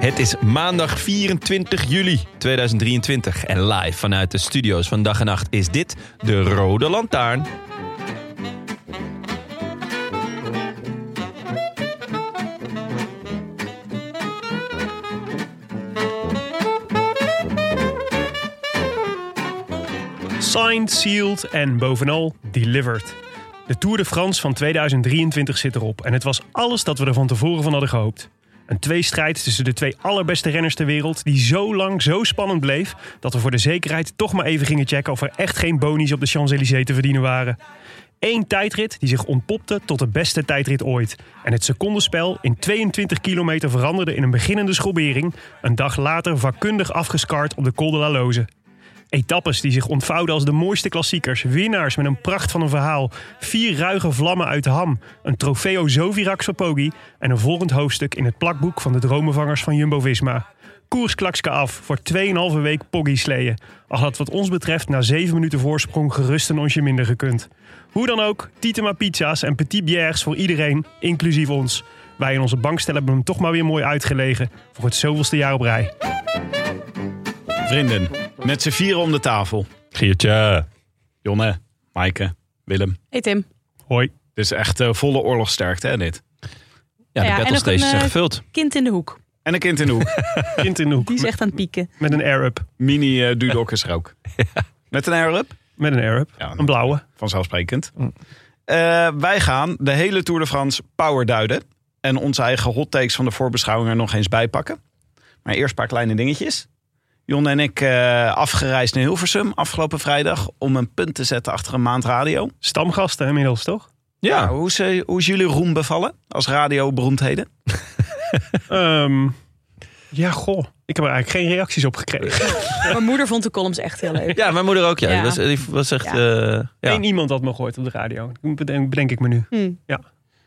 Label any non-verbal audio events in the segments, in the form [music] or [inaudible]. Het is maandag 24 juli 2023 en live vanuit de studio's van Dag en Nacht is dit de Rode Lantaarn. Signed, sealed en bovenal delivered. De Tour de France van 2023 zit erop en het was alles dat we er van tevoren van hadden gehoopt. Een tweestrijd tussen de twee allerbeste renners ter wereld die zo lang zo spannend bleef dat we voor de zekerheid toch maar even gingen checken of er echt geen bonies op de Champs-Élysées te verdienen waren. Eén tijdrit die zich ontpopte tot de beste tijdrit ooit. En het secondenspel in 22 kilometer veranderde in een beginnende schobbering, een dag later vakkundig afgescard op de Col de la Loze. Etappes die zich ontvouwden als de mooiste klassiekers. Winnaars met een pracht van een verhaal. Vier ruige vlammen uit de ham. Een trofeo Zovirax voor Poggi. En een volgend hoofdstuk in het plakboek van de dromenvangers van Jumbo-Visma. Koers klakske af voor 2,5 week Poggi sleeën. Al had wat ons betreft na 7 minuten voorsprong gerust een onsje minder gekund. Hoe dan ook, Tietema pizza's en petit bières voor iedereen, inclusief ons. Wij in onze bankstel hebben hem toch maar weer mooi uitgelegen. Voor het zoveelste jaar op rij. Vrienden, met z'n vieren om de tafel. Giertje. Jonne, Maaike, Willem. Hey Tim. Hoi. Dit is echt eh, volle oorlogsterkte, hè, dit. Ja, de Ja, en nog battlestages een, zijn eh, gevuld. Kind in de hoek. En een kind in [laughs] de hoek. Kind in de hoek. Die is echt aan het pieken. Met een air-up. Mini eh Dudok er ook. Met een air-up? Met een Arab. Ja, Een blauwe. vanzelfsprekend. Mm. Eh, wij gaan de hele Tour de France power duiden. En onze eigen hot takes van de voorbeschouwing er nog eens bij pakken. Maar eerst een paar kleine dingetjes. Jon en ik eh, afgereisd naar Hilversum afgelopen vrijdag om een punt te zetten achter een maand radio. Stamgasten inmiddels, toch? Nou, hoe, is, eh, hoe is jullie roem bevallen als radioberoemdheden? Ehm, ja, goh. Ik heb er eigenlijk geen reacties op gekregen. Mijn moeder vond de columns echt heel leuk. Ja, mijn moeder ook. Ja, Ja. Die was, die was echt... Ja. eh, ja. Eén iemand had me gehoord op de radio. Bedenk, bedenk ik me nu.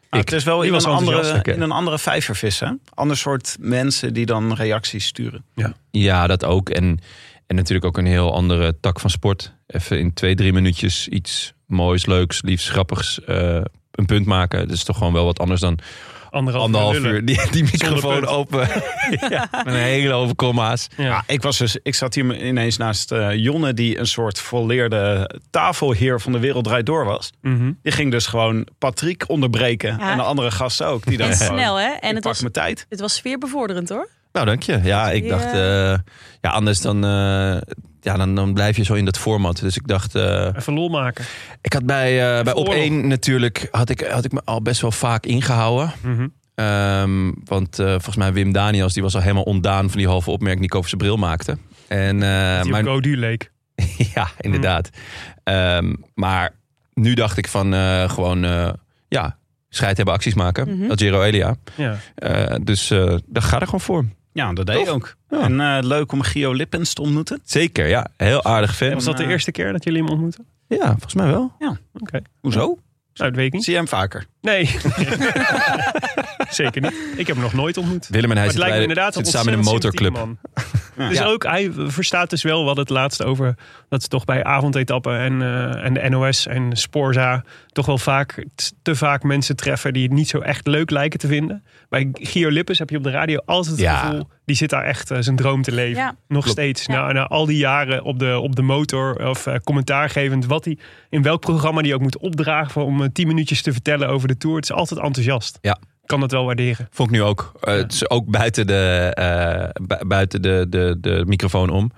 Ah, het is wel in was een, enthousiast, andere, oké. in een andere vijver vissen. Ander soort mensen die dan reacties sturen. Ja, dat ook. En, en natuurlijk ook een heel andere tak van sport. Even in twee, drie minuutjes iets moois, leuks, liefs, grappigs... eh, een punt maken. Dat is toch gewoon wel wat anders dan Anderhalf, anderhalf lullen. uur die, die microfoon punt. [laughs] open. ja, met een hele hoop comma's. Ja. Ja, ik, was dus, ik zat hier ineens naast eh, Jonne, die een soort volleerde tafelheer van de wereld draait door was. Mhm. Die ging dus gewoon Patrick onderbreken. Ja. En de andere gasten ook. Die En dacht gewoon, snel, hè? ik En het pak was, mijn tijd. het was sfeerbevorderend, hoor. Nou, dank je. Ja, ik Ja. dacht, eh, ja, anders dan, eh, ja, dan, dan blijf je zo in dat format. Dus ik dacht, eh, Even lol maken. ik had bij, eh bij Even op één natuurlijk, had ik, had ik me al best wel vaak ingehouden. Mhm. Ehm, want eh, volgens mij Wim Daniels, die was al helemaal ontdaan van die halve opmerking die ik over zijn bril maakte. En, eh, die maar- op Godu leek. [laughs] ja, inderdaad. Ehm, maar nu dacht ik van eh, gewoon, eh, ja, scheid hebben, acties maken. Mhm. Dat Giro Elia. Ja. Eh, dus eh dat ga er gewoon voor. Ja, dat deed Toch? ik ook. Ja. En eh, leuk om Gio Lippens te ontmoeten. Zeker, ja. Heel aardig fan. Was dat de eh, eerste keer dat jullie hem ontmoeten? Ja, volgens mij wel. Hoezo? Nou, dat weet [laughs] ik niet. Zie je hem vaker? Nee. [laughs] Zeker niet. Ik heb hem nog nooit ontmoet. Willem en hij Maar het zitten, lijkt me bij de- inderdaad zitten samen in een ontzettend motorclub. sympathieke [laughs] Dus ook, hij verstaat dus wel wat het laatst over. Dat ze toch bij avondetappen en, eh, en de NOS en Sporza. toch wel vaak t- te vaak mensen treffen die het niet zo echt leuk lijken te vinden. Bij Gio Lippes heb je op de radio altijd het Ja. gevoel. die zit daar echt eh, zijn droom te leven. Ja. Nog Klopt. steeds. Ja. Na, na al die jaren op de, op de motor of eh, commentaargevend. wat hij in welk programma die ook moet opdragen. voor- om eh, 10 minuutjes te vertellen over de tour. Het is altijd enthousiast. Ja. Kan dat wel waarderen. Vond ik nu ook. Eh, Het is ook buiten, de, eh, bu- buiten de, de, de microfoon om.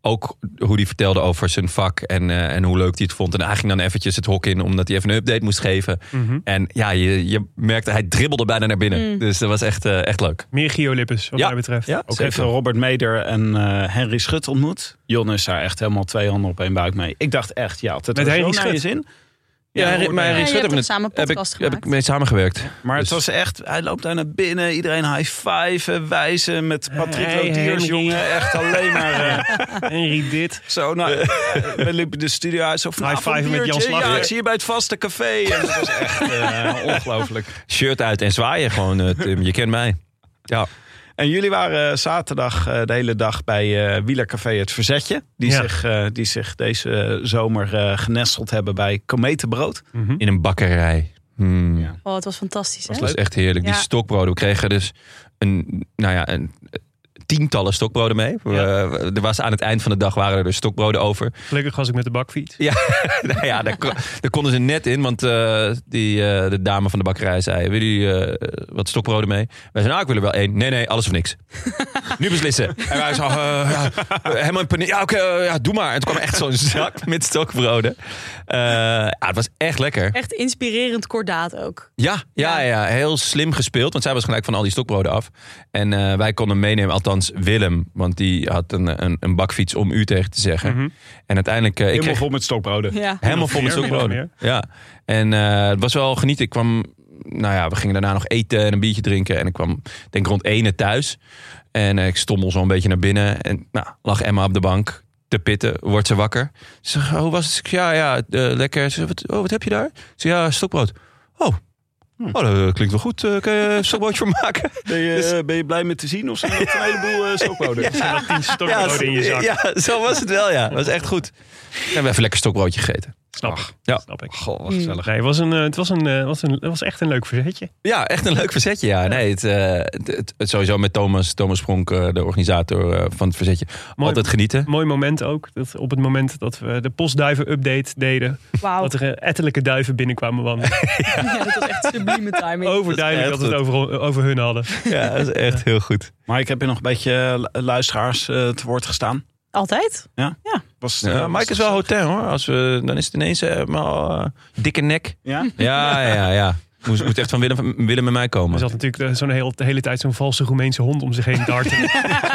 Ook hoe hij vertelde over zijn vak en, eh, en hoe leuk hij het vond. En hij ging dan eventjes het hok in omdat hij even een update moest geven. En ja, je, je merkte, hij dribbelde bijna naar binnen. Dus dat was echt, eh, echt leuk. Meer Gio Lippes, wat Ja. mij betreft. Ja, Ook zeker. even Robert Meder en eh, Henry Schut ontmoet. Jon is daar echt helemaal twee handen op één buik mee. Ik dacht echt, ja, het Met Henry was zo naar je Schut? zin. Ja, Ja, Henry- Robert maar Meder. Henry Ja, je Schut heb, hebt ik- toch samen heb, ik, podcast heb ik gemaakt? mee samengewerkt. Maar het Dus- was echt, hij loopt daar naar binnen. Iedereen high five, eh, wijzen met Patrick Hey, Lodiers, Henry. jongen. Echt alleen maar [laughs] eh, Henry dit. zo. Nou, eh, we liepen de studio uit. Zo van, High nou, van five met biertje. Jan Slachter. Ja, ik zie je bij het vaste café. En dat was echt eh, ongelooflijk. Shirt uit en zwaaien gewoon, eh, Tim. Je kent mij. Ja, En jullie waren eh, zaterdag eh, de hele dag bij eh Wielercafé Het Verzetje. Die, Ja. zich, eh, die zich deze eh, zomer eh, genesteld hebben bij Kometenbrood. in een bakkerij. Hmm. Ja. Oh, het was fantastisch, hè? Dat was echt heerlijk. Die Ja. stokbroden. We kregen dus een, nou ja, een tientallen stokbroden mee. We- er was aan het eind van de dag waren er dus stokbroden over. Gelukkig was ik met de bakfiets. [laughs] Ja, nou ja daar, kon- daar konden ze net in. Want eh, die, eh, de dame van de bakkerij zei, wil jullie eh, wat stokbroden mee? Wij zeiden, nou ik wil er wel één. Nee, nee, alles of [laughs] niks. nu beslissen. En wij zo, eh, ja, helemaal in paniek. Ja, oké, eh, ja, doe maar. En toen kwam echt zo'n zak met stokbroden. Eh, ja, het was echt lekker. Echt inspirerend kordaat ook. Ja, ja, ja, heel slim gespeeld. Want zij was gelijk van al die stokbroden af. En eh, wij konden meenemen, althans Willem. Want die had een, een, een bakfiets om u tegen te zeggen. En uiteindelijk... eh, ik Helemaal kreeg vol met stokbroden. Ja. helemaal vol met Min of meer, stokbroden. min Ja. En eh, het was wel genieten. Ik kwam... Nou ja, we gingen daarna nog eten en een biertje drinken. En ik kwam denk rond ene thuis. En eh, ik stommel zo een beetje naar binnen. En nou, lag Emma op de bank te pitten. Wordt ze wakker. Ze zegt, oh, was het? Ik zeg, Ja, ja, eh, lekker. Ze zegt, wat, oh, wat heb je daar? Ze zegt, ja, stokbrood. Oh. Hm. oh, dat klinkt wel goed. Eh, Kun je een stokbroodje voor maken? Ben je, Dus- eh, ben je blij met te zien of zijn er [laughs] nog een heleboel eh, stokbroden? Met tien stokbroden zo- in je [laughs] zak. ja, zo was het wel, ja. Dat was echt goed. En we hebben even lekker stokbroodje gegeten. Snap, ik. Ja. snap ik. Goh, wat gezellig. Nee, het, was een, eh, het, was een, eh, het was een, het was echt een leuk verzetje. Ja, echt een leuk verzetje. Ja, nee, het, eh, het, het- het sowieso met Thomas, Thomas Pronk, eh, de organisator eh, van het verzetje. Mooi. Altijd genieten. Mooi moment ook. Dat op het moment dat we de postduiven-update deden. Wauw. Dat er eh, ettelijke duiven [laughs] binnenkwamen wandelen. Ja, dat was echt sublieme [laughs] timing. Overduidelijk dat Dat we is het echt over, over hun hadden. Ja, dat is echt heel goed. Maar ik heb hier nog een beetje eh, luisteraars eh, te woord gestaan. Altijd? Was, eh, Ja, was Mike is wel gezellig. hotel hoor. Als we, dan is het ineens helemaal eh, dikke nek. Ja? Ja, ja, ja. Moest, moet echt van Willem, Willem en mij Er komen. zat natuurlijk eh, zo'n heel, de hele tijd zo'n valse Roemeense hond om zich heen [laughs] darten.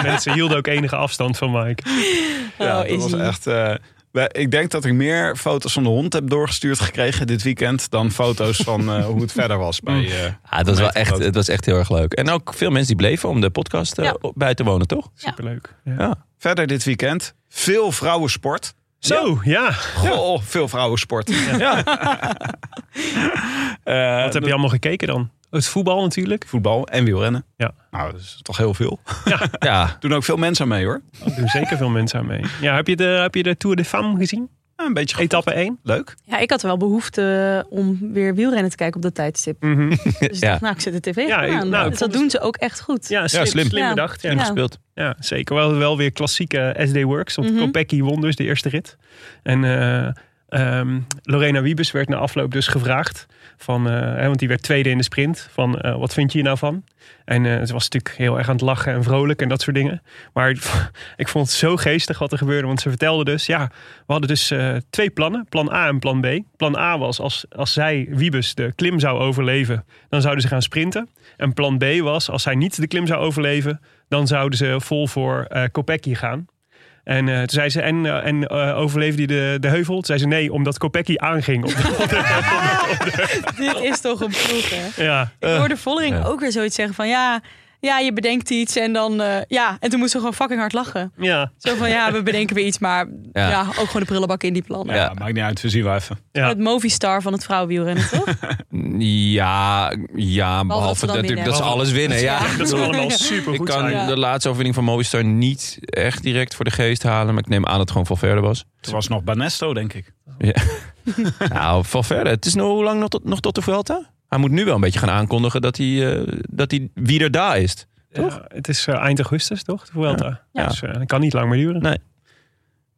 Mensen hielden ook enige afstand van Mike. [laughs] Ja, oh, dat was Izzy. echt. eh, wij- ik denk dat ik meer foto's van de hond heb doorgestuurd gekregen dit weekend dan foto's van eh, hoe het verder was bij. eh, Ja, het, Ah, was wel echt, het was echt heel erg leuk. En ook veel mensen die bleven om de podcast eh, Ja. op- bij te wonen, toch? Superleuk. Ja. Ja. verder dit weekend veel vrouwensport. Zo, ja. Goh, veel vrouwensport. Ja. Eh, Wat heb je allemaal gekeken dan? Het voetbal natuurlijk. Voetbal en wielrennen. Ja. Nou, dat is toch heel veel. ja. Doen ook veel mensen aan mee hoor. Daar doen zeker veel mensen aan mee. Ja, heb je de, heb je de Tour de Femme gezien? Ja, een beetje Etappe 1? leuk. Ja, ik had wel behoefte om weer wielrennen te kijken op dat tijdstip. Mhm. Dus ik Ja. dacht, nou, ik zet de tv Ja, aan. ik- nou, dus dat ik- doen ze ook echt goed. Ja, slim, slim. slim Ja. bedacht. Ja. Ja. Gespeeld. Ja, zeker. Wel, wel weer klassieke SD Works. Want Mhm. Kopecky won dus de eerste rit. En eh, ehm, Lorena Wiebes werd na afloop dus gevraagd. Van, eh, hè, want die werd tweede in de sprint. Van eh, wat vind je hier nou van? En eh, ze was natuurlijk heel erg aan het lachen en vrolijk en dat soort dingen. Maar [laughs] ik vond het zo geestig wat er gebeurde. Want ze vertelde dus, ja, we hadden dus eh, twee plannen. Plan A en plan B. Plan A was als, als zij, Wiebes, de klim zou overleven. Dan zouden ze gaan sprinten. En plan B was als zij niet de klim zou overleven dan zouden ze vol voor eh Kopecky gaan. En eh, toen zei ze, en, eh, en eh, overleefde hij de, de heuvel? Toen zei ze, nee, omdat Kopecky aanging. Op [laughs] de- Dit is toch een ploeg, hè? ja. Eh, Ik hoorde Vollering ook weer zoiets zeggen van... ja, ja, je bedenkt iets en dan, eh, ja. En toen moesten we gewoon fucking hard lachen. Ja, Zo van, ja, we bedenken weer iets, maar Ja. ja. ook gewoon de prullenbak in die plannen. Ja, maakt niet uit. We zien wel even. ja. Het Movistar van het vrouwenwielrennen, [laughs] toch? Ja, ja we behalve dat, dan natuurlijk winnen. dat ze alles winnen. Ja. Dat is allemaal super [laughs] Ik goed. kan Ja. de laatste overwinning van Movistar niet echt direct voor de geest halen. Maar ik neem aan dat het gewoon Valverde was. Toen was nog Banesto, denk ik. Nou, Valverde. Het is nog, hoe lang nog tot, nog tot de Vuelta? Hij moet nu wel een beetje gaan aankondigen dat hij, eh, dat hij wie er daar is. Ja, het is eh, eind augustus, toch? De Vuelta. Ja. Dus eh, dat kan niet lang meer duren. Nee.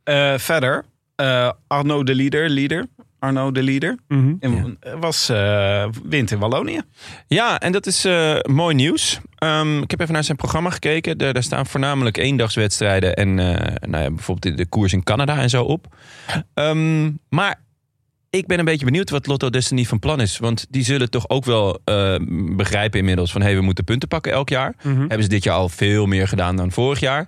Eh, verder, eh, Arno de Leader, leader. Arno de Leader Mhm. in- was eh wint in Wallonië. Ja, en dat is eh, mooi nieuws. Ehm, ik heb even naar zijn programma gekeken. Daar, daar staan voornamelijk eendagswedstrijden en eh, nou ja, bijvoorbeeld de, de koers in Canada en zo op. Ehm, maar ik ben een beetje benieuwd wat Lotto Destiny van plan is. Want die zullen toch ook wel eh, begrijpen inmiddels van... hé, hey, we moeten punten pakken elk jaar. Mhm. Hebben ze dit jaar al veel meer gedaan dan vorig jaar.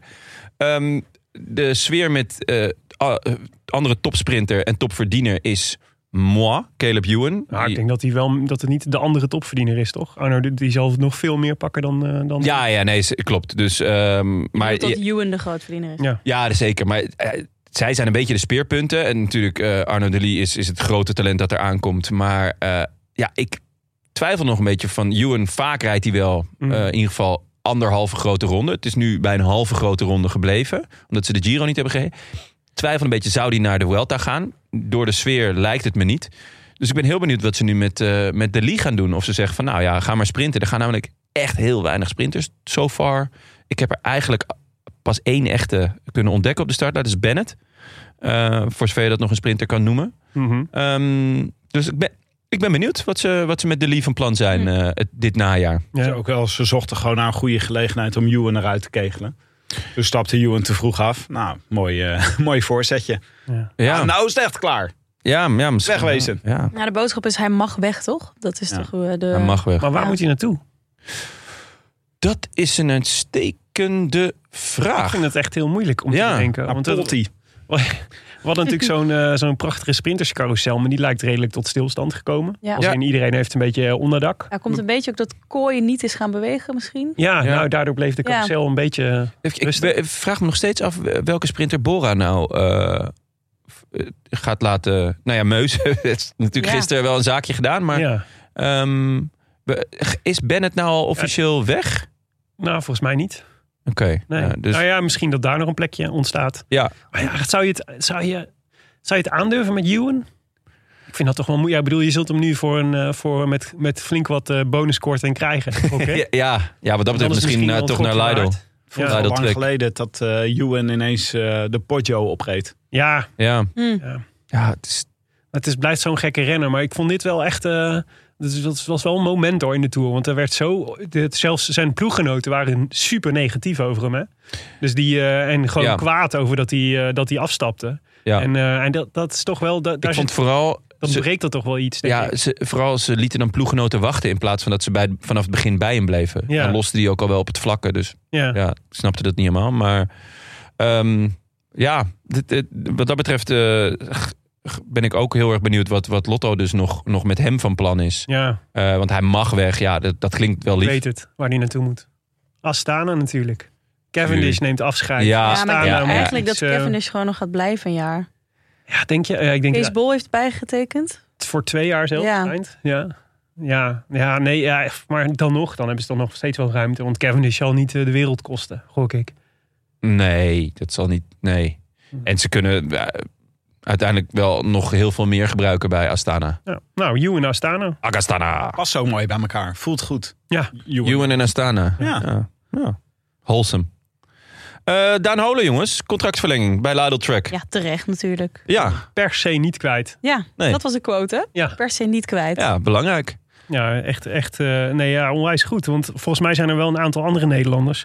Ehm, de sfeer met eh, a- eh, andere topsprinter en topverdiener is... Moi, Caleb Ewan. Nou, ik Die- denk dat, hij wel, dat het niet de andere topverdiener is, toch? Arno, die, die zal nog veel meer pakken dan... eh, dan Ja, ja, nee, ze- klopt. Dus, ehm, maar, Maar dat Ewan de grootverdiener is. Ja. ja, zeker. Maar eh, zij zijn een beetje de speerpunten. En natuurlijk, eh, Arno Delis is, is het grote talent dat er aankomt. Maar eh, ja, ik twijfel nog een beetje van... Ewan, vaak rijdt hij wel Mm. eh, in ieder geval anderhalve grote ronde. Het is nu bij een halve grote ronde gebleven. Omdat ze de Giro niet hebben gereden. Twijfel een beetje, zou die naar de Vuelta gaan? Door de sfeer lijkt het me niet. Dus ik ben heel benieuwd wat ze nu met, eh met Delis gaan doen. Of ze zeggen van, nou ja, ga maar sprinten. Er gaan namelijk echt heel weinig sprinters. So far, ik heb er eigenlijk pas één echte kunnen ontdekken op de start. Nou, Dat is Bennett. Eh, voor zover je dat nog een sprinter kan noemen. Mhm. Ehm, dus ik ben, ik ben benieuwd wat ze, wat ze met de Lee van plan zijn Hm. eh, het, dit najaar. Ja. Ze, ook wel, ze zochten gewoon naar een goede gelegenheid om Ewan eruit te kegelen. Toen stapte Ewan te vroeg af. Nou, mooi, eh, [laughs] mooi voorzetje. Ja. Ja, Ah, nou is het echt klaar. ja, ja misschien. Wegwezen. Ja, Nou, de boodschap is, hij mag weg, toch? Dat is Ja. toch eh, de... hij mag weg. Maar waar Ja. moet hij naartoe? Dat is een uitstekende Ik vraag. vind het echt heel moeilijk om Ja, te denken. Naar Want dat, Polti. we hadden natuurlijk zo'n eh, zo'n prachtige sprinterscarousel, maar die lijkt redelijk tot stilstand gekomen. Ja. Als Ja. in iedereen heeft een beetje eh, onderdak. Daar komt een beetje ook dat kooi niet is gaan bewegen misschien. Ja, Ja. nou daardoor bleef de Ja. carousel een beetje... eh, Ik, ik Rustig. be- vraag me nog steeds af welke sprinter Bora nou eh, f- eh, gaat laten... Nou ja, Meus [laughs] heeft natuurlijk Ja. gisteren wel een zaakje gedaan. Maar ja. ehm, be- is Bennett nou al officieel weg? Nou, volgens mij niet. Oké. Nee. ja, dus, Nou ja, misschien dat daar nog een plekje ontstaat. Ja. Maar ja, zou je het, zou je, zou je het aandurven met Ewan? Ik vind dat toch wel moeilijk. Ja, ik bedoel, je zult hem nu voor een, eh, voor met, met flink wat eh bonuskorting krijgen. Ook, [laughs] hè? ja, ja, ja, wat dat Dan betreft is het misschien, wel eh, een toch gok naar waard. Lidl. Voelt Ja. al Lidl lang trek. geleden dat eh Ewan ineens eh, de Poggio opreed. Ja, Ja, Hm. ja het is, het is, blijft zo'n gekke renner. Maar ik vond dit wel echt... eh dat is- dat was wel een moment hoor in de Tour. Want er werd zo... Dit, zelfs zijn ploeggenoten waren super negatief over hem. Hè? Dus die, eh, en gewoon Ja. kwaad over dat hij, eh, dat hij afstapte. ja. En, eh, en dat, dat is toch wel... Dat, daar ik vond zit- vooral... dan ze- breekt Nou, dat toch wel iets. Denk ik. ja, ze, vooral ze lieten dan ploeggenoten wachten... in plaats van dat ze bij, vanaf het begin bij hem bleven. Ja. Dan loste die ook al wel op het vlakke. Dus Ja. ja, ik snapte dat niet helemaal. Maar ehm, ja, dit, dit- wat dat betreft eh, g- g- ben ik ook heel erg benieuwd... wat, wat Lotto dus nog, nog met hem van plan is. Ja, Eh, want hij mag weg. Ja, dat, dat klinkt wel ik lief. weet het. Waar hij naartoe moet. Astana natuurlijk. Cavendish Tuurlijk. neemt afscheid. Ja, Ja, maar Astana ik denk ja, moet eigenlijk dat iets, eh, Cavendish gewoon nog gaat blijven een jaar. Ja, denk je? Ja, ik denk Kees dat Bol heeft bijgetekend. het voor twee jaar zelfs Ja. schijnt. Ja. Ja, ja, nee, ja, maar dan nog. Dan hebben ze dan nog steeds wel ruimte. Want Cavendish zal niet eh, de wereld kosten, gok ik. Nee, dat zal niet. Nee. Hmm. En ze kunnen eh, uiteindelijk wel nog heel veel meer gebruiken bij Astana. Ja. Nou, you en Astana. Agastana. Past zo mooi bij elkaar. Voelt goed. Ja. Ewan. Ewan en Astana. Ja. ja. Ja. Wholesome. Eh, Daan Holen, jongens. Contractverlenging bij Lidl Track. Ja. Ja, terecht natuurlijk. Ja, Per se niet kwijt. Ja, Nee. dat was de quote, hè? Ja. Per se niet kwijt. belangrijk. Ja, echt, echt eh, nee, ja, onwijs goed. Want volgens mij zijn er wel een aantal andere Nederlanders.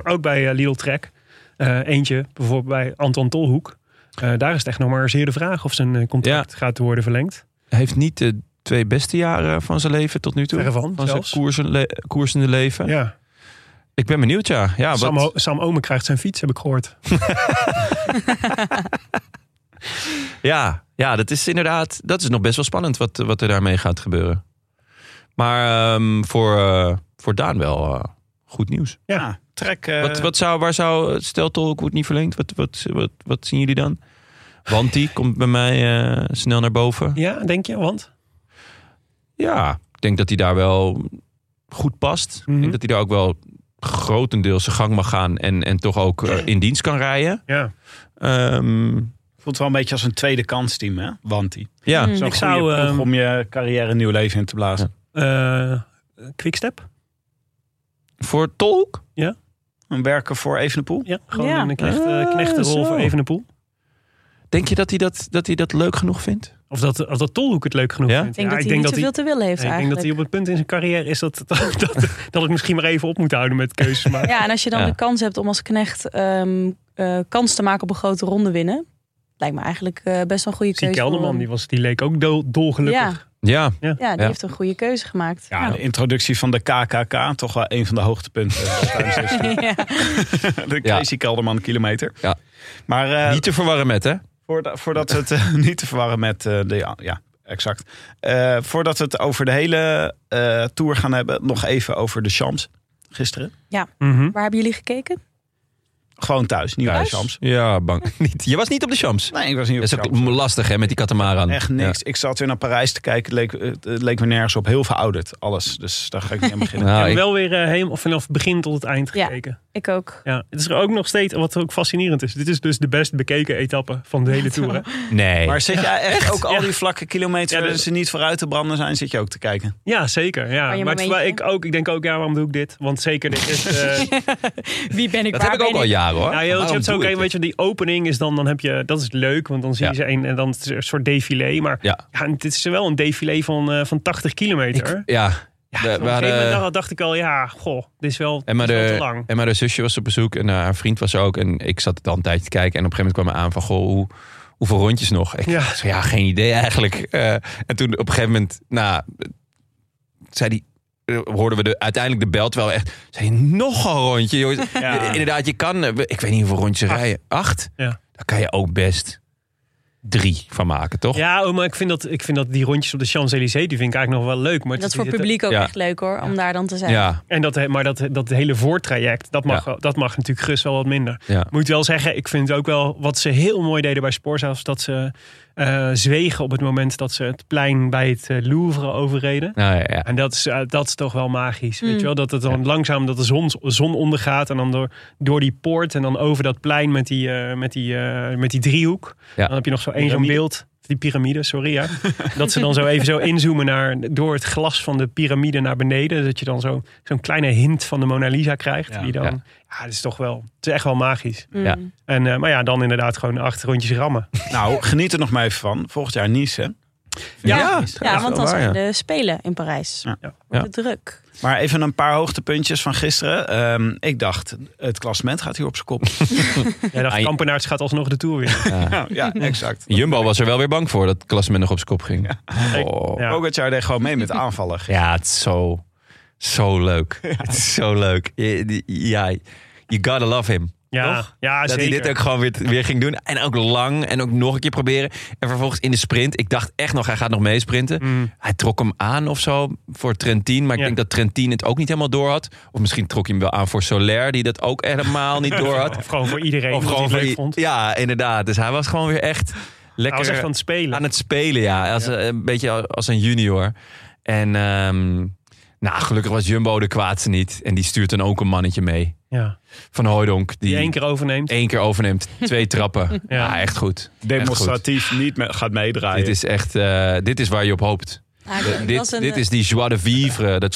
[clears throat] ook bij eh, Lidl Trek. Eh, eentje, bijvoorbeeld bij Anton Tolhoek. Eh, daar is het echt nog maar zeer de vraag of zijn eh, contract gaat worden verlengd. Hij heeft niet de twee beste jaren van zijn leven tot nu toe. Verre van, van zijn zelfs. koersenle- koersende leven. Ja. Ik ben benieuwd, ja. ja Sam, wat- O- Sam Omen krijgt zijn fiets, heb ik gehoord. Ja, ja, dat is inderdaad. Dat is nog best wel spannend wat, wat er daarmee gaat gebeuren. Maar ehm, voor, eh, voor Daan wel eh, goed nieuws. Ja. Ja, trek. eh, wat, wat zou, waar zou, stel Tolk wordt niet verlengd, wat, wat, wat, wat zien jullie dan? Want die komt bij mij eh, snel naar boven. Ja, denk je? Want? Ja, ik denk dat hij daar wel goed past. Mhm. Ik denk dat hij daar ook wel grotendeels zijn gang mag gaan en, en toch ook eh, in dienst kan rijden. Ja. Ehm, Voelt wel een beetje als een tweede kans team, hè? Wanti. ja, Mm. Zo'n Ik goede zou, ploeg ehm, om je carrière een nieuw leven in te blazen. Eh, quickstep? voor Tolk? Een werken voor Evenepoel. Ja, gewoon Ja. een knecht, eh, Ah, knechtenrol zo. voor Evenepoel. Denk je dat hij dat, dat, hij dat leuk genoeg vindt? Of dat, of dat Tolhoek het leuk genoeg Ja? vindt. Ik denk dat hij niet zoveel te willen heeft ik denk dat eigenlijk. hij op het punt in zijn carrière is dat, [laughs] dat, dat, dat ik misschien maar even op moet houden met keuzes [laughs] maken. Ja, en als je dan Ja. de kans hebt om als knecht ehm, eh, kans te maken op een grote ronde winnen. Lijkt me eigenlijk eh, best wel een goede Zie keuze. voor Kelderman, hem. die, was, die leek ook dol, dolgelukkig. Ja. Ja, Ja, die Ja. heeft een goede keuze gemaakt. Ja, de introductie van de KKK, toch wel een van de hoogtepunten. [laughs] Ja. de Ja. Casey Kelderman kilometer. Ja. Maar eh, niet te verwarren met hè? voordat, voordat we het eh, [laughs] niet te verwarren met eh, de... Ja, ja, exact. Eh, voordat we het over de hele eh, tour gaan hebben, nog even over de Champs gisteren. Ah, Mhm. Waar hebben jullie gekeken? Gewoon thuis, niet bij de Thuis? Champs. Ja, bang. [laughs] Niet. Je was niet op de Champs. Nee, ik was niet Dat op de is Champs. ook lastig hè, met die katamaran. Echt niks. Ik zat weer naar Parijs te kijken. Het leek, eh, het het leek me nergens op. Heel verouderd, alles. Dus daar ga ik niet aan Ja. beginnen. Nou, en ik- wel weer eh, helemaal vanaf het begin tot het eind Ja. gekeken. Ik ook. Ja. Het is er ook nog steeds, wat ook fascinerend is. Dit is dus de best bekeken etappe van de [laughs] hele tour. hè? [laughs] nee. Maar zit jij echt, ook al Ja. die vlakke kilometers Ja, waar de- ze niet vooruit te branden zijn, zit je ook te kijken? Ja, zeker. Maar Ja. je Maar het is wel- ik, momentje. ook, ik denk ook, ja, waarom doe ik dit? Want zeker, dit is, [laughs] eh, Wie ben ik? dat waar heb ik ook ben al jaren hoor. Ja, Nou, je Waarom hebt zo doe ik ook een dit? beetje die opening is dan, dan heb je, dat is leuk, want dan zie je Ja. ze een en dan is het een soort défilé. Maar ja. Ja. en dit is wel een défilé van, eh, van 80 kilometer. Ik- ja. ja, we dus op een waren- gegeven moment dacht- dacht ik al, ja, goh, dit is wel, En maar, dit is wel de, te lang. en maar de zusje was op bezoek en eh, haar vriend was er ook. En ik zat dan een tijdje te kijken. En op een gegeven moment kwam me aan van, goh, hoe, hoeveel rondjes nog? Ik Ja. ja. ja, geen idee eigenlijk. Eh, en toen op een gegeven moment, nou, zei die, eh, hoorden we de, uiteindelijk de belt wel echt. Zei die, nog een rondje, jongens. [laughs] Ja. Inderdaad, je kan, eh, ik weet niet hoeveel rondjes Acht. rijden. Acht? Ja. Daar kan je ook best drie van maken, toch? Ja, oh, maar ik vind, dat, ik vind dat die rondjes op de Champs-Élysées, die vind ik eigenlijk nog wel leuk. Maar ik? het Dat is die voor het zitten- publiek ook Ja. echt leuk hoor, om daar dan te zijn. ja. En dat, maar dat, dat hele voortraject, dat mag, Ja. dat mag natuurlijk gerust wel wat minder. Ja. Moet wel zeggen, ik vind ook wel wat ze heel mooi deden bij Sporza, was dat ze eh, zwegen op het moment dat ze het plein bij het eh, Louvre overreden. Nou, ja, ja. En dat is, eh, dat is toch wel magisch. Weet Mm. je wel? Dat het dan langzaam dat de zon, zon ondergaat. En dan door, door die poort. En dan over dat plein met die, eh, met die, eh, met die driehoek. Ja. Dan heb je nog zo één zo'n Piramide. beeld. Die piramide, [laughs] sorry ja. dat ze dan zo even zo inzoomen naar, door het glas van de piramide naar beneden. Dat je dan zo, zo'n kleine hint van de Mona Lisa krijgt. Ja. Die dan, ja. Ja. dat is toch wel, het is echt wel magisch. Mm. Ja. En, eh, maar ja, dan inderdaad gewoon acht rondjes [laughs] rammen. Nou, geniet er nog maar even van. Volgend jaar Nice, hè? Ja. Ja, want dan was zijn de Spelen in Parijs. Ja. Ja. Wordt het druk. Maar even een paar hoogtepuntjes van gisteren. Ehm, ik dacht, het klassement gaat hier op zijn kop. Ja, dat Ah, je- Kampenaerts gaat alsnog de Tour [laughs] winnen. ja, exact. Jumbo was er wel weer bang voor dat het klassement nog op zijn kop ging. Oh. Ja. Pogacar deed gewoon mee met aanvallen. Ja, het is zo, zo leuk. Het is zo leuk. Je- die- Ja, you gotta love him. Ja, Toch? ja dat zeker. hij dit ook gewoon weer, weer ging doen. En ook lang en ook nog een keer proberen. En vervolgens in de sprint. Ik dacht echt nog, hij gaat nog meesprinten. Mm. Hij trok hem aan of zo voor Trentin. Maar ik Ja. denk dat Trentin het ook niet helemaal door had. Of misschien trok hij hem wel aan voor Soler, die dat ook helemaal niet door [laughs] had. Of gewoon voor iedereen. Of gewoon leuk voor- vond. Ja, inderdaad. Dus hij was gewoon weer echt lekker Hij was echt aan het spelen. aan het spelen, ja. Als, eh, Een beetje als een junior. En ehm, nou, gelukkig was Jumbo de kwaadste niet. En die stuurt dan ook een mannetje mee. ja. Van Hooydonk. Die, Die één keer overneemt. één keer overneemt. [laughs] Twee trappen. Ja. Ja, echt goed. Echt Demonstratief niet me- gaat goed. meedraaien. Dit is echt, eh, dit is waar je op hoopt. Ah, De- dat was dit, een, dit is die joie de vivre, dat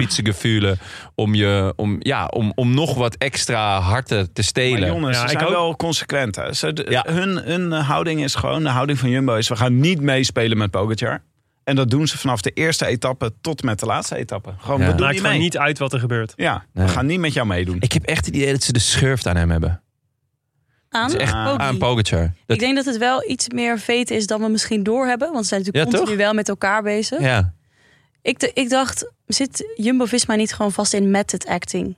vingerspitsengevoel om, je, om, ja, om, om nog wat extra harten te Maar stelen. jongens, Ja, ze ik zijn ook. wel consequent. Hè. Ze- de- Ja. hun, hun eh, houding is gewoon, de houding van Jumbo is... we gaan niet meespelen met Pogacar. En dat doen ze vanaf de eerste etappe tot met de laatste etappe. Gewoon, Ja. we doen Maakt niet gewoon mee. niet uit wat er gebeurt. Ja, Nee. we gaan niet met jou meedoen. Ik heb echt het idee dat ze de schurft aan hem hebben. aan, Het is echt Pogi. Aan Pogacar. Dat, Oh, Ik denk dat het wel iets meer veet is dan we misschien doorhebben. Want ze zijn natuurlijk Ja, continu wel met elkaar bezig. ja. Ik, d- ik dacht, zit Jumbo-Visma niet gewoon vast in method acting?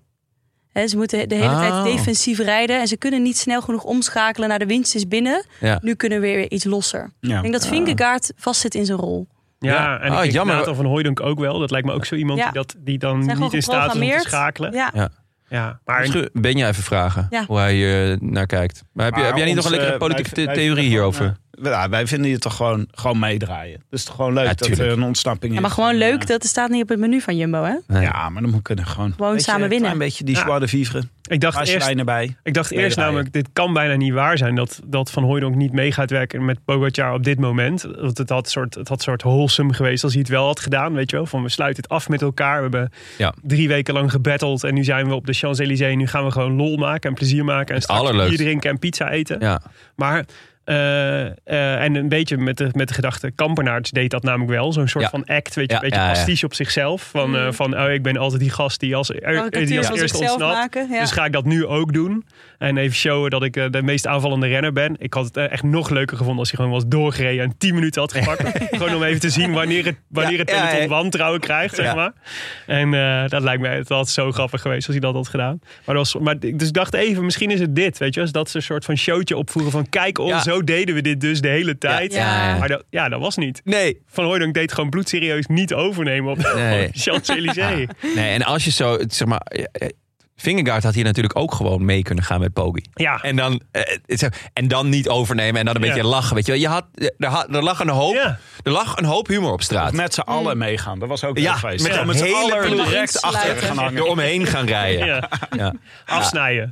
Hè, ze moeten de hele Oh. tijd defensief rijden. En ze kunnen niet snel genoeg omschakelen naar de winst is binnen. Ja. Nu kunnen we weer iets losser. Ja. Ik denk dat Vingegaard vastzit in zijn rol. Ja, Ja. en ik Ah, denk jammer. Nathan van Hooijdonk ook wel. Dat lijkt me ook zo iemand Ja. die, dat, die dan Zijn niet gewoon in staat is om te geprogrammeerd. schakelen. Ja. Ja, maar Schu- Ben jij even vragen Ja. hoe hij eh, naar kijkt? Maar heb, je, Maar heb jij niet nog ons, een lekkere eh, politieke wij- the- wij theorie vinden gewoon, hierover? eh, ja, wij vinden het toch gewoon, gewoon meedraaien. Dus het is gewoon leuk Ja, dat er tuurlijk. een ontsnapping is. Ja, maar gewoon En, leuk, eh, dat staat niet op het menu van Jumbo, hè? Nee. Ja, maar dan moet kunnen gewoon. Gewoon Beetje- samen winnen. Een beetje die Ja. joie de vivre. ik dacht Als eerst, erbij. ik dacht eerst meedraaien. namelijk, dit kan bijna niet waar zijn dat, dat Van Hooijdonk niet mee gaat werken met Pogacar op dit moment. Want het had soort, het had soort wholesome geweest als hij het wel had gedaan, weet je wel. Van we sluiten het af met elkaar, we hebben Ja. drie weken lang gebatteld en nu zijn we op de Champs-Élysées. Nu gaan we gewoon lol maken en plezier maken en straks allerleukste. bier drinken en pizza eten. Ja. Maar, eh, eh, en een beetje met de, met de gedachte, Kampenaerts deed dat namelijk wel. Zo'n soort Ja. van act, weet je, Ja, een beetje ja, ja. pastiche op zichzelf. Van, eh, van oh, ik ben altijd die gast die als, er- Karikatuur die als van eerste zichzelf ontsnapt. maken, ja. Dus ga ik dat nu ook doen. En even showen dat ik eh, de meest aanvallende renner ben. Ik had het eh, echt nog leuker gevonden als hij gewoon was doorgereden en 10 minuten had [laughs] gepakt. gewoon om even te zien wanneer het, wanneer het Ja, ja, peloton ja. wantrouwen krijgt, zeg Ja. maar. En eh, dat lijkt mij, het had zo grappig geweest als hij dat had gedaan. Maar, dat was, maar ik- dus ik dacht even, misschien is het dit, weet je. wel. Dus dat ze een soort van showtje opvoeren van kijk ons, Ja. zo deden we dit dus de hele tijd. Ja, ja. Maar dat, ja, dat was niet. Nee. Van Hooydonk deed gewoon bloedserieus niet overnemen op de Nee. [laughs] Champs-Élysées. nee. En als je zo, het- zeg maar... eh, eh, Vingegaard had hier natuurlijk ook gewoon mee kunnen gaan met Poggi. Ja. En dan, eh, het is- en dan niet overnemen en dan een Ja. beetje lachen. Weet je, wel. je had, eh, er, ha- er lag een hoop, Ja. er lag een hoop humor op straat. Met z'n allen Mm. meegaan. Dat was ook ja, leuk met geweest. een z'n allen hele ploeg direct rechts achter sluiten. gaan hangen. Eromheen gaan rijden. Ja. Ja. Afsnijden.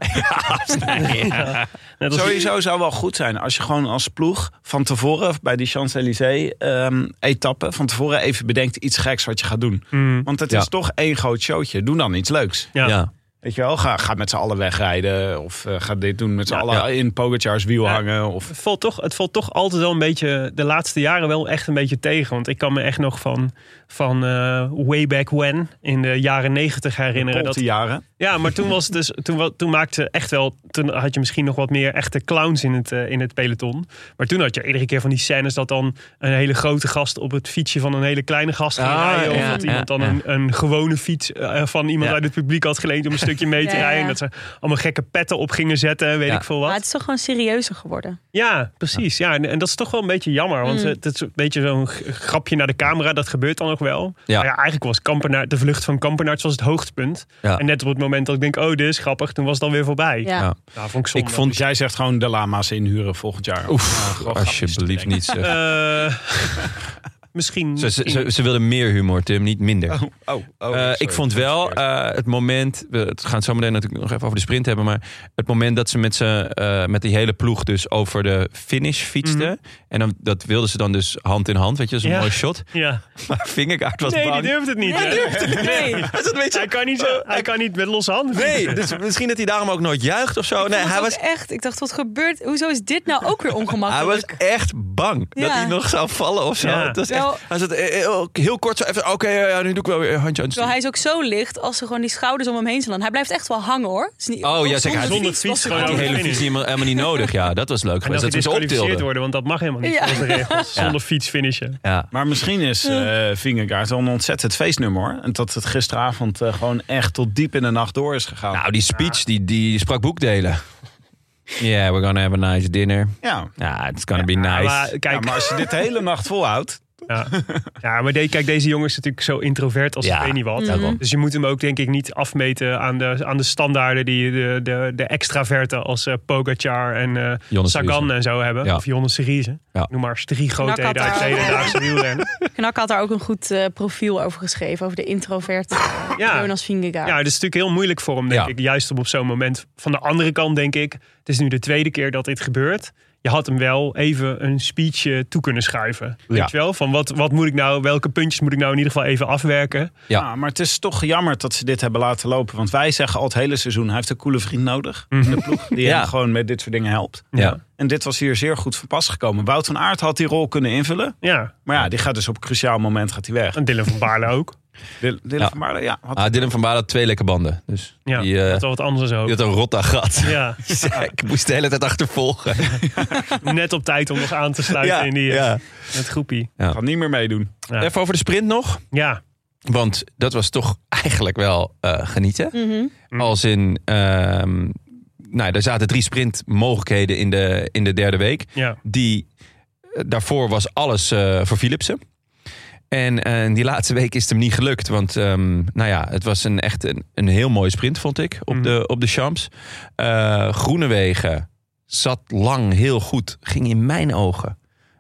Net als Sowieso zou wel goed zijn als je gewoon als ploeg van tevoren bij die Champs-Élysées ehm etappe van tevoren even bedenkt iets geks wat je gaat doen. Mm. Want het Ja. is toch één groot showtje. Doe dan iets leuks. Ja. Ja. Weet je wel, ga, ga met z'n allen wegrijden of eh, ga dit doen met z'n Ja, allen ja. in Pogacar's wiel Ja. hangen. Of, Het valt, toch, het valt toch altijd wel een beetje de laatste jaren wel echt een beetje tegen. Want ik kan me echt nog van, van eh, way back when in de jaren negentig herinneren. Polte Dat, jaren. ja, maar toen was het dus toen, wa- toen maakte echt wel toen had je misschien nog wat meer echte clowns in het, eh, in het peloton. Maar toen had je iedere keer van die scènes dat dan een hele grote gast op het fietsje van een hele kleine gast ging Ah, rijden. ja, of dat ja, iemand dan ja. Een, een gewone fiets eh, van iemand Ja. uit het publiek had geleend om een stukje mee te Ja, ja, rijden. ja. En dat ze allemaal gekke petten op gingen zetten en weet Ja. ik veel wat. Maar het is toch gewoon serieuzer geworden. Ja, precies. Ja, en, en dat is toch wel een beetje jammer. Want Mm. eh, het is een beetje zo'n g- grapje naar de camera. Dat gebeurt dan nog wel. Ja. Maar ja, eigenlijk was Kampenaar, de vlucht van Kampenaerts was het hoogtepunt. Ja. En net op het moment dat ik denk, oh, dit is grappig. Toen was het dan weer voorbij. Ja. Ja. Nou, vond ik zonde. Ik vond Dus jij zegt gewoon de lama's inhuren volgend jaar. Ja, Oef, gewoon grapjes alsjeblieft te niet. zeg. Eh, [laughs] misschien... Ze, ze, misschien- ze, ze wilden meer humor, Tim, niet minder. bedenken. Oh, oh, Eh, sorry. ik vond wel eh, het moment. We het gaan het zo meteen natuurlijk nog even over de sprint hebben. Maar het moment dat ze met, ze, eh, met die hele ploeg dus over de finish fietsten. En dan, dat wilden ze dan dus hand in hand. Weet je, dat is een Ja. mooi shot. Ja. Maar Vingerkaart was Nee, die bang. [laughs] durft het niet. hè? Nee. Hij zat een beetje- Hij, kan niet zo, hij kan niet met losse handen. Nee, dus misschien dat hij daarom ook nooit juicht of zo. Nee, Ik hij was was, ook echt. Ik dacht, wat gebeurt? Hoezo is dit nou ook weer hij was ongemakkelijk? echt bang dat Ja. Nou- hij nog zou vallen of zo. Ja. Het was Wel- echt, hij zat eh, eh, ook heel kort zo even. Oké, ja, ja, nu doe ik wel weer een handje aan het stuur. Terwijl hij is ook zo licht als ze gewoon die schouders om hem heen slaan. Hij blijft echt wel hangen hoor. Is niet, Oh, ja, ook zeker. Hij- Zonder was fiets het gewoon goed. die over. hele visie helemaal, helemaal niet nodig. Ja, dat was leuk En dat geweest. hij Dat ze ze disqualificeerd optilden. worden, want dat mag helemaal niet Ja. volgens de regels. Zonder fiets finishen. Ja. Maar misschien is eh Vingegaard wel een ontzettend feestnummer. hoor. En dat het gisteravond eh, gewoon echt tot diep in de nacht door is gegaan. Oh. Nou, die speech die, die sprak boekdelen. Yeah, we're gonna have a nice dinner. ja. Ja, it's gonna be nice. Maar kijk, Ja, maar als je dit de hele nacht volhoudt. Ja, ja maar de- kijk, deze jongen is natuurlijk zo introvert als Ja, ik weet niet wat. daarom. Dus je moet hem ook denk ik niet afmeten aan de, aan de standaarden die de, de, de extraverten als eh, Pogacar en eh, Jonas Sagan Riese. en zo hebben. Ja. Of Jonas Serize. Ja. Noem maar eens drie grootheden Nakata. uit de hedendaagse wielrennen. Knak had daar ook een goed eh, profiel over geschreven. Over de introvert eh, Ja. Jonas Vingegaard. Ja, dat is natuurlijk heel moeilijk voor hem, denk Ja. ik. Juist op, op zo'n moment. Van de andere kant denk ik, het is nu de tweede keer dat dit gebeurt. Je had hem wel even een speech eh, toe kunnen schuiven. Weet Ja. je wel? Van wat, wat moet ik nou, welke puntjes moet ik nou in ieder geval even afwerken? Ja. Ja, maar het is toch jammer dat ze dit hebben laten lopen. Want wij zeggen al het hele seizoen, hij heeft een coole vriend nodig. in Mhm. De ploeg, die Ja. hem gewoon met dit soort dingen helpt. Ja. En dit was hier zeer goed van pas gekomen. Wout van Aert had die rol kunnen invullen. Ja, Maar ja, die gaat dus op een cruciaal moment gaat hij weg. en Dylan van Baarle ook. Dylan Ja. van Baarle, ja. had- Ah, Dylan van Baal had twee lekke banden. Dus Ja, die, eh, dat wel wat anders ook. die had een rotta gat. Ja, [laughs] Ik moest de hele tijd achtervolgen. net op tijd om nog aan te sluiten Ja, in die, ja. het groepie. Gaat niet meer meedoen. Ja. Even over de sprint nog. Ja, Want dat was toch eigenlijk wel eh, genieten. Mhm. Hm. Als in... ehm, nou, er zaten drie sprintmogelijkheden in de, in de derde week. ja. die eh, daarvoor was alles eh, voor Philipsen. En eh, die laatste week is het hem niet gelukt. Want ehm, nou ja, het was een, echt een, een heel mooie sprint, vond ik, op, Mhm. de, op de Champs. Eh Groenewegen zat lang heel goed. Ging in mijn ogen,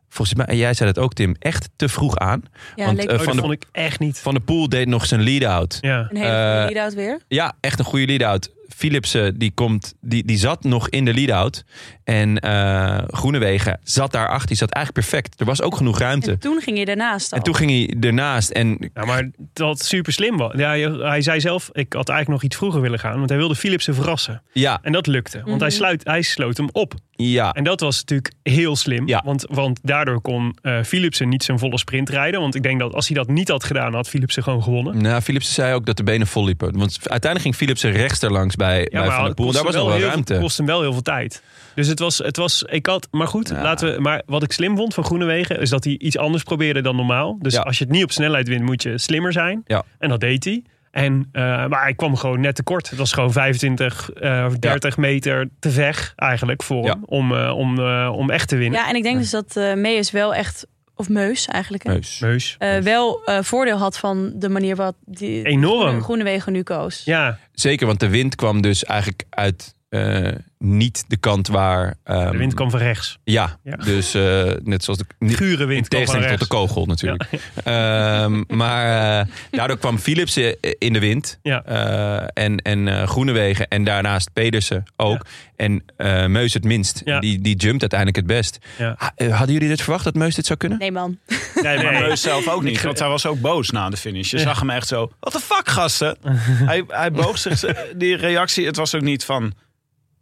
volgens mij, en jij zei dat ook Tim, echt te vroeg aan. Ja, Want, leek eh, Oh, van dat de- vond ik echt niet. Van de Poel deed nog zijn lead-out. Ja. een hele goede eh, lead-out weer. Ja, echt een goede lead-out. Philipsen die komt, die, die zat nog in de lead-out. En eh Groenewegen zat daarachter. Die zat eigenlijk perfect. Er was ook genoeg ruimte. En eh, En, toen ging je daarnaast al. toen ging hij ernaast. En Ja, maar dat super slim was. Ja, je- hij zei zelf, ik had eigenlijk nog iets vroeger willen gaan. Want hij wilde Philipsen verrassen. ja, En dat lukte. Want hij, Mhm. sluit, hij sloot hem op. ja. En dat was natuurlijk heel slim. Ja. Want, want daardoor kon eh, Philipsen niet zijn volle sprint rijden. Want ik denk dat als hij dat niet had gedaan, had Philipsen gewoon gewonnen. Nou, Philipsen zei ook dat de benen vol liepen. Want uiteindelijk ging Philipsen rechts erlangs bij, bij Van der het Poel. kost Daar was hem nog wel heel veel- ruimte. kost hem wel heel veel tijd. Dus het was, het was ik had, maar goed, Ja. laten we, maar wat ik slim vond van Groenewegen is dat hij iets anders probeerde dan normaal. Dus Ja. als je het niet op snelheid wint, moet je slimmer zijn. Ja. En dat deed hij. En, eh, maar hij kwam gewoon net tekort. Het was gewoon 25 eh, of 30 meter te ver eigenlijk voor Ja. hem om, eh, om, eh, om echt te winnen. Ja, en ik denk dus dat eh Meus wel echt, of Meus eigenlijk, hè, Neus. Meus. eh, wel eh, voordeel had van de manier wat die Enorm. Groenewegen nu koos. Ja, Zeker, want de wind kwam dus eigenlijk uit eh, niet de kant waar... ehm, de wind kwam van rechts. Ja, Ja. dus eh, net zoals de... niet- Gure In wind kwam van tegenstelling tot de rechts. kogel natuurlijk. [laughs] Ehm, maar eh, daardoor kwam Philipsen eh, in de wind. Ja. Eh, en en eh, Groenewegen en daarnaast Pedersen ook. En eh, Meus het minst. Ja. Die, die jumpt uiteindelijk het best. Ja. Ha- eh, hadden jullie dit verwacht dat Meus dit zou kunnen? Nee [laughs] man, Nee, Maar nee. Meus zelf ook niet, want hij was ook boos na de finish. Je zag hem echt zo, what the fuck gasten? [laughs] hij, hij boog zich, die reactie, het was ook niet van,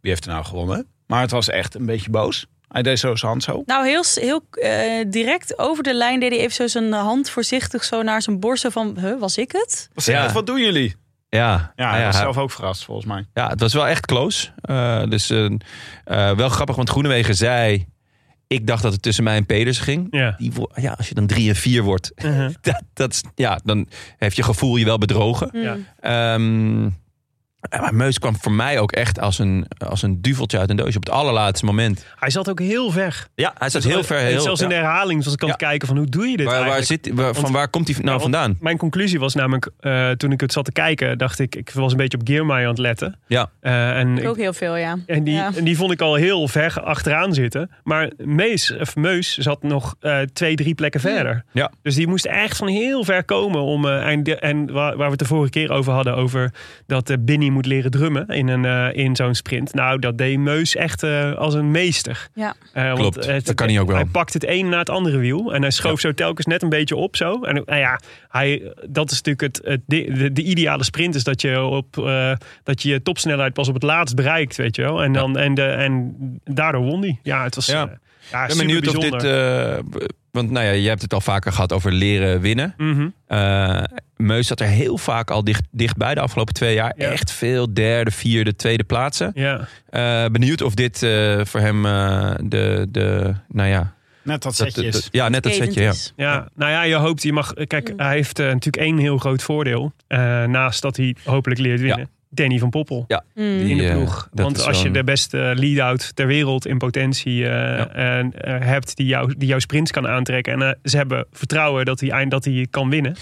wie heeft er nou gewonnen? Maar het was echt een beetje boos. Hij deed zo zijn hand zo. nou heel, s- heel eh, direct over de lijn deed hij even zo zijn hand voorzichtig zo naar zijn borst. zo van, huh, was ik het? Wat, Ja. wat doen jullie? Ja, Ja, Nou hij ja, was hij- zelf ook verrast volgens mij. ja het was wel echt close. Eh, dus eh, eh, wel grappig, want Groenewegen zei... Ik dacht dat het tussen mij en Pedersen ging. Ja. Die, wo- ja, als je dan drie en vier wordt, [laughs] Uh-huh. dat, dat, is- ja, dan heeft je gevoel je wel bedrogen. Hmm. Ja. Ehm, maar Meus kwam voor mij ook echt als een, als een duveltje uit een doosje op het allerlaatste moment. Hij zat ook heel ver. Ja, hij zat heel ver. Heel, Zelfs in de ja. herhaling was ik aan het kijken van hoe doe je dit waar, waar eigenlijk? zit, waar- van Want- waar komt hij nou Ja, want- vandaan? Mijn conclusie was namelijk, eh, toen ik het zat te kijken, dacht ik, ik was een beetje op Geermaier aan het letten. Ja. Eh, en, Ik ik- ook heel veel, ja. en, die, Ja. en die vond ik al heel ver achteraan zitten. Maar Mees, of Meus zat nog eh, twee, drie plekken Hmm. verder. Ja. Dus die moest echt van heel ver komen. Om, eh, en de- en waar, waar we het de vorige keer over hadden, over dat eh Binny moet leren drummen in, een, eh, in zo'n sprint. Nou, dat deed Meus echt eh, als een meester. Ja. Eh, want Klopt, het- dat kan hij ook wel. Hij pakt het een na het andere wiel. En hij schoof zo telkens net een beetje op zo. En nou ja, hij, dat is natuurlijk het, het, di- de, de ideale sprint. Is dat je, op, eh, dat je je topsnelheid pas op het laatst bereikt, weet je wel. En, dan, en, de, en daardoor won hij. Ja, het was Ja. eh, ja, Ik ben benieuwd of dit... eh, want nou ja, je hebt het al vaker gehad over leren winnen. Mhm. Eh, Meus zat er heel vaak al dicht, dichtbij de afgelopen twee jaar. Ja. Echt veel derde, vierde, tweede plaatsen. Ja, Eh, benieuwd of dit eh, voor hem eh, de, de... Nou ja, Net dat dat, setje is. dat- ja net dat Cadent setje. Ja. is. ja, nou ja, je hoopt, je mag. Kijk, Mm. hij heeft eh, natuurlijk één heel groot voordeel. eh, naast dat hij hopelijk leert winnen. Danny van Poppel. Hmm. Die, in de eh, ploeg. dat Want is als je zo'n- de beste lead-out ter wereld in potentie eh, Ja. en, eh, hebt die, jou, die jouw sprints kan aantrekken. En eh, ze hebben vertrouwen dat hij, eind- dat hij kan winnen.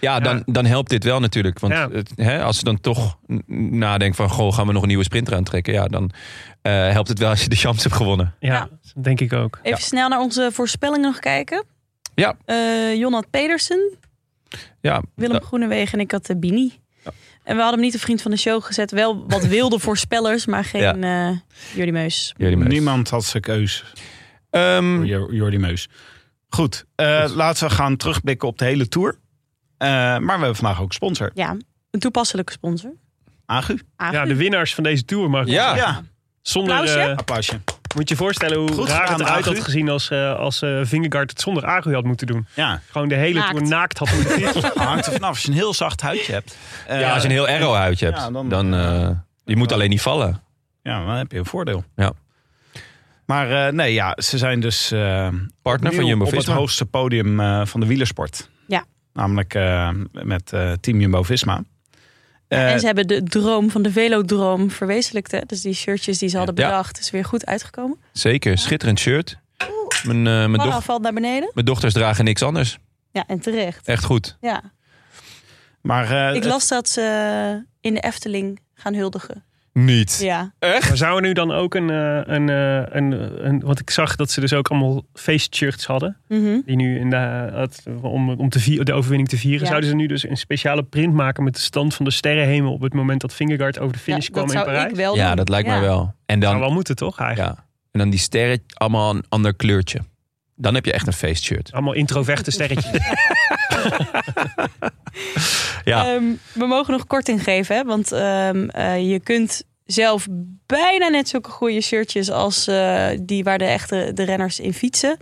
Ja, dan, dan helpt dit wel natuurlijk. Want Ja. het, hè, als ze dan toch n- nadenken van... goh, gaan we nog een nieuwe sprinter aantrekken? Ja, dan eh, helpt het wel als je de champs hebt gewonnen. Ja, Ja. dat denk ik ook. Even snel naar onze voorspellingen nog kijken. Ja. Eh, Jonat Pedersen, Ja, Willem dat- Groenewegen en ik had eh, Bini. En we hadden hem niet een vriend van de show gezet. Wel wat wilde voorspellers, maar geen eh Jordi Meus. Jordi Meus. Niemand Oh, had zijn keus Ehm, voor Jo- Jordi Meus. Goed, eh, laten we gaan terugblikken op de hele Tour. Eh, maar we hebben vandaag ook sponsor. Ja, een toepasselijke sponsor. Agu. Agu. Ja, de winnaars van deze tour. Maar Ja. Ja, zonder, Applausje. eh, applausje. moet je voorstellen hoe Goed raar gedaan, het eruit Agu. had gezien als, eh als eh, Vingegaard het zonder Agu had moeten doen. Ja, Gewoon de hele Naakt. tour naakt had moeten doen. [laughs] hangt er vanaf. Als je een heel zacht huidje hebt. Eh, ja, als je een heel arrow uit je hebt, Ja, dan... dan- eh, je moet alleen niet vallen. Ja, dan heb je een voordeel. Ja. Maar eh, nee, ja, ze zijn dus eh, Partner van opnieuw op het Jumbo-Visma. hoogste podium eh, van de wielersport. Ja. Namelijk eh, met eh, Team Jumbo-Visma. Eh, en ze hebben de droom van de velodroom verwezenlijkt. Hè? Dus die shirtjes die ze hadden Ja. bedacht, is weer goed uitgekomen. Zeker, schitterend shirt. Mijn, eh, mijn, Panna doch- valt naar beneden. mijn dochters dragen niks anders. Ja, en terecht. Echt goed. Ja. Maar eh, Ik las dat ze eh, in de Efteling gaan huldigen. Niet. Ja. Maar zou er nu dan ook een, eh, een, eh, een, een... Want ik zag dat ze dus ook allemaal feestshirts hadden. Mhm. Die nu in de, eh, het- om, om te vi- de overwinning te vieren. Ja. Zouden ze nu dus een speciale print maken met de stand van de sterrenhemel. Op het moment dat Fingerguard over de Ja, finish kwam dat in zou Parijs. ik wel Ja, doen. dat lijkt Ja. mij wel. En dan, Zou wel moeten toch eigenlijk? ja. en dan die sterren, allemaal een ander kleurtje. Dan heb je echt een feestshirt. Allemaal introverte [laughs] sterretjes. Ja. Ehm, we mogen nog korting geven, hè? want ehm, eh, je kunt zelf bijna net zulke goede shirtjes als eh, die waar de echte de renners in fietsen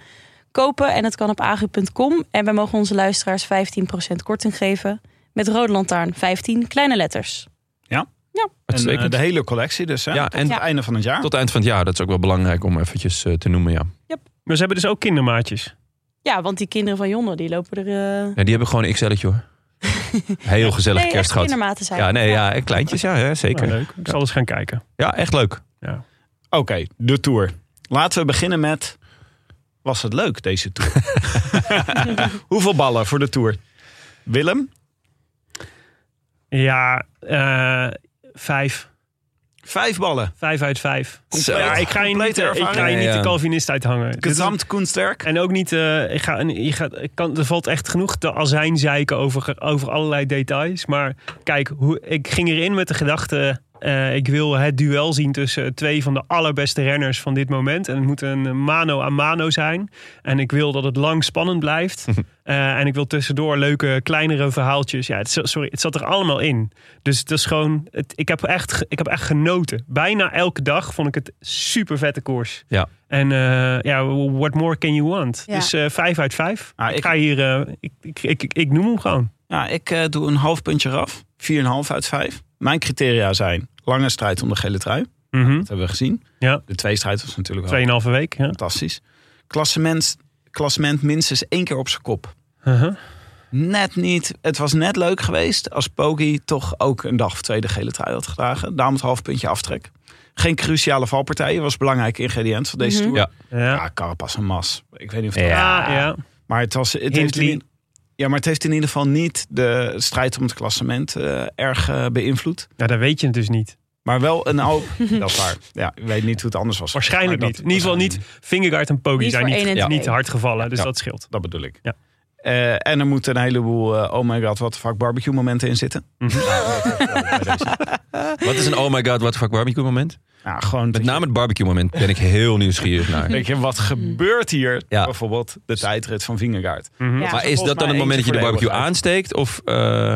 kopen. En dat kan op agu.com. En wij mogen onze luisteraars 15% korting geven. Met rode lantaarn 15 kleine letters. een, eh, Uitstekend. de hele collectie dus, hè? Ja, tot en- het einde van het Ah. jaar. Tot het eind van het jaar. Dat is ook wel belangrijk om eventjes eh, te noemen, ja. maar ze hebben dus ook kindermaatjes. Ja, want die kinderen van Jonne die lopen er. eh, Ja, die hebben gewoon een XL'tje [laughs] hoor. Heel gezellig nee, echt kerst gehad. kindermaten zijn. Ja, nee, ja, en kleintjes, ja, hè, Nou, zeker. leuk. Ik zal eens gaan kijken. Ja, echt leuk. Oké, de tour. Laten we beginnen met. Was het leuk [laughs] deze tour? [laughs] Hoeveel ballen voor de tour? Willem, Ja, eh, vijf. vijf ballen. Vijf uit vijf. Zo. Ja, ik ga je niet, eh, Complete ik ga je ervaring. niet de Ja. Calvinist uithangen. Dit is- Gezamt Kunstwerk. En ook niet, eh, ik ga, en je gaat, ik kan, er valt echt genoeg te azijnzeiken over, over allerlei details. Maar kijk, hoe, ik ging erin met de gedachte, eh, ik wil het duel zien tussen twee van de allerbeste renners van dit moment. En het moet een mano a mano zijn. En ik wil dat het lang spannend blijft. Eh, en ik wil tussendoor leuke, kleinere verhaaltjes. Ja, het, zo- sorry, het zat er allemaal in. Dus het is gewoon, het, ik, heb echt, ge- ik heb echt genoten. Bijna elke dag vond ik het super vette koers. Ja. En eh, ja, what more can you want? Ja. Dus eh, vijf uit vijf. Ah, ik, ik- ga hier, eh, ik, ik, ik, ik, ik noem hem gewoon. Ja, ik eh, doe een half puntje eraf. 4,5 uit 5. Mijn criteria zijn lange strijd om de gele trui. Mhm. Dat hebben we gezien. Ja. De tweestrijd was natuurlijk wel Tweeënhalve week. Ja. fantastisch. Klassement, klassement minstens één keer op zijn kop. Uh-huh. Net niet. Het was net leuk geweest als Poggi toch ook een dag of twee de gele trui had gedragen. Daarom het half puntje aftrek. Geen cruciale valpartijen was een belangrijk ingrediënt van deze Mhm. tour. Ja. Ja. Ja, Carapaz en Mas. Ik weet niet of dat... Ah, Ja. ja. Maar het was... Het heeft in, Hindley. ieder- ja, maar het heeft in ieder geval niet de strijd om het klassement eh, erg eh, beïnvloed. Nou, dat weet je het dus niet. Maar wel [laughs] een hoop. dat is waar. Ja, ik weet niet hoe het anders was. Waarschijnlijk Maar niet. dat- In ieder geval niet. Fingergaard en Poggi Niet zijn voor niet, één en ja. twee. niet hard gevallen. Dus Ja. dat scheelt. Dat bedoel ik. Ja. Eh, en er moeten een heleboel, eh, oh my god, wat de fuck barbecue momenten in zitten. Mhm. Wat is een oh my god, what the fuck barbecue moment? Ja, gewoon Met name het barbecue moment ben ik heel nieuwsgierig [laughs] naar. Weet je, wat Mhm. gebeurt hier? Ja. Bijvoorbeeld de tijdrit van Vingegaard. Mhm. Ja. Maar is dat dan het moment dat je de barbecue aansteekt? Of, eh,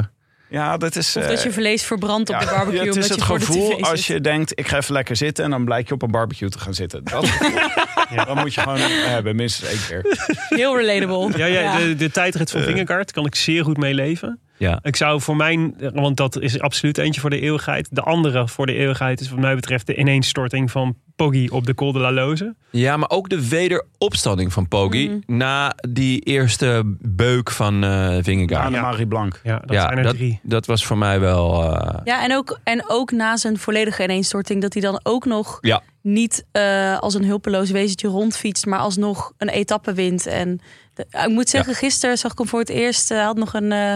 Ja, dat is... Of eh, dat je vlees verbrandt op ja, de barbecue. Het omdat is het je voor de tv gevoel zit. als je denkt, ik ga even lekker zitten... en dan blijkt je op een barbecue te gaan zitten. [laughs] Dat gevoel, Dan moet je gewoon eh, hebben, minstens één keer. Heel relatable. Ja, dus ja, De, de tijdrit van Vingegaard kan ik zeer goed mee leven. ja. Ik zou voor mijn, want dat is absoluut eentje voor de eeuwigheid. De andere voor de eeuwigheid is wat mij betreft de ineenstorting van Poggi op de Col de la Loze. ja, maar ook de wederopstanding van Poggi Mm. na die eerste beuk van eh Vingegaard. Annemarie Blank. Ja, dat ja, zijn er dat, drie. dat was voor mij wel... eh, Ja, en ook, en ook na zijn volledige ineenstorting, dat hij dan ook nog Ja. niet eh, als een hulpeloos wezentje rondfietst, maar alsnog een etappe wint. En de- ik moet zeggen, gisteren zag ik hem voor het eerst, hij had nog een, eh,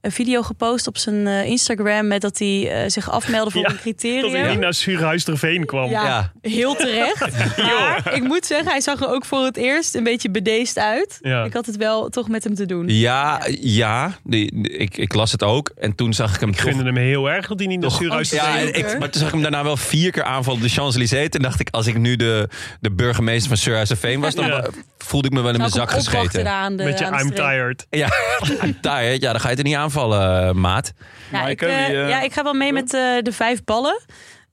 een video gepost op zijn eh, Instagram met dat hij eh, zich afmeldde voor Ja, een Dat criterium. hij niet naar Suurhuisterveen kwam. Ja, Ja. heel terecht. maar ik moet zeggen, hij zag er ook voor het eerst een beetje bedeesd uit. Ja. Ik had het wel toch met hem te doen. Ja, ja. Die, die- ik, ik las het ook. En toen zag ik hem Ik toch- gunde hem heel erg dat hij niet naar Toch- Suurhuisterveen Ja, Zeker. en ik, maar toen zag ik hem daarna wel vier keer aanvallen op de Champs-Élysées. Toen dacht ik, als ik nu de, de burgemeester van Surhuizenveen was, dan Ja. voelde ik me wel in Nou, mijn ik hem zak opwachtte daar gescheten. aan de- met je aan de I'm streep. tired. Ja, daar, hè. ja, dan ga je er niet aanvallen, eh, maat. Ja, Maar ik, ik heb eh, die, eh, ja, ik ga wel mee met eh, de vijf ballen.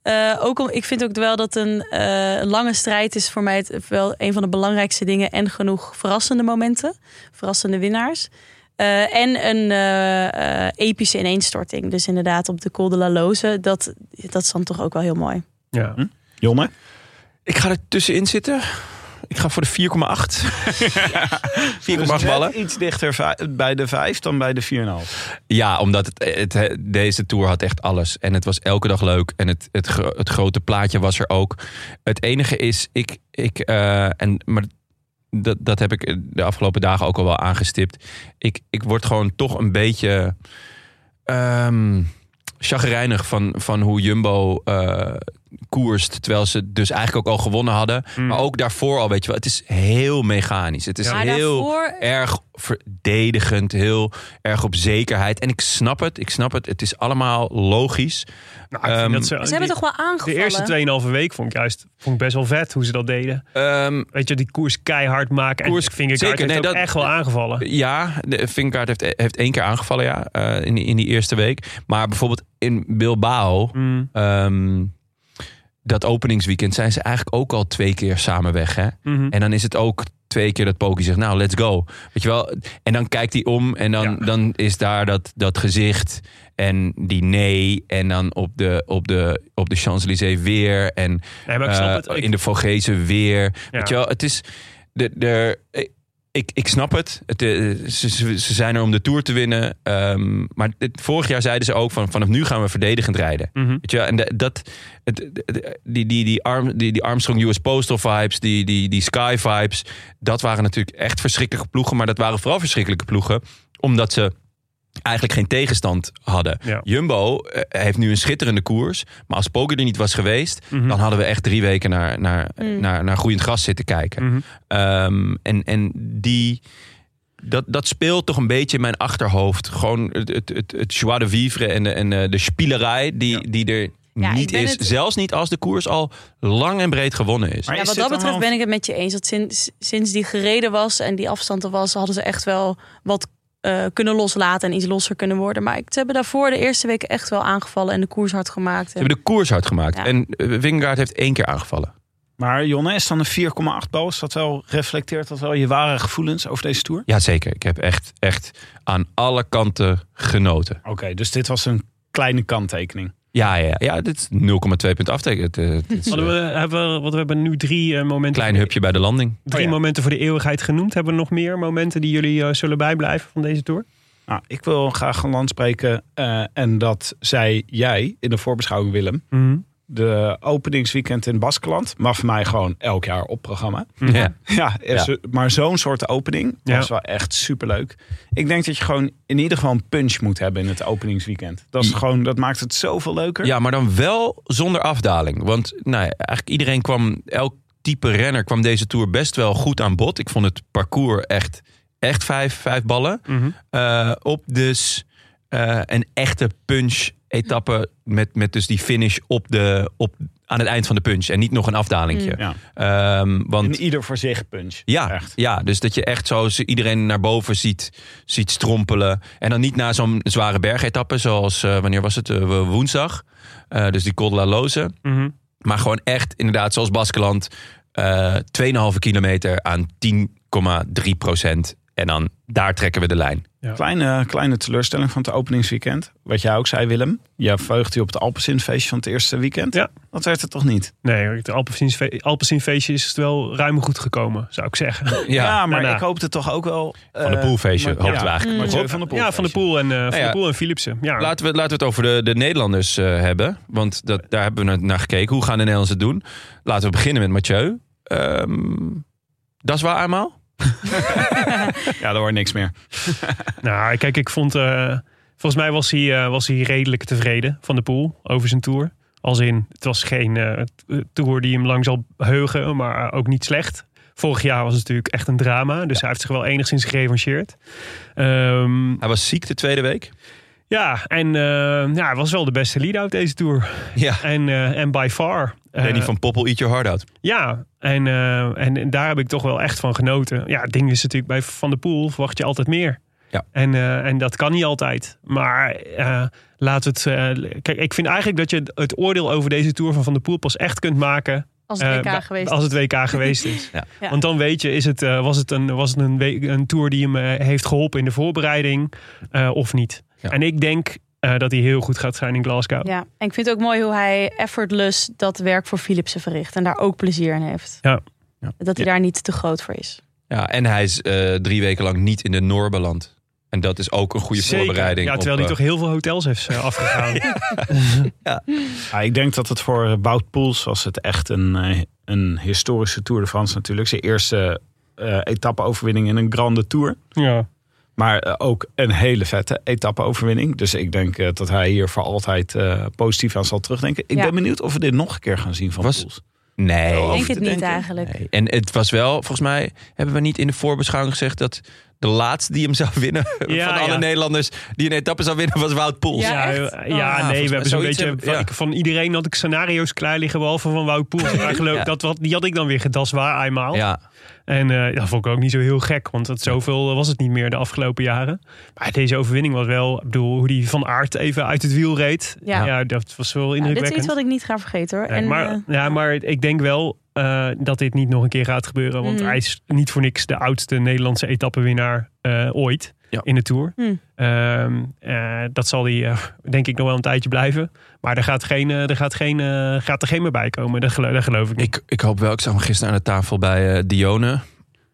Eh, ook om, ik vind ook wel dat een eh, een lange strijd is voor mij het, wel een van de belangrijkste dingen. En genoeg verrassende momenten, verrassende winnaars. Eh, en een eh, eh, epische ineenstorting. Dus inderdaad op de Col de la Loze. Dat, dat is dan toch ook wel heel mooi. Ja. Jonne? Ik ga er tussenin zitten. Ik ga voor de 4,8. Dus 4,8 ballen. Iets dichter vi- bij de vijf dan bij de 4,5. Ja, omdat het, het- het- deze tour had echt alles. En het was elke dag leuk. En het, het, gro- het grote plaatje was er ook. Het enige is, ik. ik eh, en, maar dat, dat heb ik de afgelopen dagen ook al wel aangestipt. Ik, ik word gewoon toch een beetje ehm chagrijnig van, van hoe Jumbo eh, koerst. Terwijl ze dus eigenlijk ook al gewonnen hadden. Maar ook daarvoor al, weet je wel. Het is heel mechanisch. Het is Maar heel daarvoor- erg verdedigend. Heel erg op zekerheid. En ik snap het. Ik snap het. Het is allemaal logisch. Nou, ik vind Ehm, dat Ze hebben die- toch wel De aangevallen? eerste 2,5 week vond ik juist vond ik best wel vet hoe ze dat deden. Ehm, Weet je, die koers keihard maken. Koers- en Vingegaard zeker, heeft nee, ook dat- echt wel aangevallen. Ja, de Vingegaard heeft, heeft één keer aangevallen ja, eh, in, die, in die eerste week. Maar bijvoorbeeld in Bilbao, Mm. ehm, dat openingsweekend, zijn ze eigenlijk ook al twee keer samen weg. Hè? Mhm. En dan is het ook twee keer dat Poki zegt, nou, let's go. Weet je wel? En dan kijkt hij om en dan, Ja. dan is daar dat, dat gezicht en die nee. En dan op de, op de, op de Champs-Élysées weer. En Nee, maar ik snap eh, het. Ik- in de Vogezen weer. Ja. Weet je wel, het is... De, de, ik, ik snap het. het eh, ze, ze ze zijn er om de Tour te winnen. Ehm, maar dit- vorig jaar zeiden ze ook van... vanaf nu gaan we verdedigend rijden. Mhm. Weet je wel, en de- dat, het, het- die, die, die, arm, die, die Armstrong US Postal vibes, die, die, die Sky vibes... dat waren natuurlijk echt verschrikkelijke ploegen. Maar dat waren vooral verschrikkelijke ploegen... omdat ze eigenlijk geen tegenstand hadden. Ja. Jumbo eh, heeft nu een schitterende koers. Maar als Poker er niet was geweest... dan hadden we echt drie weken naar, naar, naar, naar groeiend gras zitten kijken. Mhm. Ehm, en, en die... Dat, dat speelt toch een beetje in mijn achterhoofd. Gewoon het, het, het, het joie de vivre en de, en eh, de spielerij die, die er Ja, ik niet ben is. het- Zelfs niet als de koers al lang en breed gewonnen is. Maar Ja, is wat dat dit dan betreft wel- ben ik het met je eens. Dat sinds, sinds die gereden was en die afstand er was, hadden ze echt wel wat eh, kunnen loslaten en iets losser kunnen worden. Maar ik- ze hebben daarvoor de eerste weken echt wel aangevallen en de koers hard gemaakt. Ze hebben de koers hard gemaakt. Ja. En eh, Wingaard heeft één keer aangevallen. Maar Jonne, is dan een 4,8 bal? Is dat wel, reflecteert dat wel je ware gevoelens over deze Tour? Jazeker, ik heb echt, echt aan alle kanten genoten. Oké, dus dit was een kleine kanttekening. Ja, ja, ja dit is 0,2 punt afteken. Het, eh, het is, eh, Hadden we, hebben we, want we hebben nu drie eh, momenten. klein hupje bij de landing. Drie Oh ja. momenten voor de eeuwigheid genoemd. Hebben we nog meer momenten die jullie eh, zullen bijblijven van deze tour? Nou, ik wil graag een land spreken. eh, en dat zei jij in de voorbeschouwing, Willem. Mhm. De openingsweekend in Baskeland mag voor mij gewoon elk jaar op programma. [laughs] Ja. Ja, eh, Ja. zo- maar zo'n soort opening Ja. was wel echt superleuk. Ik denk dat je gewoon in ieder geval een punch moet hebben in het openingsweekend. Dat, is Ja. gewoon, dat maakt het zoveel leuker. Mm. ja, maar dan wel zonder afdaling. Want nou, ja, eigenlijk iedereen kwam, elk type renner kwam deze Tour best wel goed aan bod. Ik vond het parcours echt, echt vijf, vijf ballen Mhm. eh, op. Dus eh, een echte punch-etappe met, met dus die finish op de, op, aan het eind van de punch. En niet nog een afdalingje. Mm. Ja. Ehm, want In ieder voor zich punch. Ja, Echt. ja, dus dat je echt zo ze- iedereen naar boven ziet, ziet strompelen. En dan niet na zo'n zware bergetappe, zoals eh, wanneer was het? Eh, woensdag. Eh, dus die Col de la Loze. Maar gewoon echt, inderdaad, zoals Baskeland, eh 2,5 kilometer aan 10,3 procent. En dan daar trekken we de lijn. Kleine, kleine teleurstelling van het openingsweekend. Wat jij ook zei, Willem. Jij verheugde je op het Alpensinfeestje van het eerste weekend. Ja. Dat werd het toch niet? Nee, hoor, het Alpensinsfe- Alpensinfeestje is het wel ruim goed gekomen, zou ik zeggen. Ja, maar daarna. ik hoopte toch ook wel... van de eh, poolfeestje, maar- hoopten ja, we eigenlijk. Mm. Mathieu Hop. van de Poel. Ja, Van de Poel en, eh, van Nou ja. de Poel en Philipsen. Ja. Laten we, laten we het over de, de Nederlanders eh, hebben. Want dat, daar hebben we naar, naar gekeken. Hoe gaan de Nederlanders het doen? Laten we beginnen met Mathieu. Ehm, dat is waar eenmaal. Ja, daar hoort niks meer. Nou, kijk, ik vond. eh, volgens mij was hij, eh, was hij redelijk tevreden van de pool over zijn tour. Als in, het was geen eh, t- eh, tour die hem lang zal heugen, maar ook niet slecht. Vorig jaar was het natuurlijk echt een drama, dus hij heeft zich wel enigszins gerevancheerd. Ehm, Hij was ziek de tweede week. ja, en eh, ja, hij was wel de beste lead-out deze tour. Ja. En, eh, en by far. eh, Danny van Poppel, eat your heart out. ja, en, eh, en, en daar heb ik toch wel echt van genoten. Ja, het ding is natuurlijk bij Van der Poel verwacht je altijd meer. Ja. En, eh, en dat kan niet altijd. Maar eh, laat het. eh, kijk, ik vind eigenlijk dat je het oordeel over deze tour van Van der Poel pas echt kunt maken. Als het WK eh, geweest. Als het WK geweest [laughs] is. Ja. Ja. Want dan weet je, is het, eh, was het, een, was het een, we- een tour die hem eh, heeft geholpen in de voorbereiding eh, of niet? Ja. En ik denk eh, dat hij heel goed gaat zijn in Glasgow. Ja, en ik vind het ook mooi hoe hij effortless dat werk voor Philipsen verricht. En daar ook plezier in heeft. Ja. Ja. Dat hij daar niet te groot voor is. Ja, en hij is eh, drie weken lang niet in de Noor beland. En dat is ook een goede Zeker. voorbereiding. Ja, terwijl op, eh, hij toch heel veel hotels heeft eh, afgegaan. [laughs] Ja, ik denk dat het voor Wout Poels was het echt een, eh, een historische Tour de France natuurlijk. Zijn eerste eh etappe-overwinning in een grande tour. Ja. Maar eh, ook een hele vette etappe-overwinning. Dus ik denk eh, dat hij hier voor altijd eh, positief aan zal terugdenken. Ik Ja. ben benieuwd of we dit nog een keer gaan zien van Was- Poels. Nee. Oh. Ik denk te het niet denken. eigenlijk. Nee. En het was wel, volgens mij hebben we niet in de voorbeschouwing gezegd dat de laatste die hem zou winnen [laughs] Ja, van alle ja. Nederlanders die een etappe zou winnen was Wout Poels. Ja, Ja, echt? eh, ja, Ah. nee, Volgens we mij hebben zo'n zoiets beetje... hebben- ja. ik- van iedereen had ik scenario's klaar liggen, behalve van Wout [laughs] Poels. En Eigenlijk, Ja. dat, wat, die had ik dan weer gedas waar eenmaal. Ja. En eh, dat vond ik ook niet zo heel gek, want het, zoveel eh, was het niet meer de afgelopen jaren. Maar deze overwinning was wel, ik bedoel, hoe die van aard even uit het wiel reed. Ja, Ja. dat was wel Ja, dit is iets indrukwekkend. wat ik niet ga vergeten hoor. Ja, en, maar, eh, ja, maar ik denk wel eh, dat dit niet nog een keer gaat gebeuren. Want Mm. hij is niet voor niks de oudste Nederlandse etappenwinnaar eh, ooit Ja. in de Tour. Mm. Ehm, eh, dat zal hij eh, denk ik nog wel een tijdje blijven. Maar er gaat, geen, eh, er gaat, geen, eh, gaat er geen meer bij komen. Dat gelo- dat geloof ik niet. Ik, ik hoop wel, ik zag hem gisteren aan de tafel bij eh, Dione.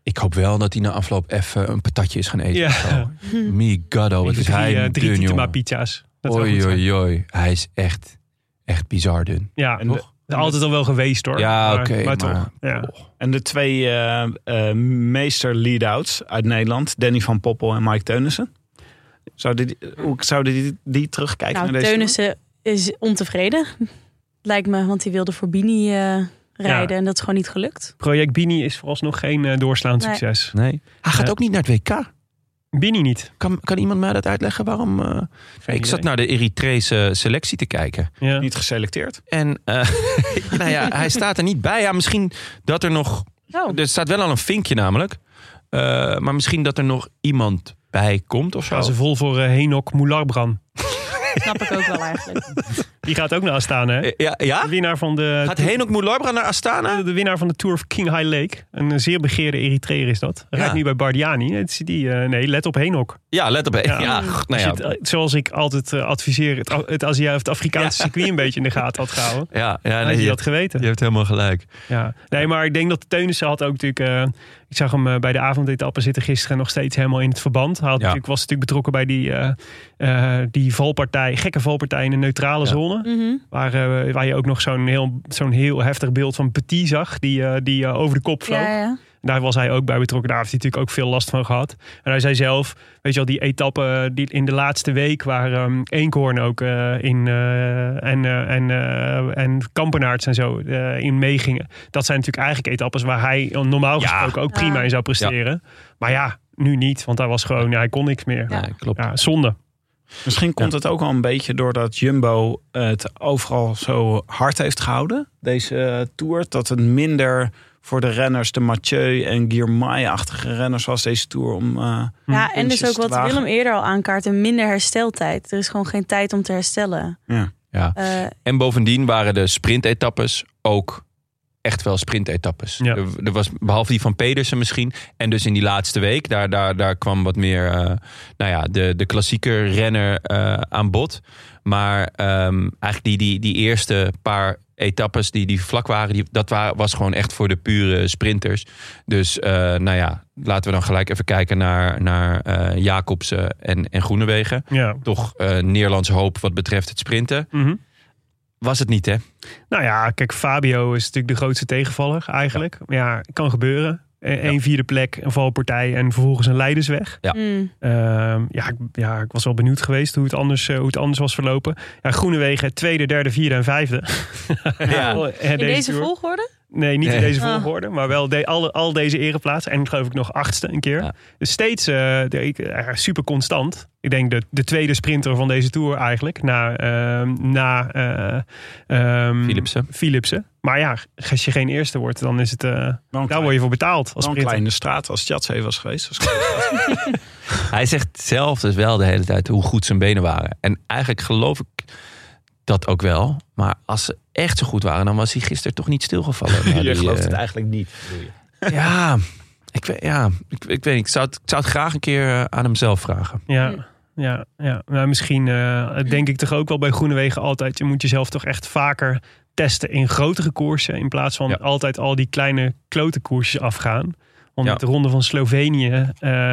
Ik hoop wel dat hij na afloop even een patatje is gaan eten. Ja. of zo. Me god, oh, wat Even is hij drie, eh, een drie dun, Tietema jongen. pizza's. Dat zou goed Oei, zijn. oei, oei. Hij is echt, echt bizar dun. Ja, En de- toch? altijd al wel geweest hoor. Ja, Maar- oké, Maar toch. maar- Ja. En de twee eh, eh, meester lead-outs uit Nederland, Danny van Poppel en Mike Teunissen. Zouden die, hoe zouden die, die terugkijken nou, naar deze Teunissen is ontevreden. [laughs] Lijkt me, want die wilde voor Bini eh, rijden en dat is gewoon niet gelukt. Project Bini is vooralsnog geen eh, doorslaand Nee. succes. Nee. Hij gaat Ja. ook niet naar het WK. Bini niet. Kan, kan iemand mij dat uitleggen? Waarom? eh, ik zat idee. naar de Eritrese selectie te kijken. Ja. tour? Niet geselecteerd. En eh, [laughs] nou ja, hij staat er niet bij. Ja, misschien dat er nog. Oh. Er staat wel al een vinkje namelijk. Eh, maar misschien dat er nog iemand bij komt of zo. Gaan ze vol voor eh, Henok Moularbran. Snap ik ook wel [laughs] eigenlijk. Die gaat ook naar Astana. Hè? Eh, Ja? ja? De winnaar van de, Gaat Henok Moularbra naar Astana? de, de winnaar van de Tour of King High Lake. Een eh, zeer begeerde Eritreer is dat. Rijdt Ja. nu bij Bardiani. Het is die, eh, nee, let op Henok. Ja, let op. Ja, Ja. goed, Als nou je ja. het, eh, zoals ik altijd eh, adviseer, het, A- het, Azië- of het Afrikaanse circuit een beetje in de gaten had gehouden. Ja, ja had nee, je je, dat hebt, geweten. je hebt helemaal gelijk. Ja, nee, maar ik denk dat Teunissen had ook natuurlijk... eh, ik zag hem eh, bij de avondetappen zitten gisteren nog steeds helemaal in het verband. Hij had Ja. natuurlijk, was natuurlijk betrokken bij die, eh, eh, die valpartij, gekke valpartij in de neutrale Ja. zone. Mhm. Waar, eh, waar je ook nog zo'n heel, zo'n heel heftig beeld van Petit zag, die, eh, die eh, over de kop vloog. Ja, ja. Daar was hij ook bij betrokken. Daar heeft hij natuurlijk ook veel last van gehad. En hij zei zelf, weet je wel, die etappe die in de laatste week waar ehm Eenkhoorn ook eh, in eh, en, eh, en, eh, en Kampenaerts en zo eh, in meegingen. Dat zijn natuurlijk eigenlijk etappes waar hij normaal Ja. gesproken ook Ja. prima in zou presteren. Maar ja, nu niet, want hij was gewoon, ja, hij kon niks meer. Ja, Ja, klopt. zonde. Misschien komt het ook al een beetje doordat Jumbo het overal zo hard heeft gehouden. Deze eh, tour. Dat het minder voor de renners, de Mathieu en Guirmay-achtige renners was deze tour. Om, eh, ja, en dus Puntjes ook te wat wagen. Willem eerder al aankaart, een minder hersteltijd. Er is gewoon geen tijd om te herstellen. Ja. Ja. Eh, En bovendien waren de sprintetappes ook echt wel sprintetappes. Ja. Er, er was behalve die van Pedersen misschien. En dus in die laatste week, daar, daar, daar kwam wat meer eh, nou ja, de, de klassieke renner eh, aan bod. Maar ehm, eigenlijk die, die, die eerste paar etappes die, die vlak waren, die, dat wa- was gewoon echt voor de pure sprinters. Dus eh, nou ja, laten we dan gelijk even kijken naar, naar eh, Jacobsen en, en Groenewegen. Ja. Toch eh Nederlands hoop wat betreft het sprinten. Mhm. Was het niet, hè? Nou ja, kijk, Fabio is natuurlijk de grootste tegenvaller eigenlijk. Maar ja, kan gebeuren. Eén vierde plek, een valpartij en vervolgens een leidersweg. Ja. mm, Ehm, ja, ik, ja, ik was wel benieuwd geweest hoe het anders, eh, hoe het anders was verlopen. Ja, Groenewegen, tweede, derde, vierde en vijfde. [laughs] Ja. Eh, In deze, tour. volgorde? Nee, niet in Nee. deze Ah. volgorde, maar wel de, alle, al deze ereplaatsen. En geloof ik nog achtste een keer. Ja. Dus steeds eh, de- ik- eh, super constant. Ik denk de, de tweede sprinter van deze tour eigenlijk. Na, ehm na eh, Mm. ehm, Philipsen. Philipsen. Maar ja, als je geen eerste wordt, dan is het, eh, Nou, wel een daar klein- word je voor betaald. Als wel een sprinter. kleine straat als Tjatsé was geweest. was- [laughs] Hij zegt zelf dus wel de hele tijd hoe goed zijn benen waren. En eigenlijk geloof ik dat ook wel. Maar als ze echt zo goed waren, dan was hij gisteren toch niet [laughs] stilgevallen. Na die, je gelooft het eh, eigenlijk niet. bedoel je? Ja, ik, weet- ja ik, ik weet niet. Ik zou, het, ik zou het graag een keer eh, aan hemzelf vragen. Ja, ja, ja. Nou, misschien eh, denk ik toch ook wel bij Groenewegen altijd. Je moet jezelf toch echt vaker testen in grotere koersen. In plaats van Ja. altijd al die kleine klote koersjes afgaan. Want Ja. met de ronde van Slovenië, eh,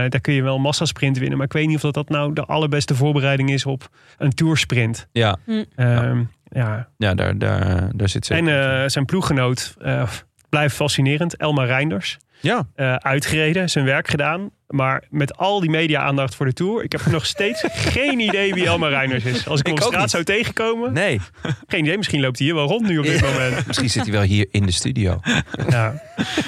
daar kun je wel een massasprint winnen. Maar ik weet niet of dat, dat nou de allerbeste voorbereiding is op een toursprint. Ja, Ehm ja. ja daar, daar, daar zit ze. En eh, zijn ploeggenoot, eh, blijft fascinerend. Elma Reinders. Ja. eh, uitgereden, zijn werk gedaan. Maar met al die media-aandacht voor de Tour, ik heb nog steeds geen idee wie Elma Reiners is. Als ik hem Ik op ook straat niet. zou tegenkomen, Nee. geen idee. Misschien loopt hij hier wel rond nu op dit moment. Misschien zit hij wel hier in de [laughs] studio. Ja,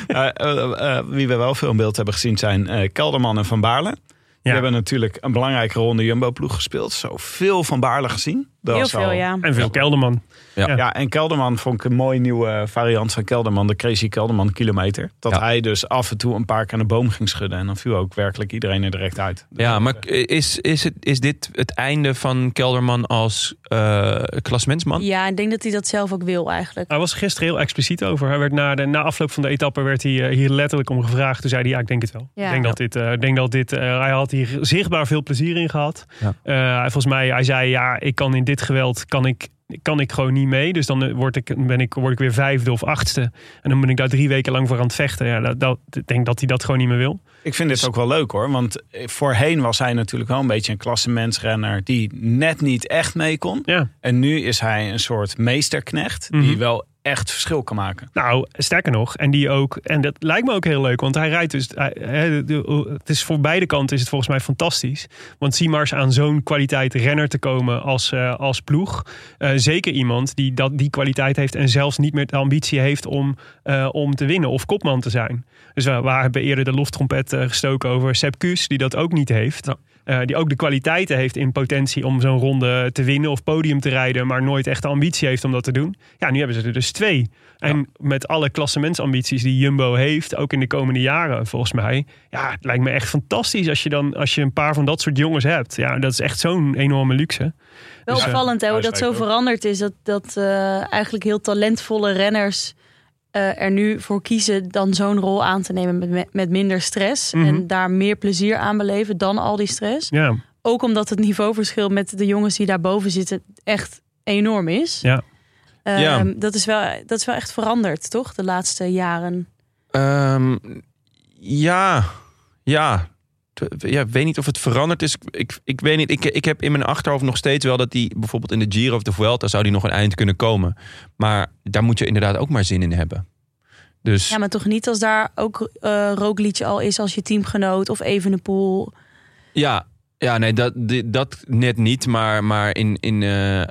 Eh, eh, eh, wie we wel veel in beeld hebben gezien zijn eh, Kelderman en Van Baarle. Die Ja. hebben natuurlijk een belangrijke ronde Jumbo-ploeg gespeeld. Zoveel Van Baarle gezien. Dat Heel was al- veel, ja. en veel Kelderman. Ja, en Kelderman vond ik een mooie nieuwe eh, variant van Kelderman. De Crazy Kelderman kilometer. Dat Ja. hij dus af en toe een paar keer aan de boom ging schudden. En dan viel ook werkelijk iedereen er direct uit. Dus, eh, Ja, maar k- is, is, het, is dit het einde van Kelderman als eh klasmensman? Ja, ik denk dat hij dat zelf ook wil eigenlijk. Hij was er gisteren heel expliciet over. Hij werd na, de, na afloop van de etappe werd hij eh, hier letterlijk om gevraagd. Toen zei hij, ja, ik denk het wel. Ja. Ik denk dat dit, eh, ik denk dat dit eh, hij had hier zichtbaar veel plezier in gehad. Ja. Eh, hij- volgens mij, hij zei, ja, ik kan in dit geweld, kan ik, kan ik gewoon niet mee. Dus dan eh, word ik, ben ik, word ik weer vijfde of achtste. En dan ben ik daar drie weken lang voor aan het vechten. Ja, dat, dat, ik denk dat hij dat gewoon niet meer wil. Ik vind dit ook wel leuk hoor. Want eh, voorheen was hij natuurlijk wel een beetje een klassementsrenner. Die net niet echt mee kon. Ja. En nu is hij een soort meesterknecht. Die Mhm. wel echt verschil kan maken. Nou, sterker nog, en die ook, en dat lijkt me ook heel leuk, want hij rijdt dus, hij- hè, de- het is voor beide kanten is het volgens mij fantastisch. Want zie maar eens aan zo'n kwaliteit renner te komen als, eh, als ploeg. Eh, zeker iemand die dat, die kwaliteit heeft en zelfs niet meer de ambitie heeft om, eh, om te winnen of kopman te zijn. Dus we, we hebben eerder de loftrompet eh, gestoken over Sepp Kuss, die dat ook niet heeft. Eh, die ook de kwaliteiten heeft in potentie om zo'n ronde te winnen of podium te rijden, maar nooit echt de ambitie heeft om dat te doen. Ja, nu hebben ze er dus twee. En met alle klassementsambities die Jumbo heeft, ook in de komende jaren volgens mij. Ja, het lijkt me echt fantastisch als je dan als je een paar van dat soort jongens hebt. Ja, dat is echt zo'n enorme luxe. Wel Dus, eh, opvallend hè, hoe dat Huiswijk zo ook. veranderd is. Dat, dat eh, eigenlijk heel talentvolle renners eh, er nu voor kiezen dan zo'n rol aan te nemen met- met, met minder stress. Mhm. En daar meer plezier aan beleven dan al die stress. Ja, Ook omdat het niveauverschil met de jongens die daarboven zitten echt enorm is. Ja. Ehm, Ja. Dat, is wel, dat is wel echt veranderd, toch? De laatste jaren. Ehm, ja, ja. T- Ja, ik weet niet of het veranderd is. Ik, ik weet niet. Ik, ik heb in mijn achterhoofd nog steeds wel dat die bijvoorbeeld in de Giro of de Vuelta zou die nog een eind kunnen komen. Maar daar moet je inderdaad ook maar zin in hebben. Dus Ja, maar toch niet als daar ook eh Roglic al is als je teamgenoot of Evenepoel. Ja, ja nee, dat, di- dat net niet. Maar, maar in, in, eh, eh,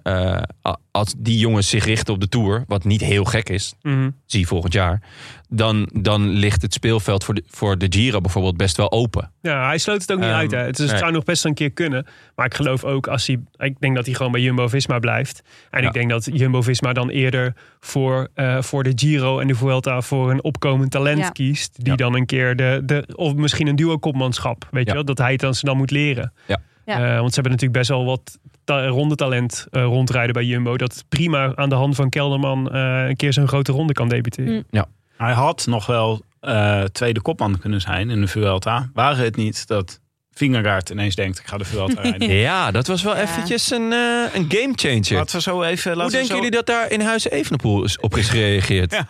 a- als die jongens zich richten op de Tour, wat niet heel gek is, mhm. zie je volgend jaar, dan, dan ligt het speelveld voor de, voor de Giro bijvoorbeeld best wel open. ja hij sloot het ook niet Ehm, uit. Hè. Het, is, het nee. zou nog best wel een keer kunnen. Maar ik geloof ook als hij. Ik denk dat hij gewoon bij Jumbo Visma blijft. En Ja. ik denk dat Jumbo Visma dan eerder voor, eh, voor de Giro en de Vuelta voor een opkomend talent Ja. kiest. Die Ja. dan een keer de, de. Of misschien een duo-kopmanschap. Weet Ja. je wel? Dat hij het dan, ze dan moet leren. Ja. Ja. Eh, want ze hebben natuurlijk best wel wat ta- rondetalent eh, rondrijden bij Jumbo. Dat prima aan de hand van Kelderman eh, een keer zo'n grote ronde kan debuteren. Mm. Hij had nog wel eh, tweede kopman kunnen zijn in de Vuelta. Waren het niet dat Vingegaard ineens denkt... ik ga de [laughs] Vuelta rijden. Ja, dat was wel Ja. eventjes een, eh een gamechanger. Laten we zo even... Hoe laten we denken zo- jullie dat daar in huis Evenepoel is- op is gereageerd? [laughs]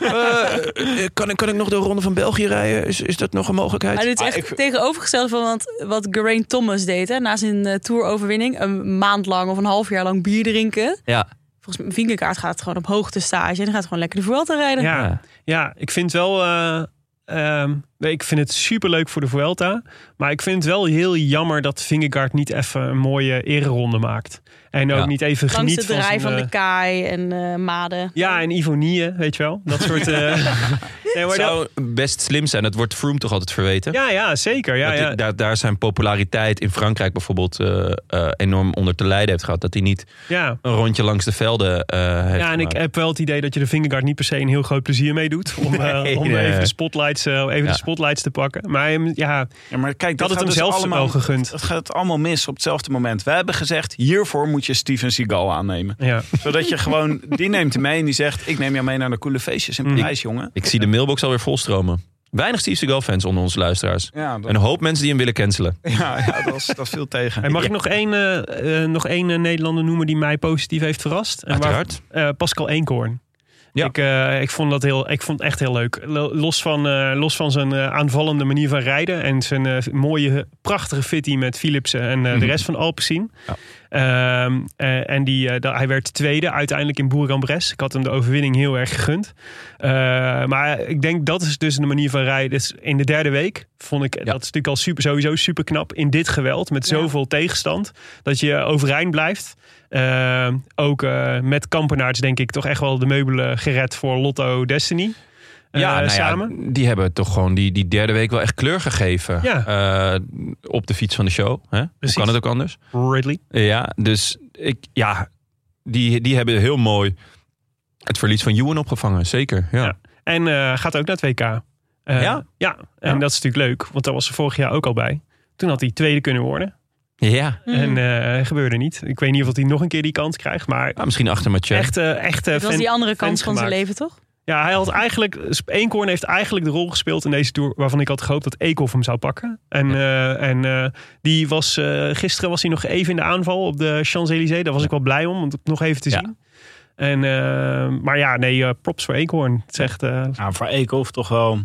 Eh, eh, kan, ik- kan ik nog de Ronde van België rijden? Is, is dat nog een mogelijkheid? Hij doet Ah, echt ik- tegenovergesteld van wat, wat Geraint Thomas deed. Hè? Na zijn eh, toeroverwinning een maand lang of een half jaar lang bier drinken. Ja. Volgens mij, Vingegaard gaat gewoon op hoogte stage. En hij gaat gewoon lekker de Vuelta rijden. Ja. Ja, ik vind wel. eh, ehm, nee, ik vind het superleuk voor de Vuelta. Maar ik vind het wel heel jammer dat Vingegaard niet even een mooie ereronde maakt. En ook Ja. niet even Langs geniet de draai van, zijn, de eh, Kai en eh Made. Ja, en Ivonieën, weet je wel. Dat soort... eh, [laughs] nee, maar dat- zou best slim zijn. Dat wordt Froome toch altijd verweten? ja, ja, zeker. Ja, Dat hij- ja. daar, daar zijn populariteit in Frankrijk bijvoorbeeld eh, eh, enorm onder te lijden heeft gehad. Dat hij niet ja. een rondje langs de velden eh heeft Ja, en ik gemaakt. heb wel het idee dat je de Vingegaard niet per se een heel groot plezier mee doet. Om, eh, Nee, om nee. even, de spotlights, eh, even Ja. de spotlights te pakken. Maar ehm, ja, ik Ja, maar kijk, had het dat gaat hem dus zelf wel allemaal... gegund. Het gaat allemaal mis op hetzelfde moment. We hebben gezegd, hiervoor moet je Steven [laughs] Seagal aannemen. Ja. Zodat je gewoon, die neemt hem mee en die zegt... ik neem jou mee naar de coole feestjes in Mm. Parijs, jongen. Ik zie de mailbox alweer volstromen. Weinig Steve Seagal fans onder onze luisteraars. Ja, dat, Een hoop mensen die hem willen cancelen. [laughs] ja, ja, dat, was, dat viel tegen. En mag ik nog één, eh, eh, nog één eh, Nederlander noemen die mij positief heeft verrast? En waar- Uiteraard. eh, Pascal Eenkoorn. Ja. Ik, eh, ik, vond dat heel, ik vond het echt heel leuk. Lo- Los van, eh, los van zijn eh, aanvallende manier Mhm. van rijden en zijn eh, mooie, prachtige fitty met Philipsen en eh, de rest van Alpecin. Ja. Ehm, eh, en die, eh, da- hij werd tweede uiteindelijk in Bourg-en-Bresse. Ik had hem de overwinning heel erg gegund. Eh, maar ik denk dat is dus de manier van rijden. Dus in de derde week vond ik dat is natuurlijk al super, sowieso super knap in dit geweld met Ja. zoveel tegenstand dat je overeind blijft. Eh, ook eh, met Kampenaarts denk ik toch echt wel de meubelen gered voor Lotto Destiny. Eh, nou ja, samen. die hebben toch gewoon die, die derde week wel echt kleur gegeven. Ja. Eh, op de fiets van de show. Hè? Hoe Precies. kan het ook anders? Ridley. Ja, dus ik, ja, die, die hebben heel mooi het verlies van Ewan opgevangen. Zeker, ja. Ja. En eh, gaat ook naar het WK. Eh, Ja? Ja, en Ja. dat is natuurlijk leuk, want daar was ze vorig jaar ook al bij. Toen had hij tweede kunnen worden. Ja. Mhm. Mm. En eh, gebeurde niet. Ik weet niet of hij nog een keer die kans krijgt, maar Ah, misschien achter Mathieu. echt, eh echt eh, Dat was fan- die andere fans kant van zijn gemaakt. leven, toch? Ja, hij had eigenlijk, Eenkorn heeft eigenlijk de rol gespeeld in deze tour waarvan ik had gehoopt dat Eekhoff hem zou pakken. En, eh, en eh, die was, eh, gisteren was hij nog even in de aanval op de Champs-Élysées. Daar was ik wel blij om, om het nog even te Ja. zien. En, eh, maar ja, nee, eh, props voor Eekhoorn. Het is echt, eh, Nou, voor Eekhoff toch wel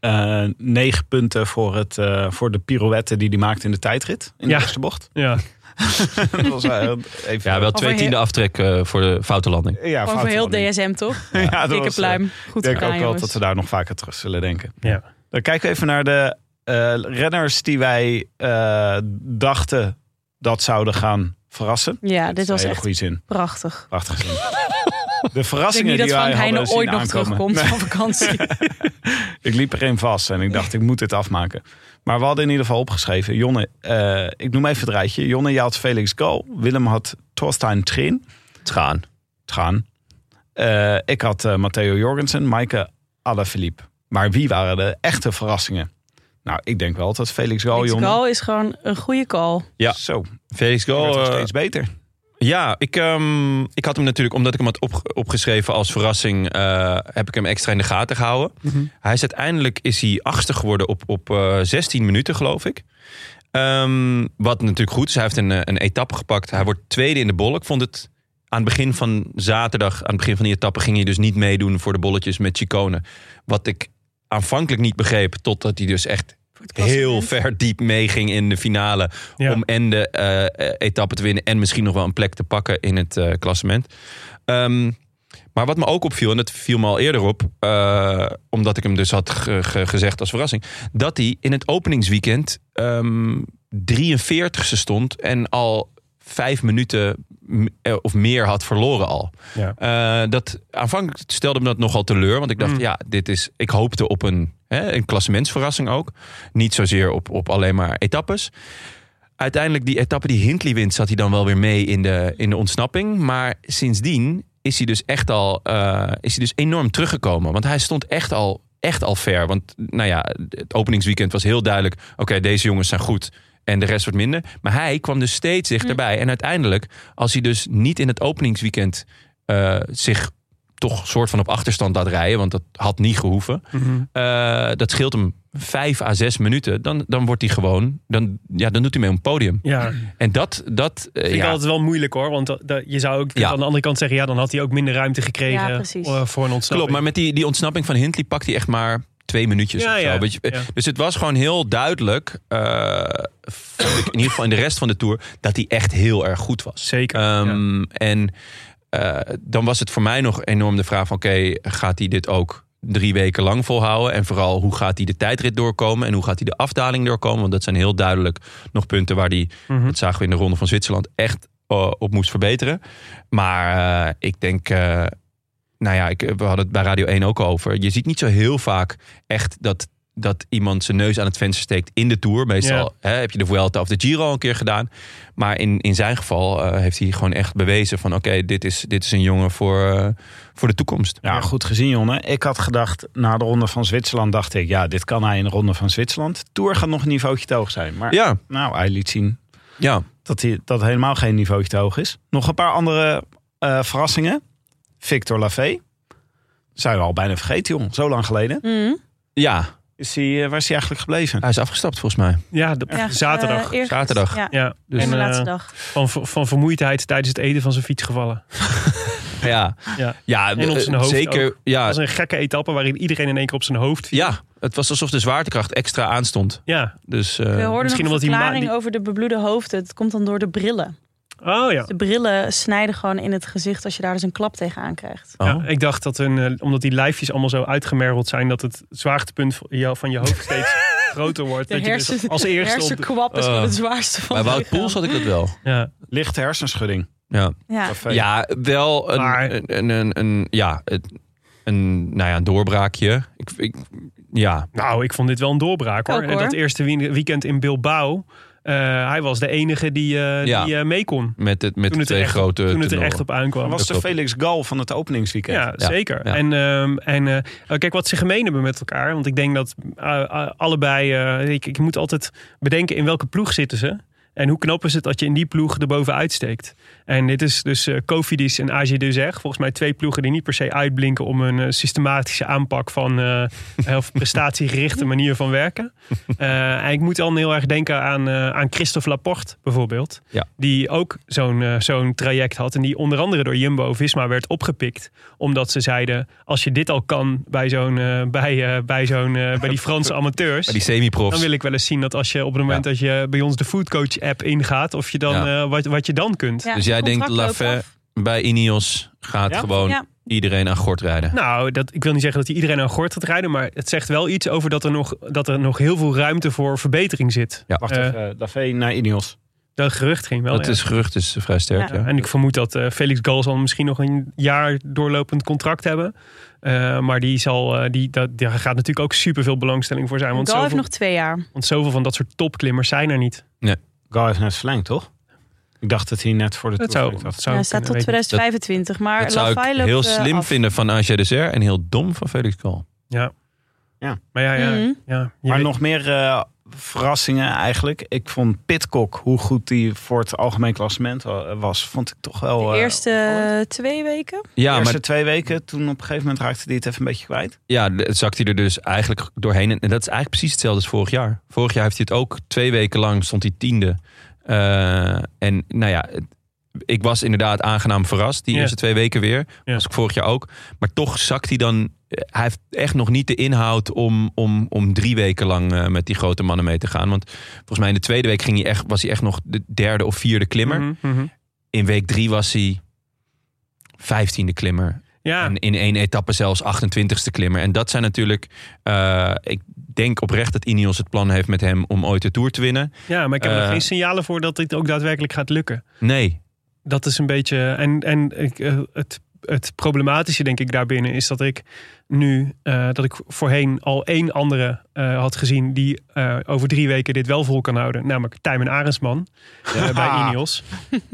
eh, negen punten voor, het, eh, voor de pirouette die hij maakte in de tijdrit. In de Ja. eerste [laughs] bocht. ja. Dat was wel even... Ja, wel Over twee tiende aftrek eh, voor de foute landing. Ja, Gewoon voor heel DSM, toch? [laughs] Ja, dat Dikke was, eh, pluim. Ik Goed denk gedaan, ook wel jongens. dat we daar nog vaker terug zullen denken. Ja. Dan kijken we even naar de eh, renners die wij eh, dachten dat zouden gaan verrassen. Ja, dit Dat was is een echt goede zin. prachtig. Prachtig [laughs] zin. De Ik denk verrassingen niet dat die wij Frank hadden Heijnen zien ooit nog aankomen. terugkomt Nee. van vakantie. Ik liep erin vast en ik dacht, ik moet dit afmaken. Maar we hadden in ieder geval opgeschreven. Jonne, eh, ik noem even het rijtje. Jonne, je had Felix Gal. Willem had Torstein Trin. Traan. Tran. Eh, ik had eh, Matteo Jorgensen, Maaike Alaphilippe. Maar wie waren de echte verrassingen? Nou, ik denk wel dat Felix Gal, Dit Jonne... call is gewoon een goede call. Ja. Zo, die Felix werd Goal. wel eh, steeds beter. ja, ik, ehm, ik had hem natuurlijk, omdat ik hem had opge- opgeschreven als verrassing, eh, heb ik hem extra in de gaten gehouden. Hij is uiteindelijk is hij achtste geworden op, op eh 16 minuten, geloof ik. Ehm, wat natuurlijk goed is. Hij heeft een, eh, een etappe gepakt. Hij wordt tweede in de bol. Ik vond het aan het begin van zaterdag, aan het begin van die etappe, ging hij dus niet meedoen voor de bolletjes met Chicone. Wat ik aanvankelijk niet begreep, totdat hij dus echt heel ver diep meeging in de finale. Ja. Om en de eh, eh, etappe te winnen en misschien nog wel een plek te pakken in het eh, klassement. Ehm, maar wat me ook opviel, en dat viel me al eerder op, eh, omdat ik hem dus had ge- ge- gezegd als verrassing, dat hij in het openingsweekend ehm 43ste stond en al vijf minuten m- eh, of meer had verloren al. Ja. Eh, dat, aanvankelijk stelde me dat nogal teleur, want ik dacht, Mm. ja, dit is, ik hoopte op een, hè, een klassementsverrassing ook. Niet zozeer op, op alleen maar etappes. Uiteindelijk die etappe die Hindley wint, zat hij dan wel weer mee in de, in de ontsnapping. Maar sindsdien is hij dus echt al eh, is hij dus enorm teruggekomen. Want hij stond echt al, echt al ver. Want nou ja, het openingsweekend was heel duidelijk. Oké, deze jongens zijn goed. En de rest wordt minder. Maar hij kwam dus steeds dichterbij. En uiteindelijk, als hij dus niet in het openingsweekend eh, zich toch soort van op achterstand laat rijden. Want dat had niet gehoeven. Mhm. Eh, dat scheelt hem vijf à zes minuten. Dan, dan wordt hij gewoon. Dan, ja, dan doet hij mee op het podium. ja. En dat. dat eh, Vind ik ja, altijd wel moeilijk hoor. Want dat- dat- je zou ook Ja. aan de andere kant zeggen... ja, dan had hij ook minder ruimte Ja, gekregen precies. eh, voor een ontsnapping. Klopt, maar met die, die ontsnapping van Hindley pakt hij echt maar twee minuutjes Ja, of zo. ja, weet je. ja. Dus het was gewoon heel duidelijk, eh, vond ik in ieder geval in de rest van de Tour, dat hij echt heel erg goed was. Zeker, Ehm, En eh, dan was het voor mij nog enorm de vraag van, oké, gaat hij dit ook drie weken lang volhouden? En vooral, hoe gaat hij de tijdrit doorkomen? En hoe gaat hij de afdaling doorkomen? Want dat zijn heel duidelijk nog punten waar hij, Mhm. dat zagen we in de Ronde van Zwitserland, echt eh, op moest verbeteren. Maar eh, ik denk... eh, nou ja, ik, we hadden het bij Radio 1 ook over. Je ziet niet zo heel vaak echt dat, dat iemand zijn neus aan het venster steekt in de Tour. Meestal hè, heb je de Vuelta of de Giro een keer gedaan. Maar in, in zijn geval eh, heeft hij gewoon echt bewezen van... oké, dit, is, dit is een jongen voor, eh, voor de toekomst. Ja, goed gezien, Jonne. Ik had gedacht, na de Ronde van Zwitserland dacht ik... ja, dit kan hij in de Ronde van Zwitserland. Tour gaat nog een niveautje te hoog zijn. Maar Ja, nou, hij liet zien ja. dat hij dat helemaal geen niveautje te hoog is. Nog een paar andere eh, verrassingen. Victor Lafay. Zijn we al bijna vergeten, jong. Zo lang geleden. Mhm. ja. Is hij, eh, waar is hij eigenlijk gebleven? Hij is afgestapt volgens mij. Ja, de- Ja, zaterdag. eh, eerst- Zaterdag. Ja. ja, Dus- en de eh, laatste dag. van, van vermoeidheid tijdens het eten van zijn fiets Ah. gevallen. Ja, Ja. ja En op eh, zijn hoofd zeker. ook. Ja, Dat was een gekke etappe waarin iedereen in één keer op zijn hoofd viel. ja, het was alsof de zwaartekracht extra aanstond. Ja, Dus eh, We hoorden misschien een omdat die ma- verklaring die- over de bebloede hoofden. Het komt dan door de brillen. Oh ja. De brillen snijden gewoon in het gezicht als je daar dus een klap tegenaan krijgt. Oh. Ja, ik dacht dat hun, eh, omdat die lijfjes allemaal zo uitgemergeld zijn, dat het zwaartepunt van je, van je hoofd [laughs] steeds groter wordt. De dat je dus hersen- als eerste op de- Oh. Hersenkwap is gewoon Eh, het zwaarste van Bij [laughs] Wout het lichaam. Poels had ik dat wel. ja. Lichte hersenschudding. Ja, Ja. Café. ja wel een, Maar- een, een, een, een- ja, het- een, nou ja, een doorbraakje. Ik, ik, ja, Nou, ik vond dit wel een doorbraak hoor. Ook, En hoor. Dat eerste wie- weekend in Bilbao. eh, hij was de enige die, eh, Ja. die eh, mee kon. met, het, met Toen de het, er twee echt, grote toen het er tenoren. echt op aankwam. was de klopt. Felix Gal van het openingsweekend. Ja, Ja, zeker. ja. En, ehm, en eh, kijk, wat ze gemeen hebben met elkaar. Want ik denk dat eh, eh, allebei... eh, ik, ik moet altijd bedenken in welke ploeg zitten ze. En hoe knap is het dat je in die ploeg erboven uitsteekt. En dit is dus eh Cofidis en AG de Zeg. Volgens mij twee ploegen die niet per se uitblinken... om een eh, systematische aanpak van... eh, [laughs] of prestatiegerichte manier van [laughs] werken. Eh, en ik moet dan heel erg denken aan, eh, aan Christophe Laporte bijvoorbeeld. Ja. Die ook zo'n eh, zo'n traject had. En die onder andere door Jumbo-Visma werd opgepikt. Omdat ze zeiden, als je dit al kan bij, zo'n, eh, bij, eh, bij, zo'n, eh, bij die [laughs] Franse amateurs... Bij die semi-profs. Dan wil ik wel eens zien dat als je op het moment Ja. dat je bij ons de foodcoach app ingaat, of je dan, Ja. eh, wat, wat je dan kunt. Ja, Dus jij het denkt contract Lafay- loopt af. Bij Ineos gaat Ja? gewoon Ja. iedereen aan gort rijden. Nou, dat, ik wil niet zeggen dat iedereen aan gort gaat rijden, maar het zegt wel iets over dat er nog, dat er nog heel veel ruimte voor verbetering zit. Ja. Wacht Eh, even, Lafay naar Ineos. Dat gerucht ging wel. dat ja. is gerucht, is vrij sterk. Ja. Ja. Ja, en ik vermoed dat eh, Felix Gal zal misschien nog een jaar doorlopend contract hebben. Eh, maar die zal, eh, die, dat, daar gaat natuurlijk ook superveel belangstelling voor zijn. Want Oh, Gal heeft zoveel, nog twee jaar. want zoveel van dat soort topklimmers zijn er niet. Gal heeft net verlengd, toch? Ik dacht dat hij net voor de Dat Tour zou, verlengd dat Ja, had. zou hij staat tot kunnen, weet ik 2025. Maar Dat zou ik Lafay loopt, heel eh, slim af. vinden van Aja Dessert en heel dom van Felix Kool. niet. Maar ja, ja, Mhm. ja, je Maar weet- nog meer eh, verrassingen eigenlijk. Ik vond Pitcock, hoe goed hij voor het algemeen klassement wa- was, vond ik toch wel... Oh, De eh, eerste opvallend. eh, twee weken. De Ja, eerste maar twee weken, toen op een gegeven moment raakte hij het even een beetje kwijt. ja, het zakt hij er dus eigenlijk doorheen. En en dat is eigenlijk precies hetzelfde als vorig jaar. Vorig jaar heeft hij het ook twee weken lang, stond hij tiende. Eh, en nou ja, het- ik was inderdaad aangenaam verrast. Die Ja. eerste twee weken weer. Ja. Was ik vorig jaar ook. Maar toch zakt hij dan... eh, Hij heeft echt nog niet de inhoud om, om, om drie weken lang eh, met die grote mannen mee te gaan. Want volgens mij in de tweede week ging hij echt, was hij echt nog de derde of vierde klimmer. Mhm, mhm. In week drie was hij vijftiende klimmer. Ja, En in één etappe zelfs 28ste klimmer. En dat zijn natuurlijk... eh, ik denk oprecht dat Ineos het plan heeft met hem om ooit de Tour te winnen. ja, maar ik heb er eh, geen signalen voor dat dit ook daadwerkelijk gaat lukken. Nee. dat is een beetje. En, en ik, eh, het, het problematische, denk ik, daarbinnen is dat ik nu. eh, dat ik voorheen al één andere eh, had gezien. die eh, over drie weken dit wel vol kan houden. Namelijk Tijmen Arendsman. eh, bij Ineos.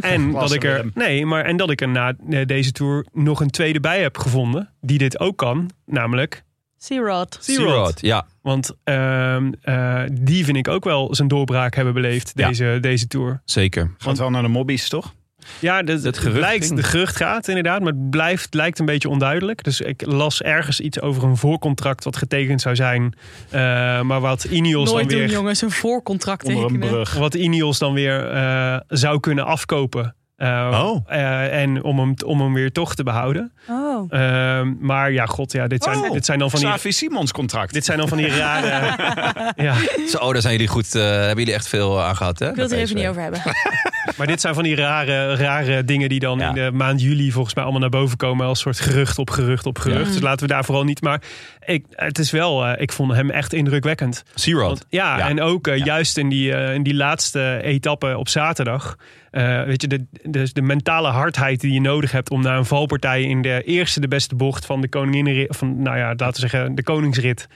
En dat Klasse, ik er. Willem. Nee, maar en dat ik er na eh, deze tour. nog een tweede bij heb gevonden. die dit ook kan. Namelijk. Searod. Searod. Ja. Want ehm, eh, die vind ik ook wel zijn doorbraak hebben beleefd. Ja. Deze, deze tour. Zeker. Gaat wel naar de mobbies, toch? Ja, dat, Het het gerucht lijkt, ging. de gerucht gaat inderdaad, maar het blijft, lijkt een beetje onduidelijk. Dus ik las ergens iets over een voorcontract wat getekend zou zijn. eh, maar wat Ineos Nooit dan doen, weer, jongens. Een voorcontract Onder een tekenen. brug. wat Ineos dan weer eh, zou kunnen afkopen. Eh, Oh. eh, en om hem, om hem weer toch te behouden. Oh. Eh, maar ja, god, ja, dit, zijn, Oh. dit, zijn dan van die, Xavi Simons contract. dit zijn dan van die rare... [laughs] ja, Zo, daar zijn jullie goed... eh, hebben jullie echt veel eh, aan gehad, hè? Ik wil het er even niet over hebben. maar dit zijn van die rare, rare dingen die dan Ja. in de maand juli volgens mij allemaal naar boven komen als soort gerucht op gerucht op gerucht. Ja. Dus laten we daar vooral niet. Maar ik, het is wel, eh, ik vond hem echt indrukwekkend. Searod. Want, ja, Ja. en ook eh, Ja. juist in die, eh, in die laatste etappe op zaterdag. eh, weet je, de, de, de mentale hardheid die je nodig hebt om naar een valpartij in de eerste de beste bocht van de koninginrit, van nou ja, laten we zeggen de [laughs] koningsrit,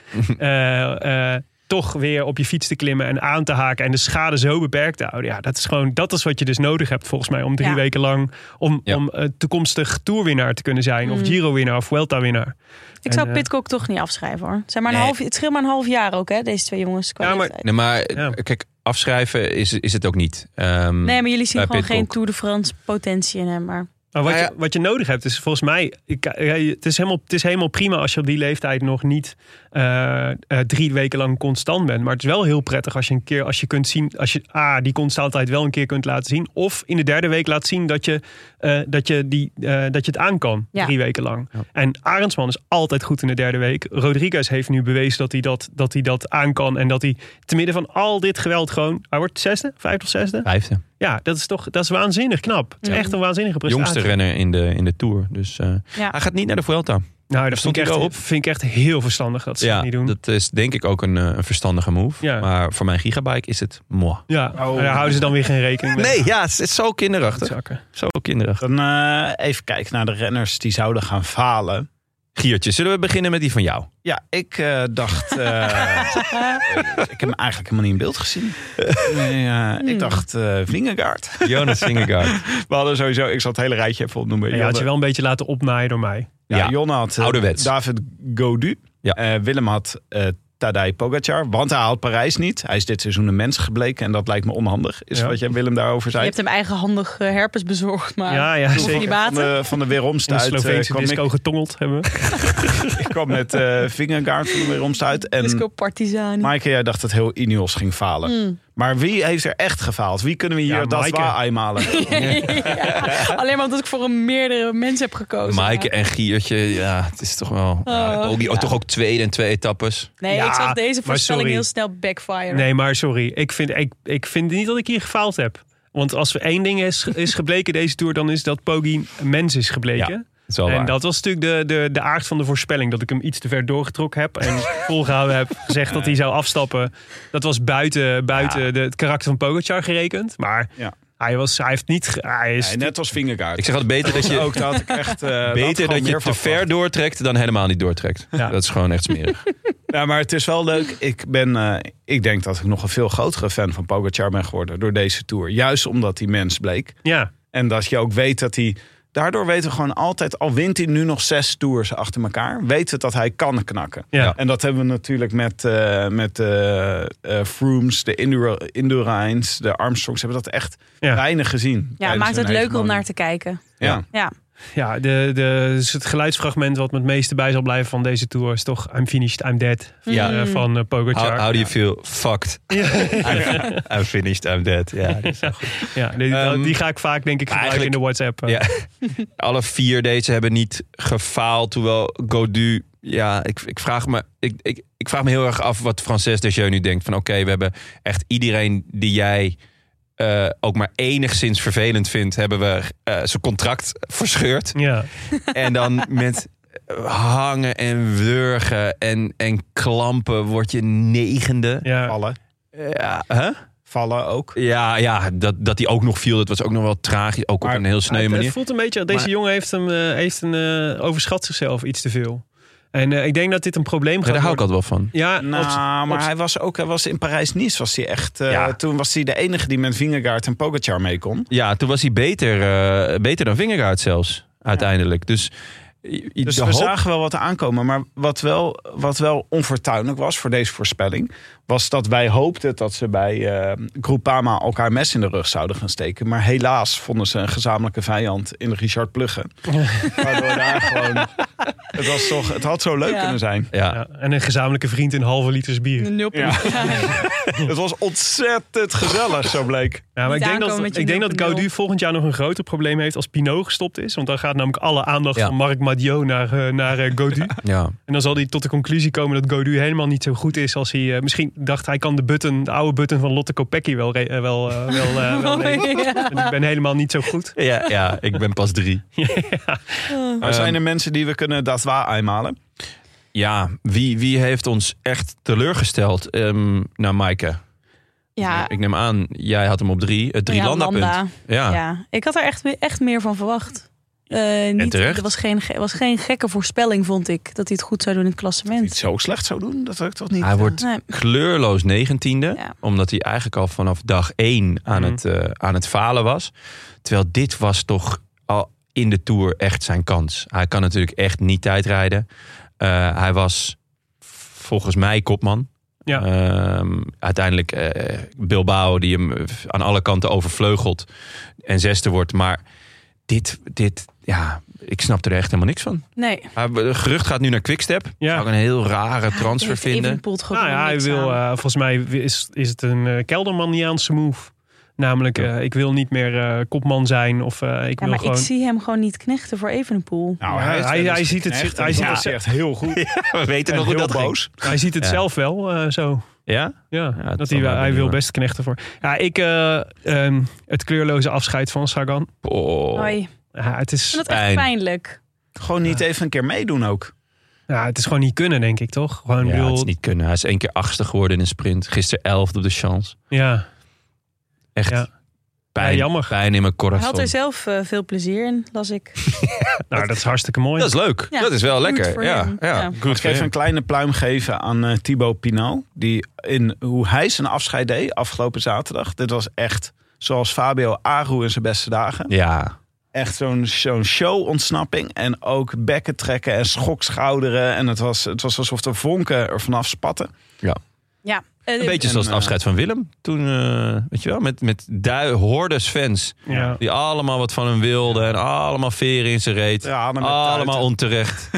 eh, eh, toch weer op je fiets te klimmen en aan te haken en de schade zo beperkt te houden. Ja, dat is gewoon dat is wat je dus nodig hebt volgens mij om drie Ja. weken lang om, Ja. om eh, toekomstig toerwinnaar te kunnen zijn of Giro-winnaar of Vuelta-winnaar. Ik zou En, eh, Pitcock toch niet afschrijven hoor. Zeg maar een Nee. half, het scheelt maar een half jaar ook, hè, deze twee jongens. Qua Ja, maar- leeftijd. Nee, maar eh, Ja. kijk, afschrijven is, is het ook niet. Ehm, nee, maar jullie zien bij gewoon geen Pidcock. Tour de France potentie in hem. Maar Maar wat, Nou je, wat je nodig hebt is volgens mij... ik- eh, het, is helemaal, het is helemaal prima als je op die leeftijd nog niet eh, eh, drie weken lang constant bent. Maar het is wel heel prettig als je een keer als je kunt zien... als je A, die constantheid wel een keer kunt laten zien. Of in de derde week laat zien dat je, eh, dat je, die, eh, dat je het aan kan. Ja. Drie weken lang. Ja. En Arendsman is altijd goed in de derde week. Rodriguez heeft nu bewezen dat hij dat, dat, hij dat aan kan. En dat hij te midden van al dit geweld gewoon... Hij wordt zesde, vijfde of zesde? Vijfde. Ja, dat is toch dat is waanzinnig knap. Het is Ja. echt een waanzinnige prestatie. Jongste renner in de, in de Tour. Dus eh, Ja. hij gaat niet naar de Vuelta. Nou, dat Stond vind ik, echt, hij erop? vind ik echt heel verstandig dat ze dat niet doen. dat is denk ik ook een, eh, een verstandige move. Ja. Maar voor mijn gigabike is het moi. Ja, maar daar houden ze dan weer geen rekening mee. Nee, ja, het is- het is zo kinderachtig. Zakken. Zo kinderachtig. Dan eh, even kijken naar de renners die zouden gaan falen. Giertje, zullen we beginnen met die van jou? Ja, ik eh, dacht. eh, ik heb hem eigenlijk helemaal niet in beeld gezien. Nee, eh, Ik dacht eh Vingegaard. Jonas Singegaard. We hadden sowieso. Ik zal het hele rijtje even opnoemen. Ja, je had je wel een beetje laten opnaaien door mij. Ja, Ja, Jon had eh, ouderwets. David Godu. Ja. Eh, Willem had eh Tadej Pogacar. Want hij haalt Parijs niet. Hij is dit seizoen een mens gebleken. En dat lijkt me onhandig. Is Ja. wat jij Willem daarover Je zei. hebt hem eigenhandig eh, herpes bezorgd, maar ja, ja, hoeft zeker. niet Van baten. de, van de weeromst In de uit eh, Sloveense kwam disco ik, getongeld hebben. [laughs] ik kwam met eh Vingegaard van de weeromst uit. Disco Hmm. En Partizani. Maaike, jij dacht dat heel Ineos ging falen. Maar wie heeft er echt gefaald? Wie kunnen we hier Ja, dat Maaike. [laughs] waar eenmalen? [laughs] Ja, Alleen maar omdat ik voor een meerdere mensen heb gekozen. Maaike en Giertje, ja, het is toch wel... ja, ook, die- ook toch ook tweede en twee etappes. Nee, Ja, ik zag deze maar voorspelling sorry. heel snel backfire. Nee, maar sorry. Ik vind, ik, ik vind niet dat ik hier gefaald heb. Want als er één ding is, is gebleken deze tour, dan is dat Poggi een mens is gebleken. Ja, Dat is wel En waar. dat was natuurlijk de, de, de aard van de voorspelling. Dat ik hem iets te ver doorgetrokken heb. En volgehouden heb gezegd dat hij zou afstappen. Dat was buiten, buiten de, het karakter van Pogacar gerekend. Maar Ja. hij, was, hij heeft niet... ge- Hij is, Nee, net als Vingegaard. Ik zeg altijd beter [laughs] dat je, ook, daar had ik echt, eh, daar had ik beter gewoon dat je meer van te ver doortrekt dan helemaal niet doortrekt. Ja. Dat is gewoon echt smerig. Ja, maar het is wel leuk. Ik, ben, eh, ik denk dat ik nog een veel grotere fan van Pogacar ben geworden door deze Tour. Juist omdat hij mens bleek. ja, En dat je ook weet dat hij... Daardoor weten we gewoon altijd, al wint hij nu nog zes tours achter elkaar... weten we dat hij kan knakken. ja. En dat hebben we natuurlijk met, eh met eh, eh, Frooms, de Indura, Indurains, de Armstrongs... hebben we dat echt Ja. weinig gezien. Ja, tijdens maakt hun het leuker om hegemonie. naar te kijken. Ja. Ja, ja de, de, dus het geluidsfragment wat me het meeste bij zal blijven van deze tour... is toch I'm finished, I'm dead Ja. van, eh, van eh, Pogacar. How, how do you feel? Fucked. [laughs] I'm, I'm finished, I'm dead. Ja, dus- dat is wel goed. ja, die, Ehm, die ga ik vaak denk ik gebruiken in eigenlijk- de WhatsApp. eh. Ja. [laughs] Alle vier deze hebben niet gefaald. Hoewel Godu, ja, ik, ik, vraag me, ik, ik, ik vraag me heel erg af wat Frances Desjeux nu denkt. Van oké, we hebben echt iedereen die jij eh, ook maar enigszins vervelend vindt... hebben we eh, zijn contract [laughs] verscheurd. eh. Ja. En dan met hangen en wurgen en, en klampen word je negende. Ja. Vallen, Ja, hè? vallen ook. ja, ja dat, dat die ook nog viel, dat was ook nog wel tragisch. Ook op Maar een heel Ja, sneu het- manier. Het voelt een beetje, deze Maar- jongen heeft hem, eh, heeft een, eh, overschat zichzelf iets te veel. En eh, ik denk dat dit een probleem Ja, gaat daar hou ik worden. altijd wel van. Ja, Nou, maar op- hij was ook hij was in Parijs-Nice. Was hij echt, eh, Ja. Toen was hij de enige die met Vingegaard en Pogacar mee kon. Ja, toen was hij beter, eh, beter dan Vingegaard zelfs, uiteindelijk. Dus, i- i- Dus de we hoop- zagen wel wat aankomen. Maar wat wel, wat wel onfortuinlijk was voor deze voorspelling... was dat wij hoopten dat ze bij eh Groupama elkaar mes in de rug zouden gaan steken. Maar helaas vonden ze een gezamenlijke vijand in Richard Pluggen. Waardoor daar gewoon... Het, was toch, het had zo leuk Ja. kunnen zijn. ja. ja, en een gezamenlijke vriend in halve liters bier. een nul Ja. [laughs] Het was ontzettend gezellig, zo bleek. Ja, maar Niet ik denk aankomen met dat, je ik denk dat 0.0. Gaudu volgend jaar nog een groter probleem heeft als Pinot gestopt is. Want dan gaat namelijk alle aandacht Ja. van Marc Madiot naar, eh, naar eh, [laughs] Gaudu. Ja. En dan zal hij tot de conclusie komen dat Gaudu helemaal niet zo goed is als hij... eh, misschien dacht hij kan de button, de oude button van Lotte Kopecky wel... re- eh, wel, eh, wel, eh, [laughs] wel nemen. Ja. Want Ik ben helemaal niet zo goed. Ja, ja, ik ben pas drie. Maar zijn er mensen die we kunnen dat waar eimalen? Ja, wie, wie heeft ons echt teleurgesteld? Ehm nou, Maaike, Ja, ik neem aan, jij had hem op Ah. drie. Het drie ja, landapunt. Landa. Ja. Ja, ik had er echt, echt meer van verwacht. Eh, niet, terecht. Er was geen, ge- was geen gekke voorspelling, vond ik, dat hij het goed zou doen in het Niet klassement. zo slecht zou doen, dat ik toch niet. Hij wordt Nee. kleurloos negentiende. Ja. Omdat hij eigenlijk al vanaf dag één aan, Mhm. het, eh, aan het falen was. Terwijl dit was toch al in de Tour echt zijn kans. Hij kan natuurlijk echt niet tijdrijden. Eh, hij was volgens mij kopman. Ja. Ehm, uiteindelijk eh, Bilbao die hem aan alle kanten overvleugelt. En zesde wordt. Maar dit, dit, ja, ik snap er echt helemaal niks van. Nee. Maar het gerucht gaat nu naar Quickstep. Ja. Zou ik een heel rare transfer vinden. Nou ja, hij wil, eh, volgens mij is, is het een eh, keldermaniaanse move. Namelijk, Ja. eh, ik wil niet meer eh, kopman zijn of eh, ik ja, wil maar gewoon... ik zie hem gewoon niet knechten voor Evenepoel. Nou, Ja, hij, is hij- wel eens hij ziet het- geknecht en hij ziet dat het is zelf. echt heel [laughs] goed. We weten En nog hoe heel dat boos. boos. [laughs] Hij ziet het Ja. zelf wel eh, zo. Ja? Ja, Ja, dat dat hij, zal wel- mij hij wil benieuwen. best knechten voor. Ja, ik, eh, ehm, het kleurloze afscheid van Sagan. Oh. Hoi. Ik Ja, het, is, vind dat echt Pijn. pijnlijk. Gewoon niet even een keer meedoen ook. ja, het is gewoon niet kunnen, denk ik, toch? Gewoon, Ja, bedoel, het is niet kunnen. Hij is één keer achtste geworden in een sprint. Gisteren elfde op de chance. ja. Echt Ja. pijn, Ja, jammer. pijn in mijn Hij had corazon. er zelf eh, veel plezier in, las ik. Nou, dat is hartstikke mooi. Dat is leuk. Ja. Dat is wel Goed lekker. voor Ja, hem. ja. Ja. Mag ik even een kleine pluim geven aan eh, Thibaut Pinot. Die in hoe hij zijn afscheid deed afgelopen zaterdag. Dit was echt zoals Fabio Aru in zijn beste dagen. Ja. Echt zo'n zo'n show-ontsnapping. En ook bekken trekken en schokschouderen. En het was, het was alsof de vonken er vanaf spatten. Ja. eh, Een beetje En, zoals het eh, afscheid van Willem. Toen, eh, weet je wel, met, met dui, hordes fans. Ja. Die allemaal wat van hem wilden. En allemaal veren in zijn reet. Tranen met allemaal tuiten. [laughs] onterecht.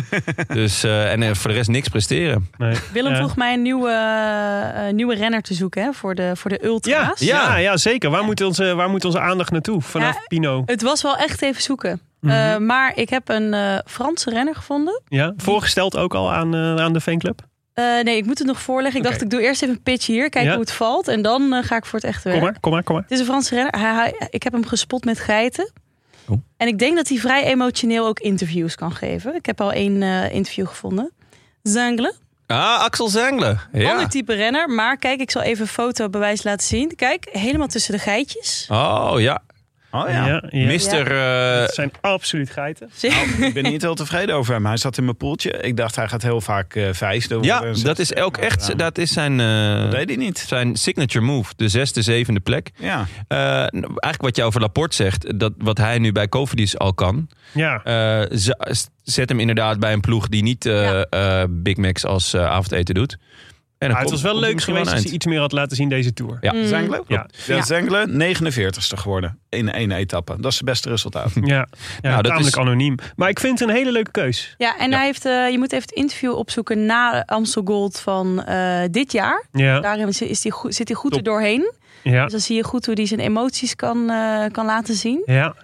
dus, eh, en eh, voor de rest niks presteren. Nee. Willem Ja. vroeg mij een nieuwe, eh, eh, nieuwe renner te zoeken hè, voor, de, voor de Ja, ultra's. ja. Ja. ja, zeker. Waar moet, onze, waar moet onze aandacht naartoe? Vanaf Ja. Eh, Pino. Het was wel echt even zoeken. Mhm. Eh, maar ik heb een eh, Franse renner gevonden. Ja, voorgesteld ook al aan, eh, aan de fanclub. Eh, nee, ik moet het nog voorleggen. Ik dacht, Oké. ik doe eerst even een pitch hier, kijken Ja. hoe het valt. En dan eh, ga ik voor het echte Kom werk. maar, kom maar, kom maar. Het is een Franse renner. Hij- hij- ik heb hem gespot met geiten. Oh. En ik denk dat hij vrij emotioneel ook interviews kan geven. Ik heb al één eh, interview gevonden. Zangle. Ah, Axel Zengelen. Ander Ja. type renner. Maar kijk, ik zal even een fotobewijs laten zien. Kijk, helemaal tussen de geitjes. Oh ja. Oh ja. ja. Mister... eh, Het zijn absoluut geiten. Nou, Ik ben niet heel tevreden over hem. Hij zat in mijn poeltje. Ik dacht, hij gaat heel vaak eh vijfde. worden ja, en dat is zesde. ook Maar, echt... eh, Dat is zijn... eh, dat deed hij niet. zijn signature move, de zesde, zevende plek. Ja. Eh, nou, eigenlijk wat jij over Laporte zegt, dat wat hij nu bij Cofidis al kan, Ja. eh, z- s- zet hem inderdaad bij een ploeg die niet eh, Ja. eh, Big Macs als eh, avondeten doet. En dan Maar komt- Ah, het was wel komt hij leuk misschien geweest een als hij eind. iets meer had laten zien deze tour. Ja. Mm. Zengelen? Ja. Ja. Ja. Zengelen, 49ste geworden in één etappe. Dat is het beste [laughs] resultaat. Ja, ja Nou, dat tamelijk is- anoniem. Maar ik vind het een hele leuke keus. Ja, en Ja. Hij heeft, eh, je moet even het interview opzoeken na Amstel Gold van eh, dit jaar. Ja, Daarin is is hij goed, zit hij goed Top. er doorheen. ja, Dus dan zie je goed hoe hij zijn emoties kan, eh, kan laten zien. ja.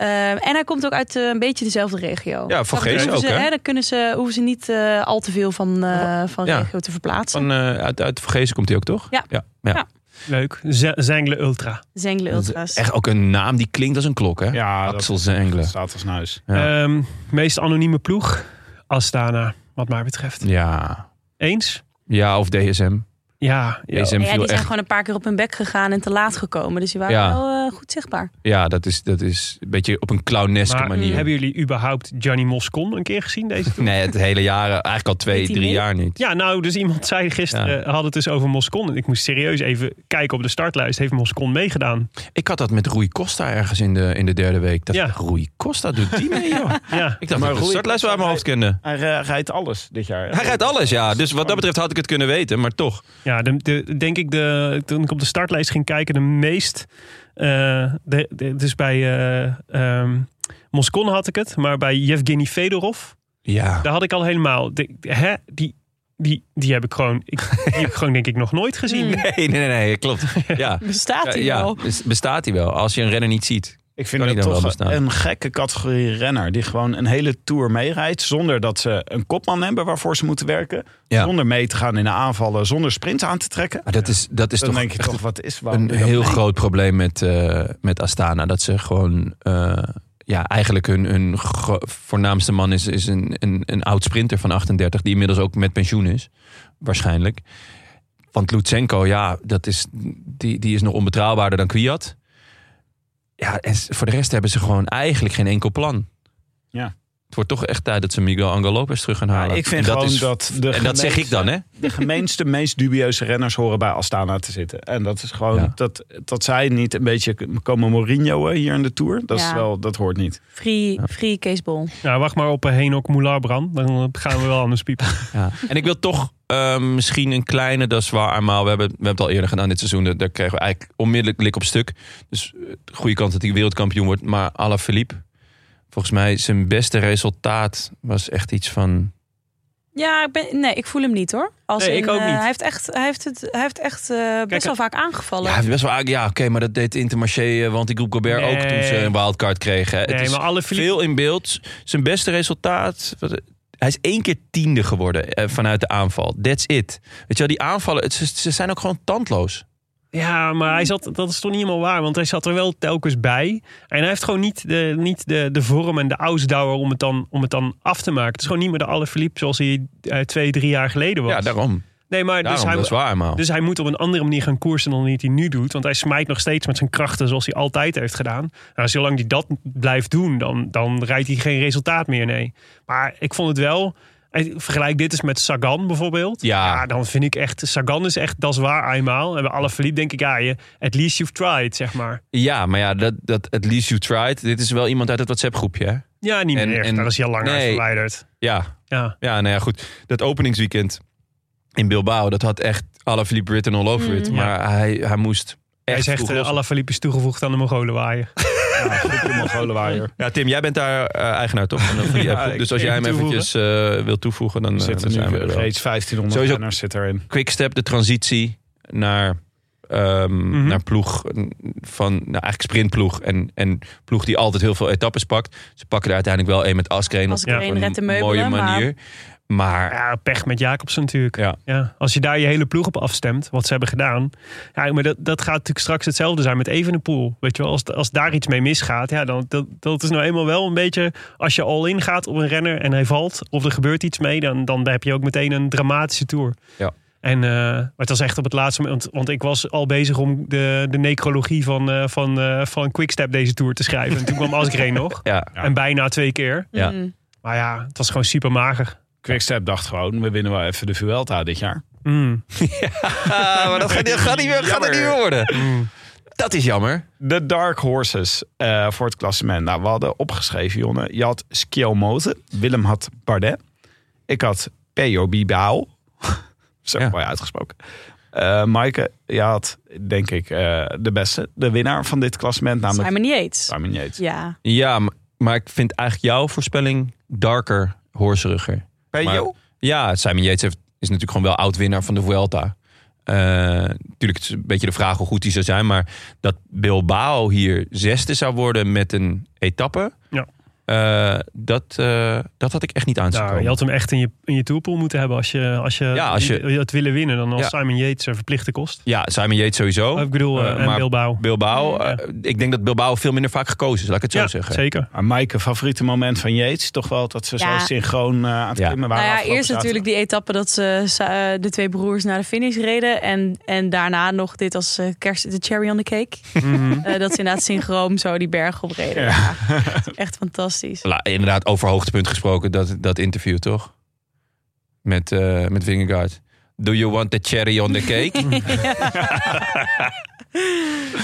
Ehm, en hij komt ook uit eh, een beetje dezelfde regio. Ja, van Dan Geest hoeven ook, Ze, hè? dan kunnen ze, hoeven ze niet eh, al te veel van, eh, van Ja. regio te verplaatsen. Van, eh, uit, uit Vergezen komt hij ook, toch? Ja. ja. Ja. leuk. Z- Zengle Ultra. Zengelen Dat is Ultras. Echt ook een naam die klinkt als een klok, hè? Ja, Axel dat Zengelen. staat als huis. Ja. Ehm, meest anonieme ploeg, Astana, wat mij betreft. Ja. Eens? ja, of DSM. Ja, ja. DSM Ja, die viel zijn echt. gewoon een paar keer op hun bek gegaan en te laat gekomen. Dus die waren Ja. wel eh, goed zichtbaar. Ja, dat is, dat is een beetje op een clowneske Maar manier. hebben jullie überhaupt Johnny Moscon een keer gezien deze tour? Nee, het hele jaren, eigenlijk al twee, Weet hij drie mee? jaar niet. Ja, nou, dus iemand zei gisteren, Ja. eh, had het dus over Moscon. En ik moest serieus even kijken op de startlijst. Heeft Moscon meegedaan? Ik had dat met Rui Costa ergens in de, in de derde week. Dat Ja. Rui Costa doet die mee, joh. [laughs] Ja, Ik dacht Maar dat ik de Rui startlijst wel Costa uit mijn hoofd kende. Hij eh, rijdt alles dit jaar. Hij rijdt alles, ja. Dus wat dat betreft had ik het kunnen weten, maar toch. ja de, de- denk ik, de, toen ik op de startlijst ging kijken, de meest... eh, de, de- dus bij eh, ehm, Moscon had ik het, maar bij Yevgeny Fedorov, Ja. daar had ik al helemaal... De, de- hè, die, die, die heb ik gewoon, ik, die heb ik gewoon denk ik nog nooit gezien. [laughs] Nee, nee, nee, nee, klopt. Ja. Bestaat Ja, hij ja, wel? bes- bestaat hij wel. Als je een renner niet ziet. Ik vind Kan het hij dan wel toch bestaan? een gekke categorie renner. Die gewoon een hele tour meerijdt. Zonder dat ze een kopman hebben waarvoor ze moeten werken. Ja. Zonder mee te gaan in de aanvallen. Zonder sprint aan te trekken. Maar dat is, dat is Dan toch denk je echt toch, wat is waarom een doe je dat heel mee? groot probleem met, eh, met Astana. Dat ze gewoon... eh, ja, eigenlijk hun, hun gro- voornaamste man is, is een, een, een oud sprinter van 38... die inmiddels ook met pensioen is, waarschijnlijk. Want Lutsenko, ja, dat is, die, die is nog onbetrouwbaarder dan Kwiat. Ja, en s- voor de rest hebben ze gewoon eigenlijk geen enkel plan. Ja. Het wordt toch echt tijd dat ze Miguel Angel Lopez terug gaan halen. ik vind gewoon dat de En dat zeg ik dan, hè? de gemeenste, meest dubieuze renners horen bij Astana te zitten. En dat is gewoon Ja. dat, dat zij niet een beetje komen Mourinho'en hier in de Tour. Dat, is Ja. wel, dat hoort niet. Free, free caseball. Nou, wacht maar op eh, Henok Moularbrand. Dan gaan we wel [laughs] anders piepen. Ja. En ik wil toch eh, misschien een kleine, dat is waar, maar we hebben, we hebben het al eerder gedaan dit seizoen. Daar- Daar kregen we eigenlijk onmiddellijk lik op stuk. Dus eh, de goede kans dat hij wereldkampioen wordt. Maar Alain Philippe, Volgens mij zijn beste resultaat was echt iets van... Ja, ik ben, nee, ik voel hem niet hoor. Als Nee, ik ook eh, niet. hij heeft echt, hij heeft het, hij heeft echt eh, best wel vaak aangevallen. Ja, hij heeft best wel, aardig- ja oké, maar dat deed Intermarché, eh, want ik roep Gobert ook toen ze Nee. een wildcard kregen. hè. het nee, is maar alle Philippe- veel in beeld. Zijn beste resultaat... wat- hij is één keer tiende geworden eh, vanuit de aanval. That's it. Weet je wel, die aanvallen, het- ze, ze zijn ook gewoon tandloos. Ja, maar hij zat, dat is toch niet helemaal waar. Want hij zat er wel telkens bij. En hij heeft gewoon niet de, niet de, de vorm en de ausdauer om het, dan, om het dan af te maken. Het is gewoon niet meer de Alaphilippe zoals hij eh, twee, drie jaar geleden was. Ja, daarom. nee, maar daarom dus hij, dat is waar, man. dus hij moet op een andere manier gaan koersen dan dat hij nu doet. Want hij smijt nog steeds met zijn krachten zoals hij altijd heeft gedaan. Nou, zolang hij dat blijft doen, dan, dan rijdt hij geen resultaat meer, nee. Maar ik vond het wel... eh, Vergelijk dit eens met Sagan bijvoorbeeld. Ja. dan vind ik echt... Sagan is echt, dat is waar, eenmaal. En bij Alaphilippe denk ik, ja, je, at least you've tried, zeg maar. Ja, maar ja, dat, dat at least you tried. Dit is wel iemand uit het WhatsApp-groepje, hè? Ja, niet En- meer. en- Daar is hij al lang nee. uit verwijderd. Ja, Ja. ja, nou ja, goed. Dat openingsweekend in Bilbao, dat had echt alle Philippe written all over it. Mm. Maar hij, hij moest echt Hij zegt, vroeg eh, lossen. Alaphilippe is toegevoegd aan de Mongolenwaaier. Ja, Tim, jij bent daar eh, eigenaar [laughs] toch? Van, van die Ja, app. ik- dus als jij hem even toevoegen. eventjes eh, wilt toevoegen, dan, eh, Er dan zitten nu zijn we er wel. reeds 1500 Sowieso- renners zit erin. Quickstep, de transitie naar, ehm, Mhm. naar ploeg van nou, eigenlijk sprintploeg en, en ploeg die altijd heel veel etappes pakt. Ze pakken er uiteindelijk wel een met Askreen op Asgreen een redt de meubelen, mooie manier. Maar Ja, pech met Jacobsen natuurlijk. Ja. als je daar je hele ploeg op afstemt, wat ze hebben gedaan. Ja, maar dat, dat gaat natuurlijk straks hetzelfde zijn met Evenepoel. Weet je wel, als, als daar iets mee misgaat, ja, dan dat, dat is nou eenmaal wel een beetje... Als je al ingaat op een renner en hij valt of er gebeurt iets mee, dan, dan heb je ook meteen een dramatische tour. Ja. En, eh, maar het was echt op het laatste moment, want ik was al bezig om de, de necrologie van, eh, van, eh, van Quickstep deze tour te schrijven. En toen kwam Asgreen [laughs] nog. ja, En bijna twee keer. ja. Mm. Maar ja, het was gewoon super mager. Quickstep dacht gewoon, we winnen wel even de Vuelta dit jaar. Mm. Ah, maar dat gaat, dat gaat, niet meer, gaat het niet meer worden. Dat is jammer. De Dark Horses eh, voor het klassement. Nou, we hadden opgeschreven, Jonne. Je had Skjelmoten. Willem had Bardet. Ik had Peo Bilbao. [laughs] Zo Ja. mooi uitgesproken. Eh Maaike, je had denk ik eh, de beste. De winnaar van dit klassement, namelijk Simon Yates. Simon Yates. Ja. Ja, m- maar ik vind eigenlijk jouw voorspelling darker, horseriger. Peyo? Maar- Ja, Simon Yates heeft, is natuurlijk gewoon wel oud-winnaar van de Vuelta. Eh, Natuurlijk, het is een beetje de vraag hoe goed hij zou zijn. Maar dat Bilbao hier zesde zou worden met een etappe... Ja. eh, dat, eh, dat had ik echt niet aan zien Nou, komen. je had hem echt in je, in je toerpool moeten hebben als je, als je, Ja, als je- die- het willen winnen. Dan als Ja. Simon Yates een verplichte kost. Ja, Simon Yates sowieso. ik bedoel, Eh, eh, en maar Bilbao. Bilbao, Ja. eh, ik denk dat Bilbao veel minder vaak gekozen is, laat ik het zo ja, zeggen. [laughs] zeker. Maar Maaike, favoriete moment van Yates? Toch wel dat ze Ja. zo synchroon eh, aan het Ja. klimmen Nou waren. ja, afgelopen eerst natuurlijk zaterdag. die etappe dat ze, ze, eh, de twee broers naar de finish reden. En, en daarna nog dit als eh, kerst, de cherry on the cake. Mhm. Eh, dat ze inderdaad synchroom zo die berg op reden. Ja. [laughs] dat is echt [laughs] fantastisch. La- inderdaad, over hoogtepunt gesproken, dat, dat interview toch? Met, eh met Vingegaard. Do you want the cherry on the [laughs] cake?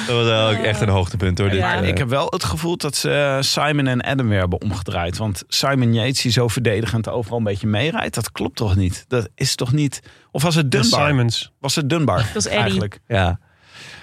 dat was wel ook echt een hoogtepunt hoor. dit, Ja. Maar eh. ik heb wel het gevoel dat ze eh, Simon en Adam weer hebben omgedraaid. Want Simon Yates, die zo verdedigend overal een beetje meerijdt, dat klopt toch niet? Dat is toch niet... Of was het En Dunbar? Dus Simons. Was het Dunbar was [laughs] Eddie. eigenlijk? ja.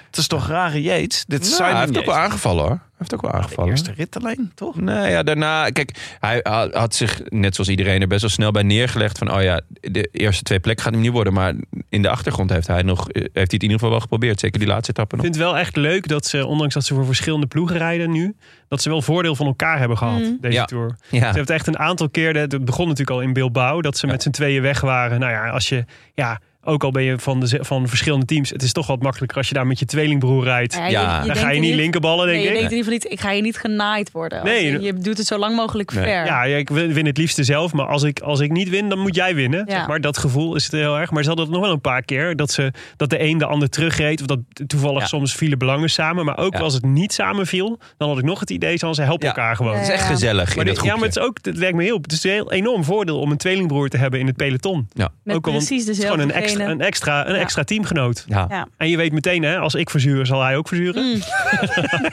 Het is toch rare Yates? Dit is Nou, Simon hij heeft ook Yates. wel aangevallen hoor. Hij heeft ook wel de aangevallen. eerste rit alleen, toch? Nee, ja, daarna, kijk, hij ha- had zich, net zoals iedereen, er best wel snel bij neergelegd van, oh ja, de eerste twee plekken gaat hem niet worden, maar in de achtergrond heeft hij, nog, eh, heeft hij het in ieder geval wel geprobeerd, zeker die laatste etappe Ik nog. vind het wel echt leuk dat ze, ondanks dat ze voor verschillende ploegen rijden nu, dat ze wel voordeel van elkaar hebben gehad deze Ja. tour. Ja, Ze hebben het echt een aantal keer, het begon natuurlijk al in Bilbao, dat ze met z'n tweeën weg waren. Nou ja, als je, ja, ook al ben je van, de, ze- van verschillende teams, het is toch wat makkelijker als je daar met je tweelingbroer rijdt. Ja, Ja. Dan ga je niet linkerballen, denk Nee, je ik. denkt in ieder geval niet, ik ga hier niet genaaid worden. Nee. Als in, je doet het zo lang mogelijk Nee. ver. Ja, ja, ik win win het liefste zelf. Maar als ik, als ik niet win, dan moet jij winnen. Ja. Zeg maar dat gevoel is het heel erg. Maar ze hadden het nog wel een paar keer. Dat, ze, dat de een de ander terugreed. Of dat toevallig Ja. soms vielen belangen samen. Maar ook Ja. als het niet samen viel, dan had ik nog het idee van ze helpen Ja. elkaar gewoon. het is echt Ja. gezellig Maar in dit- dat ja, groepje. maar het, is ook, het lijkt me heel. Het is een heel enorm voordeel om een tweelingbroer te hebben in het peloton. Met ook al- precies Het is dezelfde gewoon een extra, genen. een extra, een Ja. extra teamgenoot. ja. Ja. En je weet meteen, hè, als ik verzuur, zal hij ook verzuren. Mm. [laughs]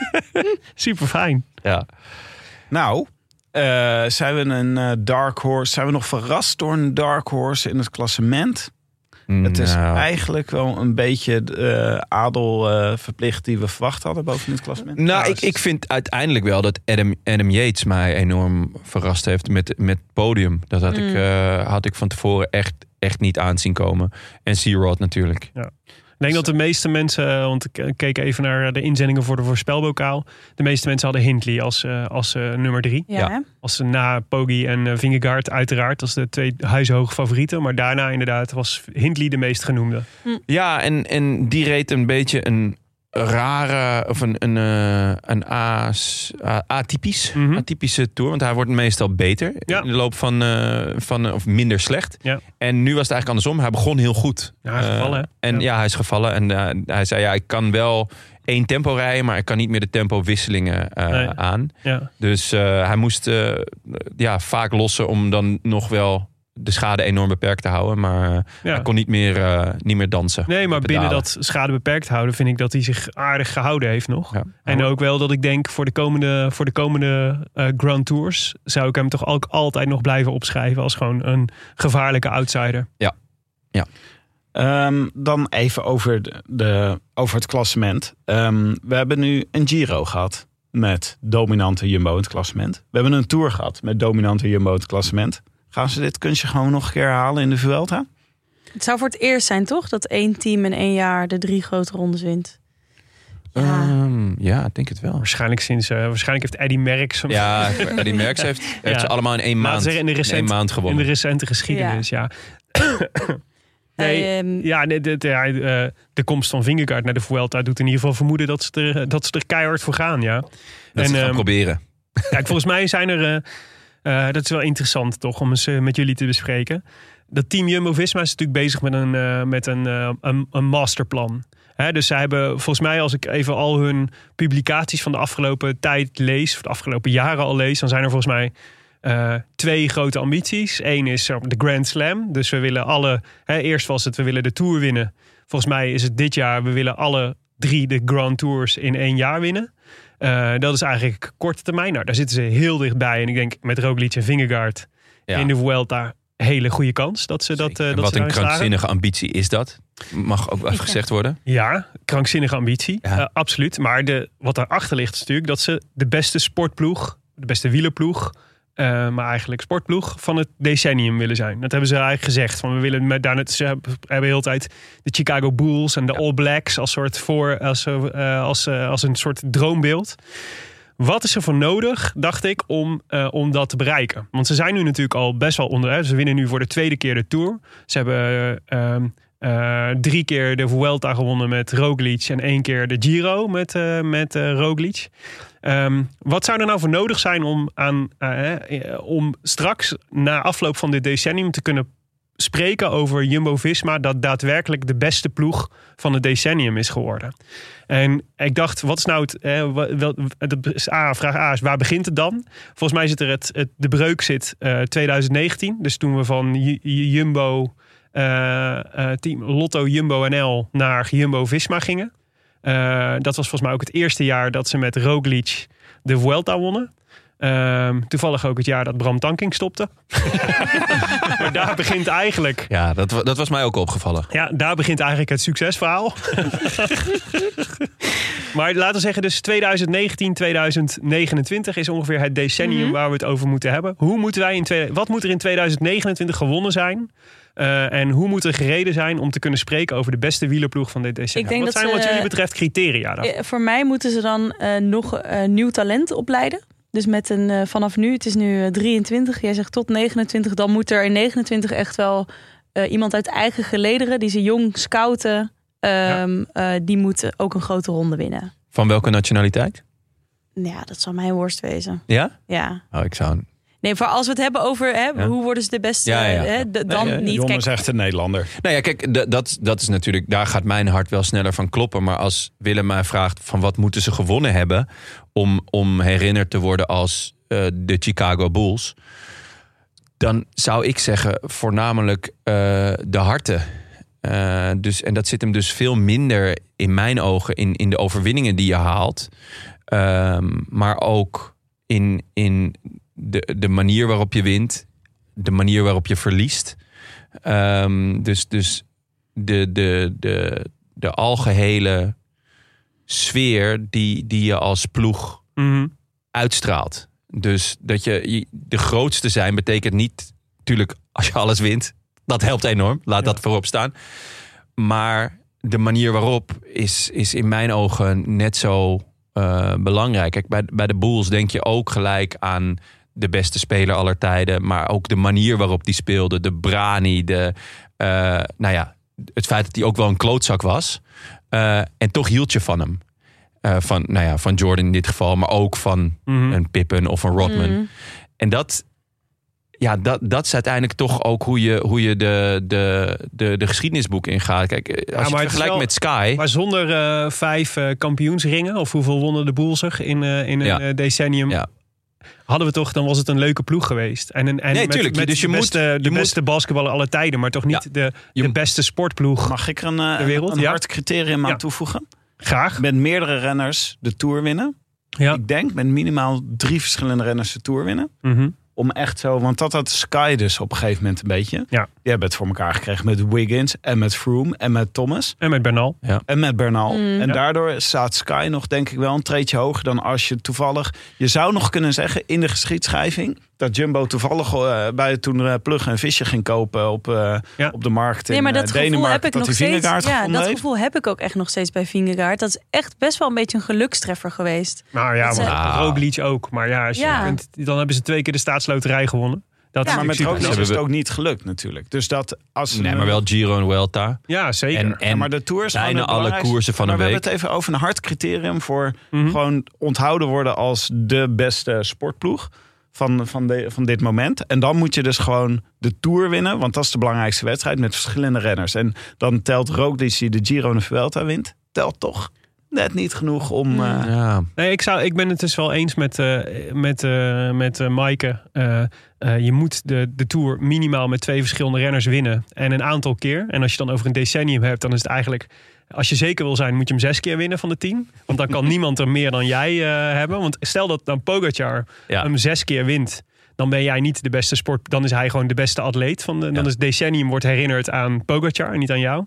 Super fijn. ja. Nou, eh, zijn we een eh, dark horse? Zijn we nog verrast door een dark horse in het klassement? Het is Nou, eigenlijk wel een beetje de eh, adel eh, verplicht die we verwacht hadden boven het klassement. Nou, Trouwens. ik, ik vind uiteindelijk wel dat Adam, Adam Yates mij enorm verrast heeft met, met het podium. Dat had, ik, Mm. eh, had ik van tevoren echt, echt niet aan zien komen. En C-Rod natuurlijk. Ik Dus, denk dat eh, de meeste mensen, want ik eh, keek even naar de inzendingen voor de voorspelbokaal. De meeste mensen hadden Hindley als, eh, als eh, nummer drie. Ja, Ja. hè? Als ze na Poggi en eh, Vingegaard uiteraard als de twee huishoge favorieten. Maar daarna inderdaad was Hindley de meest genoemde. Ja, en, en die reed een beetje een rare of een, een, eh, een a's- a- atypisch, Mhm. atypische tour. Want hij wordt meestal beter Ja. in de loop van, eh, van eh, of minder slecht. Ja. En nu was het eigenlijk andersom. Hij begon heel goed. Ja, hij is Eh, gevallen, hè? en Ja. ja. hij is gevallen. En eh, hij zei, ja, ik kan wel één tempo rijden, maar ik kan niet meer de tempo-wisselingen eh, Nee. aan. Ja, Dus eh, hij moest eh, ja, vaak lossen om dan nog wel de schade enorm beperkt te houden. Maar eh, ja. hij kon niet meer, eh, niet meer dansen. Nee, maar De binnen pedalen. dat schade beperkt houden vind ik dat hij zich aardig gehouden heeft nog. Ja. En ook wel dat ik denk voor de komende, voor de komende eh, Grand Tours zou ik hem toch ook altijd nog blijven opschrijven als gewoon een gevaarlijke outsider. Ehm, dan even over, de, de- over het klassement. Ehm, we hebben nu een Giro gehad met dominante Jumbo in het klassement. We hebben een Tour gehad met dominante Jumbo in het klassement. Gaan ze dit kunstje gewoon nog een keer halen in de Vuelta? Het zou voor het eerst zijn, toch? Dat één team in één jaar de drie grote rondes wint. Ja. Eh, Ehm, ja, ik denk het wel. Waarschijnlijk, sinds, eh, waarschijnlijk heeft Eddie Merckx hem Ja, die Merckx heeft, heeft Ja. ze allemaal in één Laten we maand, zeggen, in de in één recente, maand in de gewonnen. recente geschiedenis. Ja, Nee, Hij, ehm, ja, nee, dit, ja, eh, de komst van Vingegaard naar de Vuelta doet in ieder geval vermoeden dat ze er, dat ze er keihard voor gaan. Ja. Dat ze en, gaan ehm, proberen. Kijk, volgens mij zijn er. eh, eh, dat is wel interessant toch, om eens eh, met jullie te bespreken. Dat team Jumbo-Visma is natuurlijk bezig met een, eh, met een, eh, een, een masterplan. Hè, dus zij hebben, volgens mij, als ik even al hun publicaties van de afgelopen tijd lees, of de afgelopen jaren al lees, dan zijn er volgens mij eh, twee grote ambities. Eén is eh, de Grand Slam. Dus we willen alle, hè, eerst was het, we willen de Tour winnen. Volgens mij is het dit jaar, we willen alle drie de Grand Tours in één jaar winnen. Eh, dat is eigenlijk korte termijn. Nou, daar zitten ze heel dichtbij. En ik denk met Roglic en Vingegaard Ja. in de Vuelta... hele goede kans dat ze dat, eh, Zeker. En dat Wat ze een daarin slagen. krankzinnige ambitie is dat. Mag ook even gezegd worden. Ja, krankzinnige ambitie. Ja. Eh, absoluut. Maar de, wat daarachter ligt is natuurlijk dat ze de beste sportploeg... de beste wielerploeg... eh, maar eigenlijk sportploeg van het decennium willen zijn. Dat hebben ze eigenlijk gezegd. Van we willen met daarna, ze hebben hebben de hele tijd de Chicago Bulls en de All Blacks als soort voor als, eh, als, eh, als een soort droombeeld. Wat is er voor nodig, dacht ik, om, eh, om dat te bereiken? Want ze zijn nu natuurlijk al best wel onder. hè, Ze winnen nu voor de tweede keer de Tour. Ze hebben ehm, eh, drie keer de Vuelta gewonnen met Roglic... en één keer de Giro met, eh, met eh, Roglic. Ehm, wat zou er nou voor nodig zijn om, aan, eh, eh, om straks na afloop van dit decennium... te kunnen spreken over Jumbo-Visma... dat daadwerkelijk de beste ploeg van het decennium is geworden? En ik dacht, wat is nou het... eh, wa- wel- dat is A, vraag A is, waar begint het dan? Volgens mij zit er het, het, de breuk zit eh, 2019. Dus toen we van Ju- Ju- Jumbo, eh, eh, team Lotto Jumbo NL naar Jumbo Visma gingen. Eh, dat was volgens mij ook het eerste jaar dat ze met Roglic de Vuelta wonnen. Ehm, toevallig ook het jaar dat Bram Tanking stopte. [laughs] maar daar begint eigenlijk Ja, dat, wa- dat was mij ook opgevallen. ja, daar begint eigenlijk het [laughs] succesverhaal. maar laten we zeggen, dus 2019, 2029 is ongeveer het decennium Mhm. waar we het over moeten hebben. Hoe moeten wij in twee, wat moet er in 2029 gewonnen zijn? Eh, en hoe moet er gereden zijn om te kunnen spreken over de beste wielerploeg van dit decennium? Ik denk wat dat zijn ze- wat jullie betreft criteria? Dan? Eh, Voor mij moeten ze dan eh, nog eh, nieuw talent opleiden. Dus met een eh, vanaf nu, het is nu eh, 23, jij zegt tot 29, dan moet er in 29 echt wel eh, iemand uit eigen gelederen die ze jong scouten, ehm, eh, die moet ook een grote ronde winnen. Van welke nationaliteit? Ja, dat zal mijn worst wezen. Ja? Ja. Oh, ik zou... Nee, voor als we het hebben over hè, hoe worden ze de beste, Ja, ja, ja. Hè, d- dan eh, Nee, niet. Jon Kijk, is echt een Nederlander. Nou ja, kijk, da- dat, dat is natuurlijk... Daar gaat mijn hart wel sneller van kloppen. Maar als Willem mij vraagt van wat moeten ze gewonnen hebben... om, om herinnerd te worden als eh, de Chicago Bulls... dan zou ik zeggen voornamelijk eh, de harten. Eh, dus, en dat zit hem dus veel minder in mijn ogen in, in de overwinningen die je haalt. Ehm, maar ook in, in de, de manier waarop je wint, de manier waarop je verliest. Ehm, dus, dus de, de, de, de algehele sfeer die, die je als ploeg Mhm. uitstraalt. Dus dat je je- de grootste zijn betekent niet, natuurlijk, als je alles wint, dat helpt enorm. Laat dat voorop staan. Maar de manier waarop is, is in mijn ogen net zo eh, belangrijk. Kijk, bij, bij de Bulls denk je ook gelijk aan de beste speler aller tijden, maar ook de manier waarop die speelde, de brani, de, eh, nou ja, het feit dat hij ook wel een klootzak was. Eh, en toch hield je van hem. Eh, van, nou ja, van Jordan in dit geval, maar ook van Mhm. een Pippen of een Rodman. Mhm. En dat, ja, dat, dat is uiteindelijk toch ook hoe je, hoe je de, de, de, de geschiedenisboek ingaat. Kijk, eh, als maar je het het is vergelijkt wel- met Sky. Maar zonder eh, vijf eh, kampioensringen, of hoeveel wonnen de Bulls er in, eh, in een Ja. eh, decennium, Ja. hadden we toch, dan was het een leuke ploeg geweest. En, een, en Nee, met, tuurlijk. met Dus je de moet- beste, de je moet- beste basketballer aller tijden, maar toch niet Ja. de, Je de m- beste sportploeg. Mag ik er een, eh, De wereld, een ja. hard criterium aan Ja. toevoegen? Graag. Met meerdere renners de Tour winnen. Ja. Ik denk met minimaal drie verschillende renners de Tour winnen. Mhm. Om echt zo, want dat had Sky dus op een gegeven moment een beetje. Ja. Die hebben het voor elkaar gekregen met Wiggins en met Froome en met Thomas En met Bernal. en met Bernal. Mm. En Ja. daardoor staat Sky nog denk ik wel een treetje hoger dan als je toevallig... Je zou nog kunnen zeggen in de geschiedschrijving dat Jumbo toevallig eh, bij toen eh, Plug en Visje ging kopen op, eh, Ja. op de markt in Nee, maar eh, dat gevoel Denemarken. heb ik dat nog hij steeds. Vingegaard Ja, gevonden dat heeft. gevoel heb ik ook echt nog steeds bij Vingegaard. Dat is echt best wel een beetje een gelukstreffer geweest. Nou ja, Dat maar is- eh, Nou. Roglic ook. Maar ja, als je Ja. Kunt, dan hebben ze twee keer de staatsloterij gewonnen. Dat Ja. is Maar met natuurlijk Roglic super is hebben het we- ook niet gelukt natuurlijk. Dus dat als... Nee, maar wel Giro en Welta. knap. Ja, zeker. En, en Ja, maar de Tour is bijna gewoon het alle belangrijkste. koersen van maar een we week. hebben het even over een hard criterium voor Mhm. gewoon onthouden worden als de beste sportploeg van, van, de, van dit moment. En dan moet je dus gewoon de Tour winnen, want dat is de belangrijkste wedstrijd met verschillende renners. En dan telt Roglic die de Giro en de Vuelta wint, telt toch net niet genoeg om... eh, ja. Nee, ik, zou, ik ben het dus wel eens met, eh, met, eh, met eh, Maaike. Eh, eh, je moet de, de Tour minimaal met twee verschillende renners winnen. En een aantal keer. En als je dan over een decennium hebt, dan is het eigenlijk... Als je zeker wil zijn, moet je hem zes keer winnen van de tien. Want dan kan [laughs] niemand er meer dan jij eh, hebben. Want stel dat dan Pogacar Ja. hem zes keer wint... dan ben jij niet de beste sport... dan is hij gewoon de beste atleet. Van de, Dan Ja. is het decennium wordt herinnerd aan Pogacar en niet aan jou.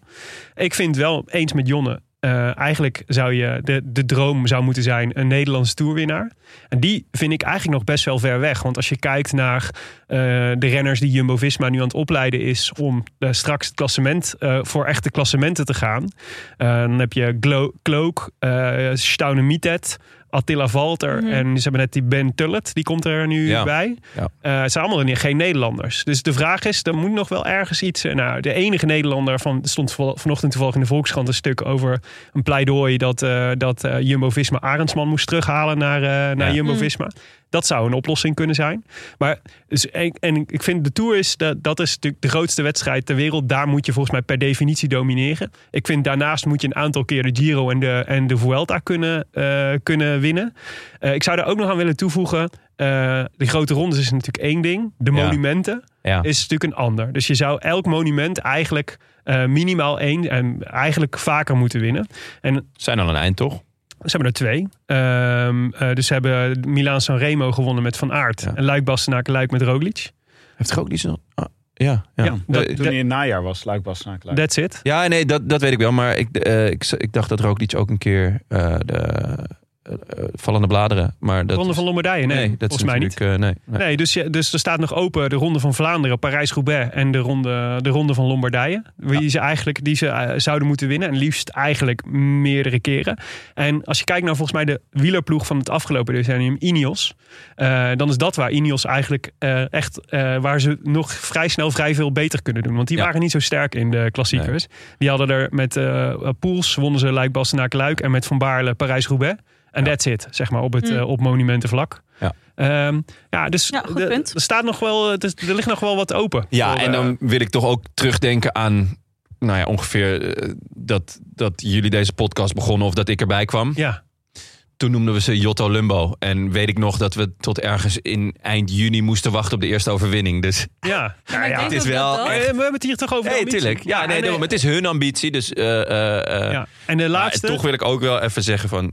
Ik vind wel eens met Jonne. eh, eigenlijk zou je de, de droom zou moeten zijn een Nederlandse toerwinnaar. En die vind ik eigenlijk nog best wel ver weg. Want als je kijkt naar eh, de renners die Jumbo Visma nu aan het opleiden is om eh, straks het klassement eh, voor echte klassementen te gaan. Eh, dan heb je Glo Cloak, eh Staune Mietet, Attila Valter Mhm. en ze hebben net die Ben Tullet, die komt er nu Ja. bij. Ja. Eh, het zijn allemaal geen Nederlanders. Dus de vraag is, er moet nog wel ergens iets... eh, Nou, de enige Nederlander, van, er stond vo- vanochtend toevallig in de Volkskrant... een stuk over een pleidooi dat, eh, dat eh, Jumbo-Visma Arendsman moest terughalen naar, eh, naar Ja. Jumbo-Visma. Dat zou een oplossing kunnen zijn. Maar, dus, en, en ik vind de Tour is, dat, dat is natuurlijk de grootste wedstrijd ter wereld. Daar moet je volgens mij per definitie domineren. Ik vind daarnaast moet je een aantal keer de Giro en de, en de Vuelta kunnen, eh, kunnen winnen. Eh, ik zou daar ook nog aan willen toevoegen. eh, de grote rondes is natuurlijk één ding. De Ja. monumenten Ja. is natuurlijk een ander. Dus je zou elk monument eigenlijk eh, minimaal één en eigenlijk vaker moeten winnen. En Zijn al een eind, toch? ze hebben er twee. Ehm, eh, dus ze hebben Milaan Sanremo gewonnen met Van Aert. Ja. En Luik Bastenaken, Luik met Roglic. Heeft ook niet Ah, ja, ja. Ja, dat- Eh, toen hij in het najaar was, Luik was naar Luik. That's it. Ja, nee, dat, dat weet ik wel. Maar ik, eh, ik, ik dacht dat Roglic ook een keer eh, de eh, eh, vallende bladeren. Maar dat Ronde is- van Lombardije. Nee, dat is volgens mij niet. natuurlijk, eh, nee, nee. Nee, dus, je, dus er staat nog open de Ronde van Vlaanderen, Parijs-Roubaix en de Ronde, de ronde van Lombardije. Die ze, eigenlijk, die ze eh, zouden moeten winnen. En liefst eigenlijk meerdere keren. En als je kijkt naar volgens mij de wielerploeg van het afgelopen decennium, Ineos. eh, dan is dat waar Ineos eigenlijk eh, echt, eh, waar ze nog vrij snel vrij veel beter kunnen doen. Want die Ja. waren niet zo sterk in de klassiekers. Die hadden er met eh Poels, wonnen ze Luik, Bastenaak, Luik. En met Van Baarle Parijs-Roubaix. En Ja. that's it, zeg maar, op, het, Mm. eh, op monumentenvlak. Ja. Ehm, ja, dus Ja, goed de- punt. Er, staat nog wel, eh, dus er ligt nog wel wat open. Ja, Voor, en eh, dan wil ik toch ook terugdenken aan nou ja, ongeveer eh, dat, dat jullie deze podcast begonnen of dat ik erbij kwam. ja, Toen noemden we ze Jotto Lumbo. En weet ik nog dat we tot ergens in eind juni moesten wachten op de eerste overwinning. Dus ja. Maar ik ja, denk het is dat wel dat Eh, echt- we hebben het hier toch over. de nee, ambitie? tuurlijk. Ja, nee, daarom. het is hun ambitie. Dus eh, eh, eh, Ja. En de maar laatste. toch wil ik ook wel even zeggen van...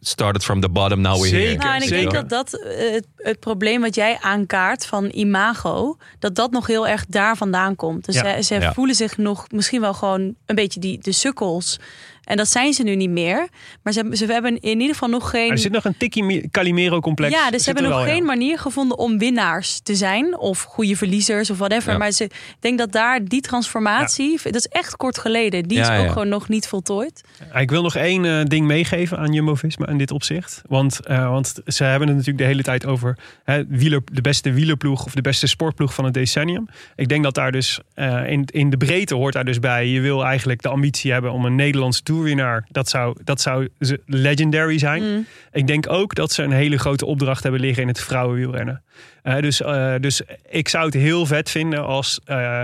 started from the bottom, now we're here. Zeker, Nou, en ik denk zeker. dat dat eh, het, het probleem wat jij aankaart van imago, dat dat nog heel erg daar vandaan komt. Dus Ja. ze, ze Ja. voelen zich nog misschien wel gewoon een beetje die, de sukkels. En dat zijn ze nu niet meer. Maar ze, hebben- ze hebben in ieder geval nog geen. Er zit nog een tikkie mi- Calimero-complex. Ja, dus ze Zit hebben er nog wel, geen ja. manier gevonden om winnaars te zijn. Of goede verliezers of whatever. Ja. Maar ze, ik denk dat daar die transformatie, dat is echt kort geleden. Die Ja, is ook ja. gewoon nog niet voltooid. Ik wil nog één eh, ding meegeven aan Jumbo-Visma in dit opzicht. Want, eh, want ze hebben het natuurlijk de hele tijd over hè, wieler, de beste wielerploeg... of de beste sportploeg van het decennium. Ik denk dat daar dus eh, in, in de breedte hoort daar dus bij... je wil eigenlijk de ambitie hebben om een Nederlands toerwinnaar... dat zou, dat zou ze- legendary zijn. Mm. Ik denk ook dat ze een hele grote opdracht hebben liggen in het vrouwenwielrennen. Eh, dus, eh, dus ik zou het heel vet vinden als eh,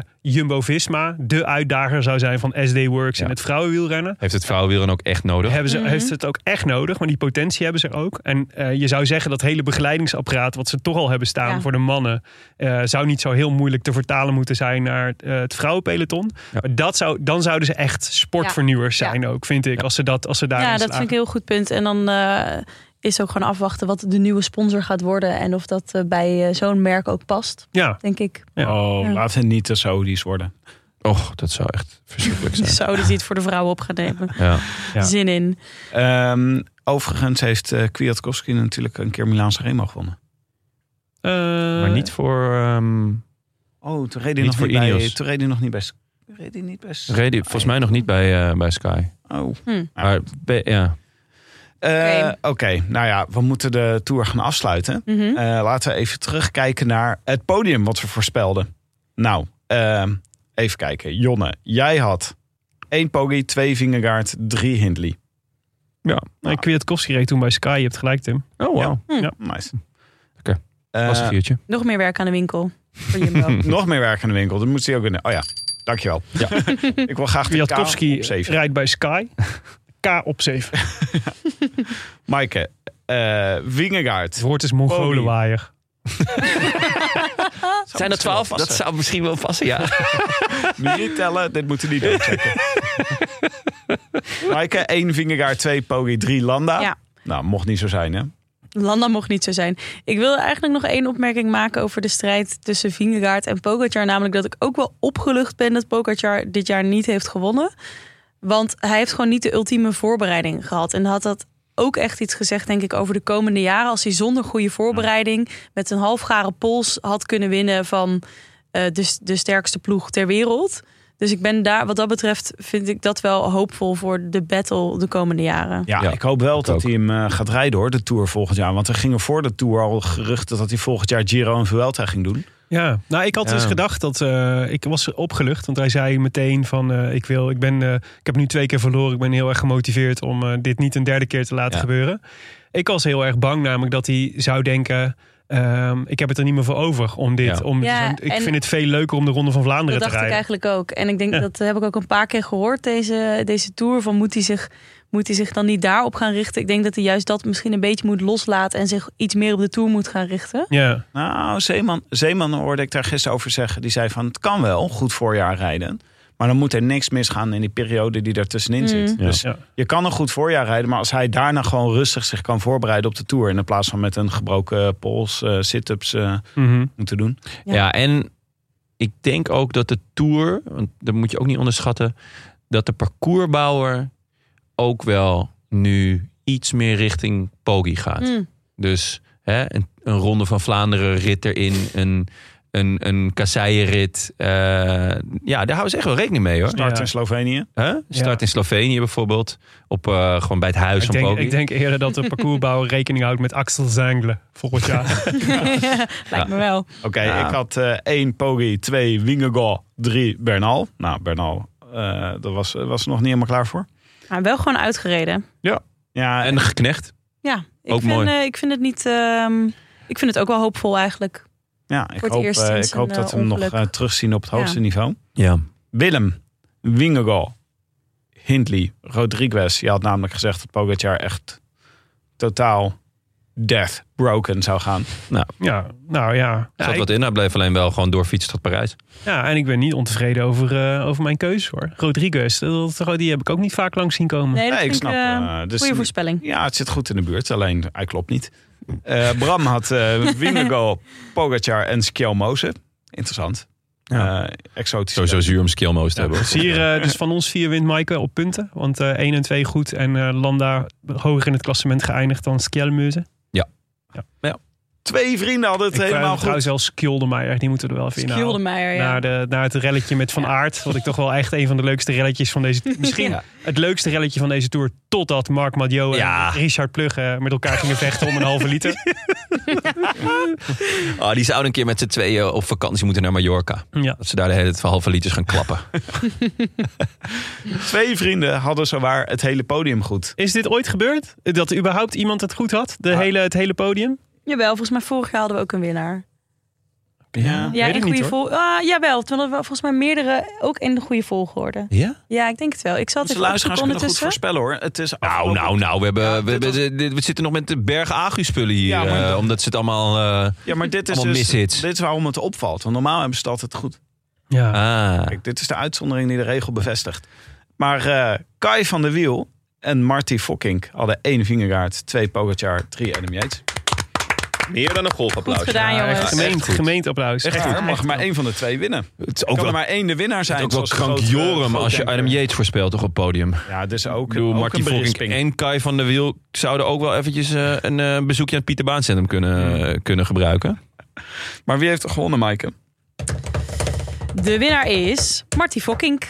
Jumbo-Visma de uitdager zou zijn van SD Works in Ja. het vrouwenwielrennen. Heeft het vrouwenwielrennen ook echt nodig? Hebben ze, Mhm. Heeft het ook echt nodig, maar die potentie hebben ze ook. En eh, je zou zeggen dat hele begeleidingsapparaat wat ze toch al hebben staan Ja. voor de mannen... eh, zou niet zo heel moeilijk te vertalen moeten zijn naar eh, het vrouwenpeloton. Ja. Maar dat zou, dan zouden ze echt sportvernieuwers Ja. zijn ook, vind ik. Als ze, dat, als ze daarin ja, dat slagen. vind ik een heel goed punt. En dan eh, is ook gewoon afwachten wat de nieuwe sponsor gaat worden. En of dat eh, bij eh, zo'n merk ook past, Ja, denk ik. Oh, Ja. laat het niet de Saudis worden. Och, dat zou echt verschrikkelijk zijn. Zo, die het voor de vrouwen op gaan nemen. Ja. Ja. Zin in. Ehm, overigens heeft eh, Kwiatkowski natuurlijk een keer Milaanse Remo gewonnen. Eh, Maar niet voor... ehm Oh, toen reed hij Niet nog voor niet bij. Ineos. Toen reed hij nog niet bij. Reed hij niet bij. reed hij volgens mij nog niet bij, eh, bij Sky. Oh. Hm. Ah. Maar be- ja. Eh, Oké. Oké, nou ja, we moeten de tour gaan afsluiten. Mhm. Eh, laten we even terugkijken naar het podium wat we voorspelden. Nou, ehm, even kijken. Jonne, jij had één Poggi, twee Vingegaard, drie Hindley. Ja, nou, Kwiatkowski reed toen bij Sky. Je hebt gelijk, Tim. Oh, wow. Ja. Ja. Nice. Oké. Eh, Was een [laughs] viertje. Nog meer werk aan de winkel. Voor Jumbo. nog meer werk aan de winkel. Dat moest hij ook in. de- Oh ja, dankjewel. Ja. [laughs] Ik wil graag de K Kwiatkowski op zeven. rijdt bij Sky. K op 7. Maaike, eh Wingegaard. Het woord is Mongolenwaaier. Zijn dat twaalf? Dat zou misschien wel passen, ja. Niet tellen, dit moeten die doen. [laughs] Maaike, één Vingegaard, twee Poggi, drie Landa. Ja. Nou, mocht niet zo zijn, hè? Landa mocht niet zo zijn. Ik wil eigenlijk nog één opmerking maken over de strijd tussen Vingegaard en Pogacar. Namelijk dat ik ook wel opgelucht ben dat Pogacar dit jaar niet heeft gewonnen. Want hij heeft gewoon niet de ultieme voorbereiding gehad. En had dat ook echt iets gezegd, denk ik, over de komende jaren. Als hij zonder goede voorbereiding met een halfgaren pols had kunnen winnen van eh, de, de sterkste ploeg ter wereld. Dus ik ben daar, wat dat betreft, vind ik dat wel hoopvol voor de battle de komende jaren. Ja, Ja, ik hoop wel ik dat ook. hij hem eh, gaat rijden hoor, de Tour volgend jaar. Want er gingen voor de Tour al geruchten dat hij volgend jaar Giro en Vuelta ging doen. Ja, nou ik had Ja. dus gedacht dat eh, ik was opgelucht, want hij zei meteen van eh, ik wil, ik ben, eh, ik heb nu twee keer verloren, ik ben heel erg gemotiveerd om eh, dit niet een derde keer te laten Ja. gebeuren. Ik was heel erg bang namelijk dat hij zou denken. ehm, ik heb het er niet meer voor over om dit. Ja. Om, Ja, zo'n- ik en- vind het veel leuker om de Ronde van Vlaanderen Dat te dacht ik rijden. eigenlijk ook. En ik denk Ja. dat heb ik ook een paar keer gehoord deze, deze tour. Van moet hij, zich, moet hij zich dan niet daarop gaan richten? Ik denk dat hij juist dat misschien een beetje moet loslaten en zich iets meer op de tour moet gaan [laughs] richten. [laughs] Ja, Nou, Zeeman, Zeeman hoorde ik daar gisteren over zeggen. Die zei van het kan wel, goed voorjaar rijden. Maar dan moet er niks misgaan in die periode die er tussenin Mm. zit. Ja. Dus Ja. je kan een goed voorjaar rijden. Maar als hij daarna gewoon rustig zich kan voorbereiden op de Tour. In plaats van met een gebroken pols, eh, sit-ups eh, mhm. moeten doen. [laughs] Ja. Ja. en ik denk ook dat de Tour, want dat moet je ook niet onderschatten, dat de parcoursbouwer ook wel nu iets meer richting Poggi gaat. Hmm. Mm. Dus hè, een, een ronde van Vlaanderen rit erin, een, een, een kasseienrit. eh, ja, daar houden ze echt wel rekening mee hoor. Start Ja. in Slovenië. Hè? Start in Slovenië bijvoorbeeld, op, eh, gewoon bij het huis Ik, van denk, Poggi. ik denk eerder dat de parcoursbouwer rekening houdt met Axel Zengelen volgend [laughs] jaar. Lijkt me wel. Oké, Ja. ik had eh één Poggi, twee Wingegaard, drie Bernal. Nou, Bernal, eh dat was, was er nog niet helemaal klaar voor. Maar wel gewoon uitgereden. Ja, En en geknecht. Ja, ik, Ook vind, mooi. eh, ik vind het niet. ehm, ik vind het ook wel hoopvol eigenlijk. ja, ik het hoop, eerst eh, sinds ik hoop een, dat eh, we hem nog ongeluk. eh, terugzien op het Ja. hoogste niveau. Ja. Willem, Wingegaard, Hindley, Rodriguez. Je had namelijk gezegd dat Pogacar echt totaal Death Broken zou gaan. Ja, nou ja. Er Ja, zat ik- wat in, hij bleef alleen wel gewoon doorfietsen tot Parijs. ja, en ik ben niet ontevreden over, eh, over mijn keuze hoor. Rodriguez, dat, dat- die heb ik ook niet vaak langs zien komen. Nee, dat Nee, ik vind snap. ik eh, eh, dus- goede voorspelling. Ja, het zit goed in de buurt, alleen hij klopt niet. Eh, Bram had eh Winnego, Pogacar en Skjelmoze. Interessant. Ja. Eh, exotisch. Sowieso zuur om skillmo's te Ja, hebben. plezier eh, dus van ons vier wint Maaike op punten. Want eh 1 en 2 goed. En eh, Landa hoger in het klassement geëindigd dan Skjelmeuze. Twee vrienden hadden het Ik eh, helemaal wou goed. trouwens wel Skjoldermeijer. Die moeten we er wel even inhalen. Skjoldenmeijer, ja. Naar, de, naar het relletje met Van Aert. Wat ik toch wel echt een van de leukste relletjes van deze... [laughs] Misschien Ja. het leukste relletje van deze Tour. Totdat Marc Madiot en Ja. Richard Plugge met elkaar gingen vechten om een halve [laughs] liter. Ah, die zouden een keer met z'n tweeën op vakantie moeten naar Mallorca. Ja. Dat ze daar de hele tijd van halve liters gaan [laughs] klappen. Twee vrienden hadden zowaar het hele podium goed. Is dit ooit gebeurd? Dat überhaupt iemand het goed had? Ah. De hele, het hele podium? Jawel, volgens mij vorig jaar hadden we ook een winnaar. Ja. Ja, ik in niet, goede hoor. volgorde. Ah, jawel, terwijl er wel volgens mij meerdere ook in de goede volgorde. Ja? Ja, ik denk het wel. Ik zat Onze even opzoeken luisteraars kunnen goed ondertussen. voorspellen hoor. Het is Nou, afgelopen- nou, nou. We, hebben, Ja, we, dit hebben- dit- we zitten nog met de berg agu-spullen hier. Ja, maar eh, dat- omdat ze het allemaal... eh, Ja, maar dit is, Allemaal dus, mishits. dit is waarom het opvalt. Want normaal hebben ze het altijd goed. Ja. ah. Kijk, dit is de uitzondering die de regel bevestigt. Maar eh, Kai van der Wiel en Marty Fokking hadden één vingergaard, twee Pogacar, drie Adam Yates. Meer dan een golfapplaus. Goed gedaan, jongens. echt Gemeend, goed. gemeentapplaus. Echt waar, mag maar één van de twee winnen. Het is Ook ook kan wel, er maar één de winnaar zijn. ook wel zoals de grote- krankjorum grote als je denker. Adam Yates voorspelt toch op het podium. Ik Ja, dus ook, bedoel, ook Marty een Volking berisping. en Kai van der Wiel zouden ook wel eventjes eh, een eh, bezoekje aan het Pieterbaancentrum Hmm. kunnen, eh, kunnen gebruiken. Maar wie heeft gewonnen, Maaike? De winnaar is Marty Fokking.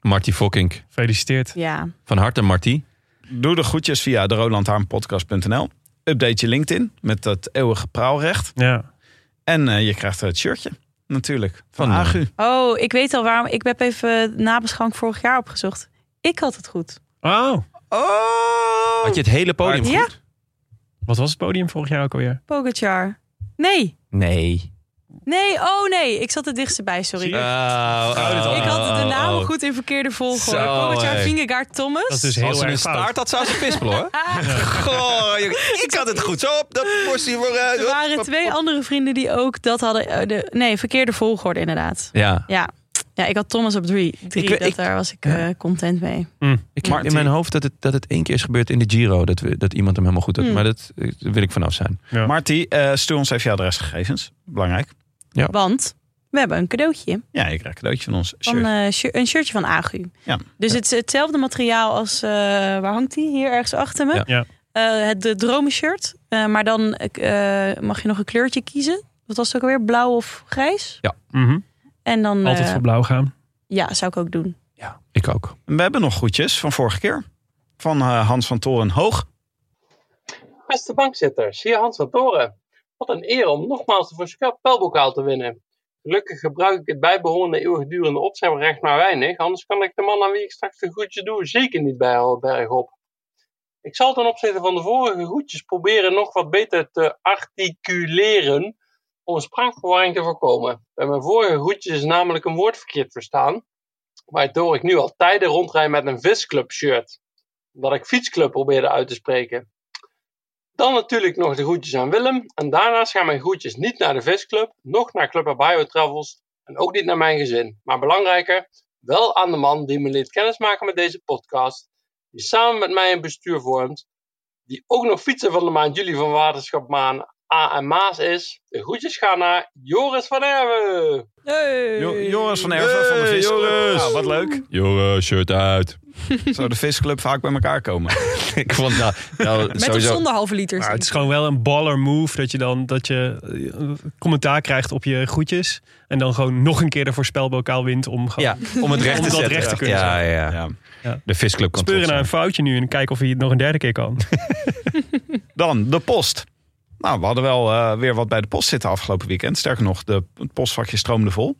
Marty Fokking. Gefeliciteerd. Ja. Van harte, Marty. Doe de groetjes via de rolandhaarnpodcast.nl. Update je LinkedIn met dat eeuwige praalrecht. Ja. En eh, je krijgt het shirtje, natuurlijk. Van, Van, eh, Agu. Oh, ik weet al waarom. Ik heb even nabeschouwing vorig jaar opgezocht. Ik had het goed. Oh, Oh! Had je het hele podium Ja. goed? wat was het podium vorig jaar ook alweer? Pogacar. Nee. Nee. Nee, oh nee. Ik zat het dichtst bij, sorry. Eh, Oh, oh, ik had de oh, namen oh. goed in verkeerde volgorde. Zo, Pogacar, hé. Vingegaard, Thomas. Ah, Dat is dus Als heel ze een erg fout. staart had, zou ze pispelen [laughs] hoor. Goh, jongen, ik had het goed zo op. Dat moest hij voor... Er waren twee andere vrienden die ook dat hadden. eh, de, nee, verkeerde volgorde inderdaad. Ja, Ja. ja, ik had Thomas op drie. drie Ik- dat ik- daar was ik eh, content mee. ik Marty. heb in mijn hoofd dat het, dat het één keer is gebeurd in de Giro. Dat, we, dat iemand hem helemaal goed had. Hmm. Maar dat, eh, daar wil ik vanaf zijn. Ja. Marty, eh, stuur ons even je adresgegevens. Belangrijk. Want we hebben een cadeautje. Ja, je krijgt een cadeautje van ons. Van, shirt. eh, shir- een shirtje van Agu. Ja. Dus het is hetzelfde materiaal als... eh, waar hangt die? Hier ergens achter me. Ja. Ja. Eh, het de dromenshirt. Eh, maar dan eh, mag je nog een kleurtje kiezen. Wat was het ook alweer? Blauw of grijs? Mhm. En dan... Altijd eh, voor blauw gaan. ja, zou ik ook doen. Ja, ik ook. En We hebben nog groetjes van vorige keer. Van eh, Hans van Toren Hoog. Beste bankzitters, hier Hans van Toren. Wat een eer om nogmaals de voorspelbokaal te winnen. Gelukkig gebruik ik het bijbehorende eeuwigdurende opzemrecht maar weinig, anders kan ik de man aan wie ik straks de groetjes doe zeker niet bij op. Ik zal ten opzichte van de vorige groetjes proberen nog wat beter te articuleren om een spraakverwarring te voorkomen. Bij mijn vorige groetjes is namelijk een woord verkeerd verstaan, waardoor ik nu al tijden rondrij met een visclub shirt, omdat ik fietsclub probeerde uit te spreken. Dan natuurlijk nog de groetjes aan Willem. En daarnaast gaan mijn groetjes niet naar de visclub, nog naar Club Abio Travels en ook niet naar mijn gezin. Maar belangrijker, wel aan de man die me liet kennismaken met deze podcast, die samen met mij een bestuur vormt, die ook nog fietser van de maand juli van Waterschap Maan A en Maas is. De groetjes gaan naar Joris van Erwe. Hey. Jo- Joris van Erven van de Hey, Visclub. Joris. Nou, wat leuk. Jongen, shirt uit. [laughs] Zou de Visclub vaak bij elkaar komen. [laughs] ik vond nou, nou Met of sowieso... zonder halve liter. Maar het is gewoon wel een baller move dat je dan dat je eh, commentaar krijgt op je groetjes. En dan gewoon nog een keer de voorspelbokaal wint om gewoon... Ja, om het recht Om te dat zetten. recht te kunnen ja, zetten. ja, ja. Ja. De visclub kan Speuren trots naar zijn. een foutje nu en kijken of hij het nog een derde keer kan. Dan de post. Nou, we hadden wel eh, weer wat bij de post zitten afgelopen weekend. Sterker nog, de, het postvakje stroomde vol.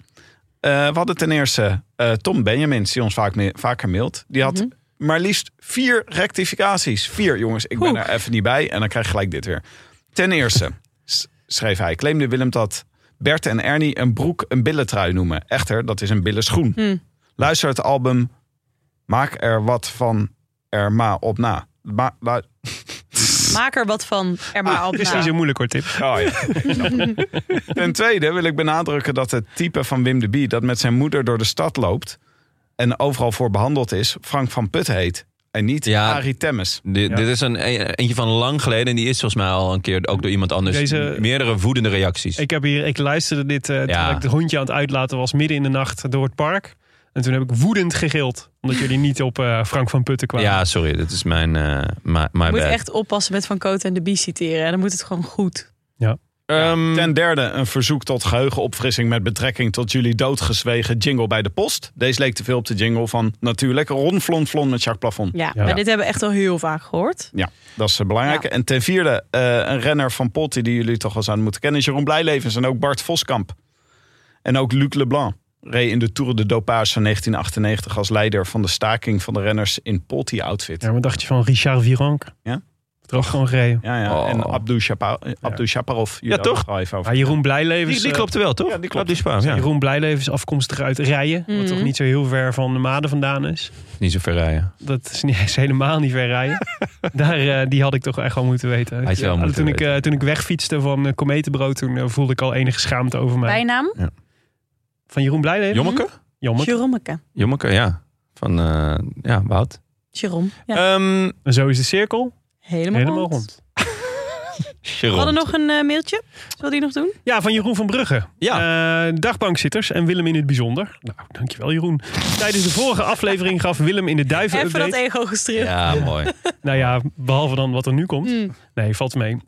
Eh, we hadden ten eerste eh, Tom Benjamins, die ons vaak me- vaker mailt. Die had maar liefst vier rectificaties. Vier, jongens, ik ben Oeh. er even niet bij. En dan krijg je gelijk dit weer. Ten eerste s- schreef hij, claimde Willem dat Bert en Ernie een broek een billentrui noemen. Echter, dat is een billenschoen. Hmm. Luister het album Maak er wat van er ma op na. Ma- lu- Maak er wat van. Er maar Ah, Het [laughs] op is na. niet zo moeilijk hoor, Tip. Oh, ja. Ten tweede wil ik benadrukken dat het type van Wim de Bie... dat met zijn moeder door de stad loopt en overal voor behandeld is... Frank van Put heet en niet Ja. Arie Temmes. Dit, Ja. dit is een, e- eentje van lang geleden. En die is volgens mij al een keer ook door iemand anders. Deze- Meerdere woedende reacties. Ik, heb hier, ik luisterde dit eh terwijl Ja. ik het hondje aan het uitlaten was midden in de nacht door het park. En toen heb ik woedend gegild. Omdat jullie niet op eh, Frank van Putten kwamen. ja, sorry. Dit is mijn, eh my, my Je moet bad. echt oppassen met Van Koot en de Bie citeren. En dan moet het gewoon goed. Ehm, Ten derde een verzoek tot geheugenopfrissing... met betrekking tot jullie doodgezwegen jingle bij de post. Deze leek te veel op de jingle van natuurlijk Ron Flon Flon met Jacques Plafond. Ja, Ja. maar dit hebben we echt al heel vaak gehoord. Ja, dat is eh, belangrijk. En ten vierde, eh, een renner van Potti die jullie toch wel zouden moeten kennen... is Jeroen Blijlevens en ook Bart Voskamp. En ook Luc Leblanc. Reed in de Tour de Dopage van 1998 als leider van de staking van de renners in Potti-outfit. Ja, Ja. wat dacht je van Richard Virank? Ja? Toch gewoon gereden. Ja, Oh. En Abdou, Shapa eh, Abdou Shaparov. jullie Ja, toch? hadden het al even over. Maar Jeroen Blijlevens... die, die eh, klopte wel, toch? ja, die klopt. die Spaan. Ja. Jeroen Blijlevens afkomstig uit Rijen. Mhm. Wat toch niet zo heel ver van de Maden vandaan is. Niet zo ver rijden. Dat is, niet, [laughs] is helemaal niet ver [laughs] rijden. Daar, eh, die had ik toch echt wel moeten weten. Had je wel Ja, moeten toen, ik, eh, weten. toen ik wegfietste van eh, Kometenbrood, toen eh, voelde ik al enige schaamte over mij. Bijnaam? Van Jeroen Blijlevens? Jommeke? Jammer. Jerommeke. Jommeke, ja. Van, eh, ja, Wout. Jeroen. Ja, Ehm, En zo is de cirkel helemaal, helemaal rond. rond. We Sharon. hadden nog een eh, mailtje. Zullen we die nog doen? Ja, van Jeroen van Brugge. Eh, dagbankzitters en Willem in het bijzonder. Nou, dankjewel Jeroen. Tijdens de vorige aflevering gaf Willem in de duiven Even dat update. ego gestreeld. Ja, mooi. Nou ja, behalve dan wat er nu komt. Mm. Nee, valt mee. Eh,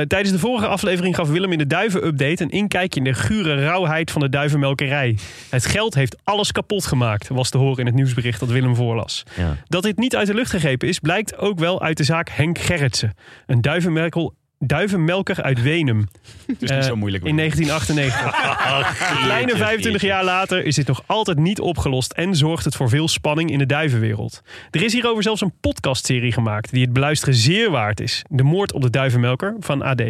tijdens de vorige aflevering gaf Willem in de duiven-update... een inkijkje in de gure rauwheid van de duivenmelkerij. Het geld heeft alles kapot gemaakt, was te horen in het nieuwsbericht dat Willem voorlas. Ja. Dat dit niet uit de lucht gegrepen is, blijkt ook wel uit de zaak Henk Gerritsen. Een duivenmerkel, duivenmelker uit Wenum. Het is Eh, niet zo moeilijk. In 1998. Kleine 25 jaar later is dit nog altijd niet opgelost en zorgt het voor veel spanning in de duivenwereld. Er is hierover zelfs een podcastserie gemaakt die het beluisteren zeer waard is. De moord op de duivenmelker van AD.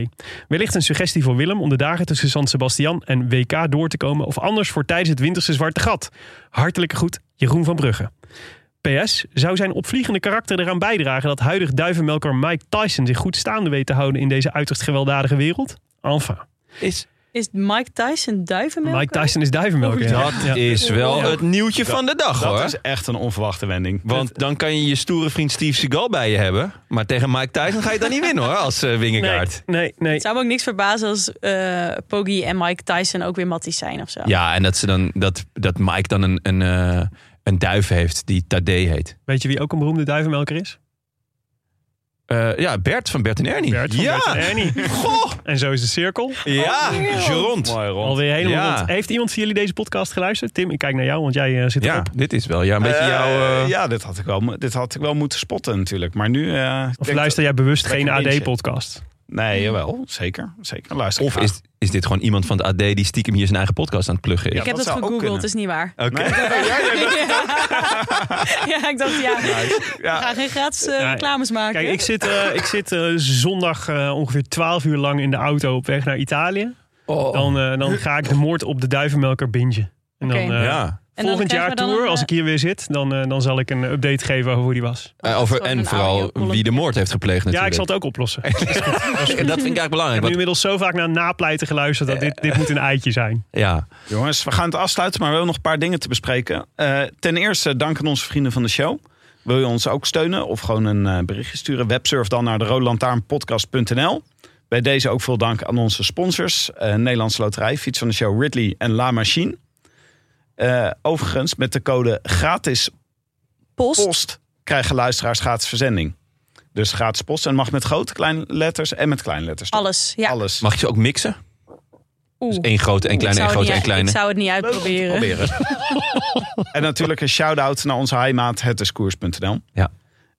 Wellicht een suggestie voor Willem om de dagen tussen San Sebastian en WK door te komen of anders voor tijdens het winterse zwarte gat. Hartelijke groet, Jeroen van Brugge. PS, zou zijn opvliegende karakter eraan bijdragen dat huidig duivenmelker Mike Tyson zich goed staande weet te houden in deze uiterst gewelddadige wereld? Enfin. Is, Is Mike Tyson duivenmelker? Mike Tyson is duivenmelker. ja. dat is wel Ja. het nieuwtje van de dag, Dat hoor. is echt een onverwachte wending. Want dan kan je je stoere vriend Steve Seagal bij je hebben. Maar tegen Mike Tyson ga je dan niet winnen, hoor, als eh Nee, Wingegaard. nee, nee. Het zou me ook niks verbazen als eh Poggi en Mike Tyson ook weer matties zijn of zo. Ja, en dat, ze dan, dat, dat Mike dan een, een, eh, een duif heeft die Tadee heet. Weet je wie ook een beroemde duivenmelker is? Eh, ja, Bert van Bert en Ernie. Bert van ja. Bert en Ernie. [laughs] Oh, Goh. En zo is de cirkel. Ja, Gerond. Mooi, Ron. Alweer helemaal Ja. rond. Heeft iemand van jullie deze podcast geluisterd? Tim, ik kijk naar jou, want jij eh, zit Ja, erop. dit is wel ja, een beetje Eh, jouw... eh, Ja, dit had, ik wel, mo- dit had ik wel moeten spotten natuurlijk. Maar nu... eh, ik Of denk luister jij bewust dat ik geen een beetje- AD-podcast? Nee, jawel. Zeker. zeker. Luister ik Of graag. is, is dit gewoon iemand van het AD die stiekem hier zijn eigen podcast aan het pluggen is? ik heb dat dat, zou ook gegoogeld, kunnen. het is niet waar. Oké. [laughs] ja, ik dacht ja. Ja. We gaan geen gratis eh, Ja, reclames maken. Kijk, ik zit, eh, ik zit eh, zondag eh, ongeveer 12 uur lang in de auto op weg naar Italië. Oh. Dan, eh, dan ga ik de moord op de duivenmelker bingen. En dan, Oké. eh, ja. En dan volgend krijgen jaar we dan tour, een, als eh, ik hier weer zit, dan, eh, dan zal ik een update geven over hoe die was. Eh, over, gewoon en een vooral audio-column. wie de moord heeft gepleegd Ja, ik natuurlijk. zal het ook oplossen. En dat vind ik eigenlijk belangrijk. Ik heb nu want- inmiddels zo vaak naar napleiten geluisterd dat dit, dit moet een eitje zijn. ja. Jongens, we gaan het afsluiten, maar we hebben nog een paar dingen te bespreken. Eh, ten eerste danken onze vrienden van de show. Wil je ons ook steunen of gewoon een eh, berichtje sturen? Websurf dan naar de roodlantaarnpodcast.nl. Bij deze ook veel dank aan onze sponsors. eh Nederlandse Loterij, Fiets van de Show, Ridley en La Machine. Eh, overigens, met de code gratis post. post krijgen luisteraars gratis verzending. Dus gratis post en mag met grote, kleine letters en met kleine letters. Alles. Ja. Alles. Mag je ze ook mixen? Oeh. Eén grote, één Ik zou kleine, één het grote, niet- één kleine. Ik zou het niet Leuk om te [laughs] uitproberen. proberen. en natuurlijk een shout-out naar onze heimaat, hetiskoers.nl. Ja.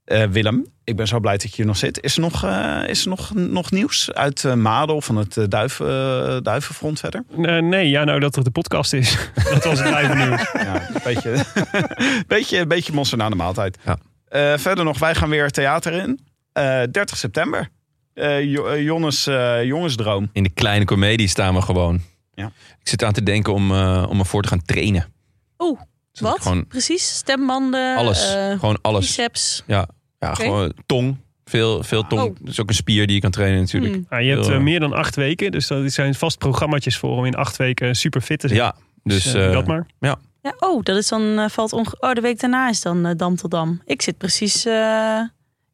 Eh, Willem, ik ben zo blij dat je hier nog zit. Is er nog, eh, is er nog, nog nieuws uit eh, Madel van het eh, duiven, eh, Duivenfront verder? Eh, nee, ja, nou dat er de podcast is. [laughs] Dat was het live nieuws. Ja, [laughs] een beetje, beetje, beetje monster na de maaltijd. Ja. Eh, verder nog, wij gaan weer theater in. Eh, 30 september. Eh, Jo- eh, Jonnes, eh, jongensdroom. In de kleine komedie staan we gewoon. Ja. Ik zit aan te denken om, eh, om ervoor te gaan trainen. Oeh, Zodat Wat? ik Gewoon Precies. Stembanden. alles. eh, gewoon alles. biceps. Ja, ja gewoon tong. Veel, veel tong. Oh. Dat is ook een spier die je kan trainen natuurlijk. Hmm. Nou, je hebt Heel, eh, eh, meer dan acht weken, dus dat zijn vast programma's voor om in acht weken super fit te zijn. Ja, dus... eh, eh, dat maar. Ja, oh, dat is dan eh, valt onge- Oh, de week daarna is dan eh, Dam tot Dam. Ik zit precies. eh,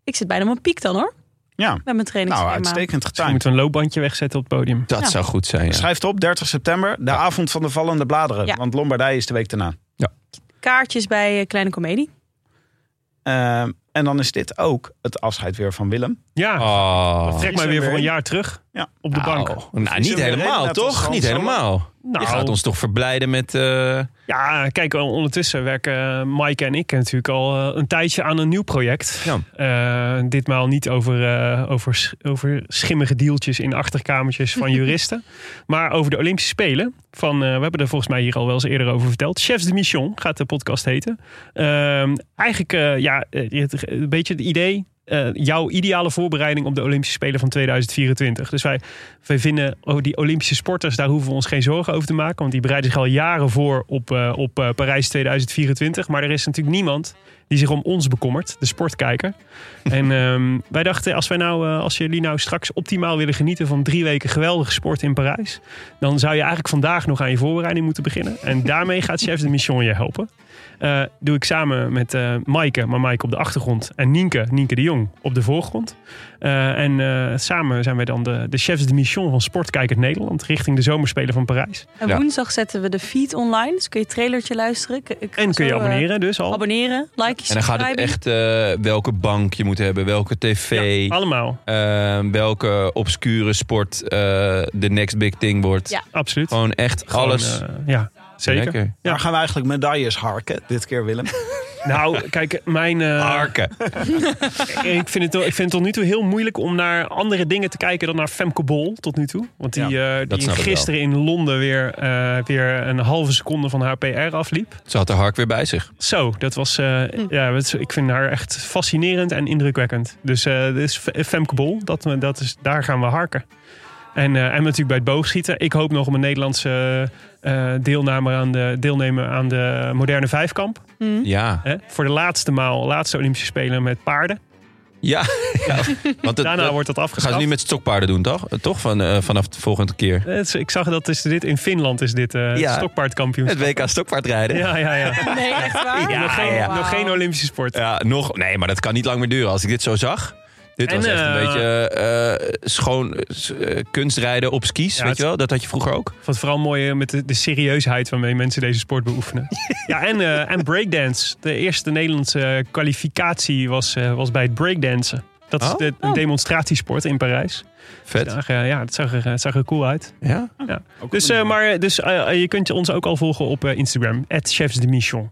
ik zit bijna op mijn piek dan hoor. Ja. Met mijn trainingsschema. Nou, uitstekend Misschien getimed. moeten we een loopbandje wegzetten op het podium. dat Ja. zou goed zijn, ja. Schrijf het op, 30 september, de avond van de vallende bladeren. Ja. Want Lombardij is de week daarna. Kaartjes bij eh, Kleine Comedie. Eh, en dan is dit ook het afscheid weer van Willem. Ja, Oh. Ah. trek mij weer voor een jaar terug. Ja. Op de Nou, bank. Nou, niet hem reden helemaal, dat ons toch? land Niet zo- helemaal. Nou, Je gaat ons toch verblijden met... eh, Ja, kijk, ondertussen werken eh, Mike en ik natuurlijk al eh, een tijdje aan een nieuw project. Ja. Eh, ditmaal niet over, eh, over, sch- over schimmige deeltjes in achterkamertjes van juristen. maar over de Olympische Spelen. Van, eh, we hebben er volgens mij hier al wel eens eerder over verteld. Chefs de Mission gaat de podcast heten. Ehm, eigenlijk, eh, ja, eh, het- een beetje het idee. eh, jouw ideale voorbereiding op de Olympische Spelen van 2024. Dus wij, wij vinden oh, die Olympische sporters, daar hoeven we ons geen zorgen over te maken. Want die bereiden zich al jaren voor op, eh, op eh, Parijs 2024. Maar er is natuurlijk niemand die zich om ons bekommert, de sportkijker. En ehm, wij dachten, als, wij nou, eh, als jullie nou straks optimaal willen genieten van drie weken geweldige sport in Parijs, dan zou je eigenlijk vandaag nog aan je voorbereiding moeten beginnen. En daarmee gaat Chef de Mission je helpen. Eh, doe ik samen met eh Maaike, maar Maaike op de achtergrond, en Nienke, Nienke de Jong, op de voorgrond. Eh, en eh, samen zijn wij dan de, de Chefs de Mission van Sportkijker Nederland richting de Zomerspelen van Parijs. En Ja. woensdag zetten we de feed online. Dus kun je het trailertje luisteren. Ik- ik- En kun je zo, eh, abonneren dus al. abonneren, like, en dan gaat het echt eh, welke bank je moet hebben, welke tv, Ja, allemaal, eh, welke obscure sport eh, de next big thing wordt. Ja. absoluut. Gewoon echt alles. Gewoon, eh, ja, zeker. Lekker. Ja. Daar gaan we eigenlijk medailles harken, dit keer [laughs] Willem. Nou, kijk, mijn, eh, Harken. ik, vind het, tot- ik vind het tot nu toe heel moeilijk om naar andere dingen te kijken dan naar Femke Bol tot nu toe. Want die, eh, dat die snap ik wel. gisteren in Londen weer, eh, weer een halve seconde van haar PR afliep. Ze had de hark weer bij zich. Zo, dat was. eh, ja, het is- ik vind haar echt fascinerend en indrukwekkend. Dus eh dit is F- Femke Bol, dat, we- dat is, daar gaan we harken. En, eh, en natuurlijk bij het boogschieten. Ik hoop nog op een Nederlandse eh deelname aan de, deelnemer aan de moderne vijfkamp. Ja. Hè? Voor de laatste maal, laatste Olympische Spelen met paarden. Ja. [laughs] ja. Want het, Daarna dat wordt dat gaan afgeschaft. ze nu met stokpaarden doen, toch? Eh, Toch van, eh, vanaf de volgende keer. Eh, Het is- Ik zag dat is dit, in Finland is dit eh Ja. stokpaardkampioenschap. WK stokpaardrijden. Ja. Ja, ja, ja. [laughs] Nee, echt waar? nog, geen, nog geen Olympische sport. nog. Nee, maar dat kan niet lang meer duren. Als ik dit zo zag. Dit En, was echt een eh, beetje eh, schoon eh, kunstrijden op skis, Ja, weet het- je wel? Dat had je vroeger ook. Ik vond het vooral mooi eh, met de, de serieusheid waarmee mensen deze sport beoefenen. ja, en, eh, en breakdance. De eerste Nederlandse kwalificatie was, eh, was bij het breakdansen. Dat is Oh. de, een demonstratiesport in Parijs. Vet. Daar, eh, ja, het zag, er, eh, het zag er cool uit. Ja. Ja. Dus, eh, maar, eh, dus eh, eh, je kunt je ons ook al volgen op eh, Instagram. Chefs de Mission.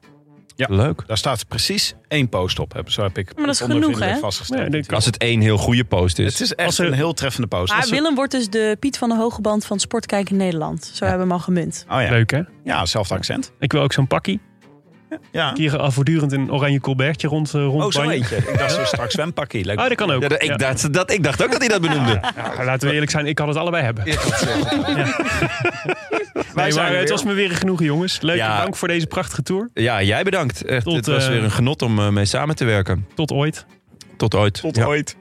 Leuk. Daar staat precies één post op. Heb- Zo heb ik Maar dat is onder genoeg, vrienden hè? vastgesteld. Ja, dat kan. Als het één heel goede post is. Het is Als echt er- een heel treffende post. Maar Als er- Willem wordt dus de Piet van de Hogeband van Sportkijker Nederland. Zo hebben we hem al gemunt. Oh ja. Leuk hè? ja, hetzelfde accent. Ik wil ook zo'n pakkie. Ja. Ik Hier al voortdurend een oranje colbertje rond, eh, rond Oh, zo banjo. eentje. Ik dacht zo [laughs] straks zwempakkie. Leuk. [laughs] Oh, dat kan ook. Ja, dat, ik, Ja. Dacht, dat, ik dacht ook dat hij dat benoemde. Ja, laten we eerlijk zijn, ik kan het allebei hebben. Wij Nee, zijn maar er het weer. was me weer genoegen, jongens. Leuk Ja. dank voor deze prachtige tour. Ja, jij bedankt. Echt, Tot, het was eh, weer een genot om eh, mee samen te werken. Tot ooit. Tot ooit. Tot Ja. ooit.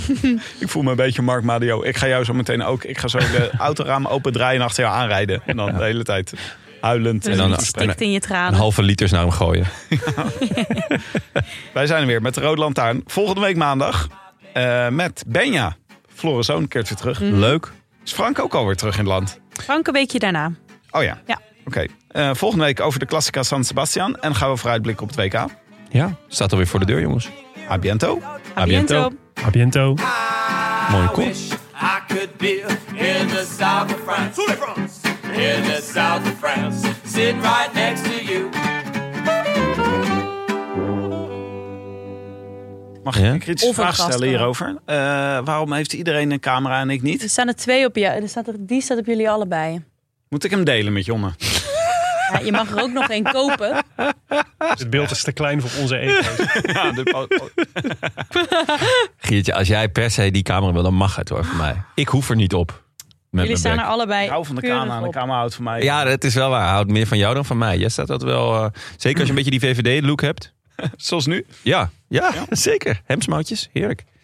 [laughs] ik voel me een beetje Mark Madio. Ik ga jou zo meteen ook. Ik ga zo [laughs] de autoraam open draaien en achter jou aanrijden. En dan de hele tijd huilend. En dan- eh, Het stikt in je Een tranen. halve liters naar hem gooien. Wij zijn er weer met de Rode Lantaarn. Volgende week maandag eh, met Benja. Floris Zoon keert weer terug. Mhm. Leuk. Is Frank ook alweer terug in het land? Frank een weekje daarna. Oh ja. Ja. Oké. Eh, volgende week over de Classica San Sebastian. En gaan we vooruitblikken op het WK. Ja, staat alweer voor de deur, jongens. A biento. A biento. A biento. Ah. Mooie kop. I could be in the south of France. In the south of France. Sitting right next to you. Mag ik Ja. een kritische Of een vraag gast, stellen ja. hierover? Eh, waarom heeft iedereen een camera en ik Er niet? staan er twee op jou. Er staat er, die staat op jullie allebei. Moet ik hem delen met Jonne? Ja, je mag er ook nog één kopen. Het beeld is te klein voor onze ego's. Ja, de po- [laughs] Giertje, als jij per se die camera wil, dan mag het hoor, voor mij. Ik hoef er niet op. Met Jullie mijn staan bek. er allebei. Ik hou van de keurig camera en de op. camera houdt van mij. Ja, dat is wel waar. Hij houdt meer van jou dan van mij. Jij staat dat wel... eh, zeker als je een beetje die VVD-look hebt. Zoals nu. [laughs] Ja, ja, zeker. Hemsmouwtjes, heerlijk.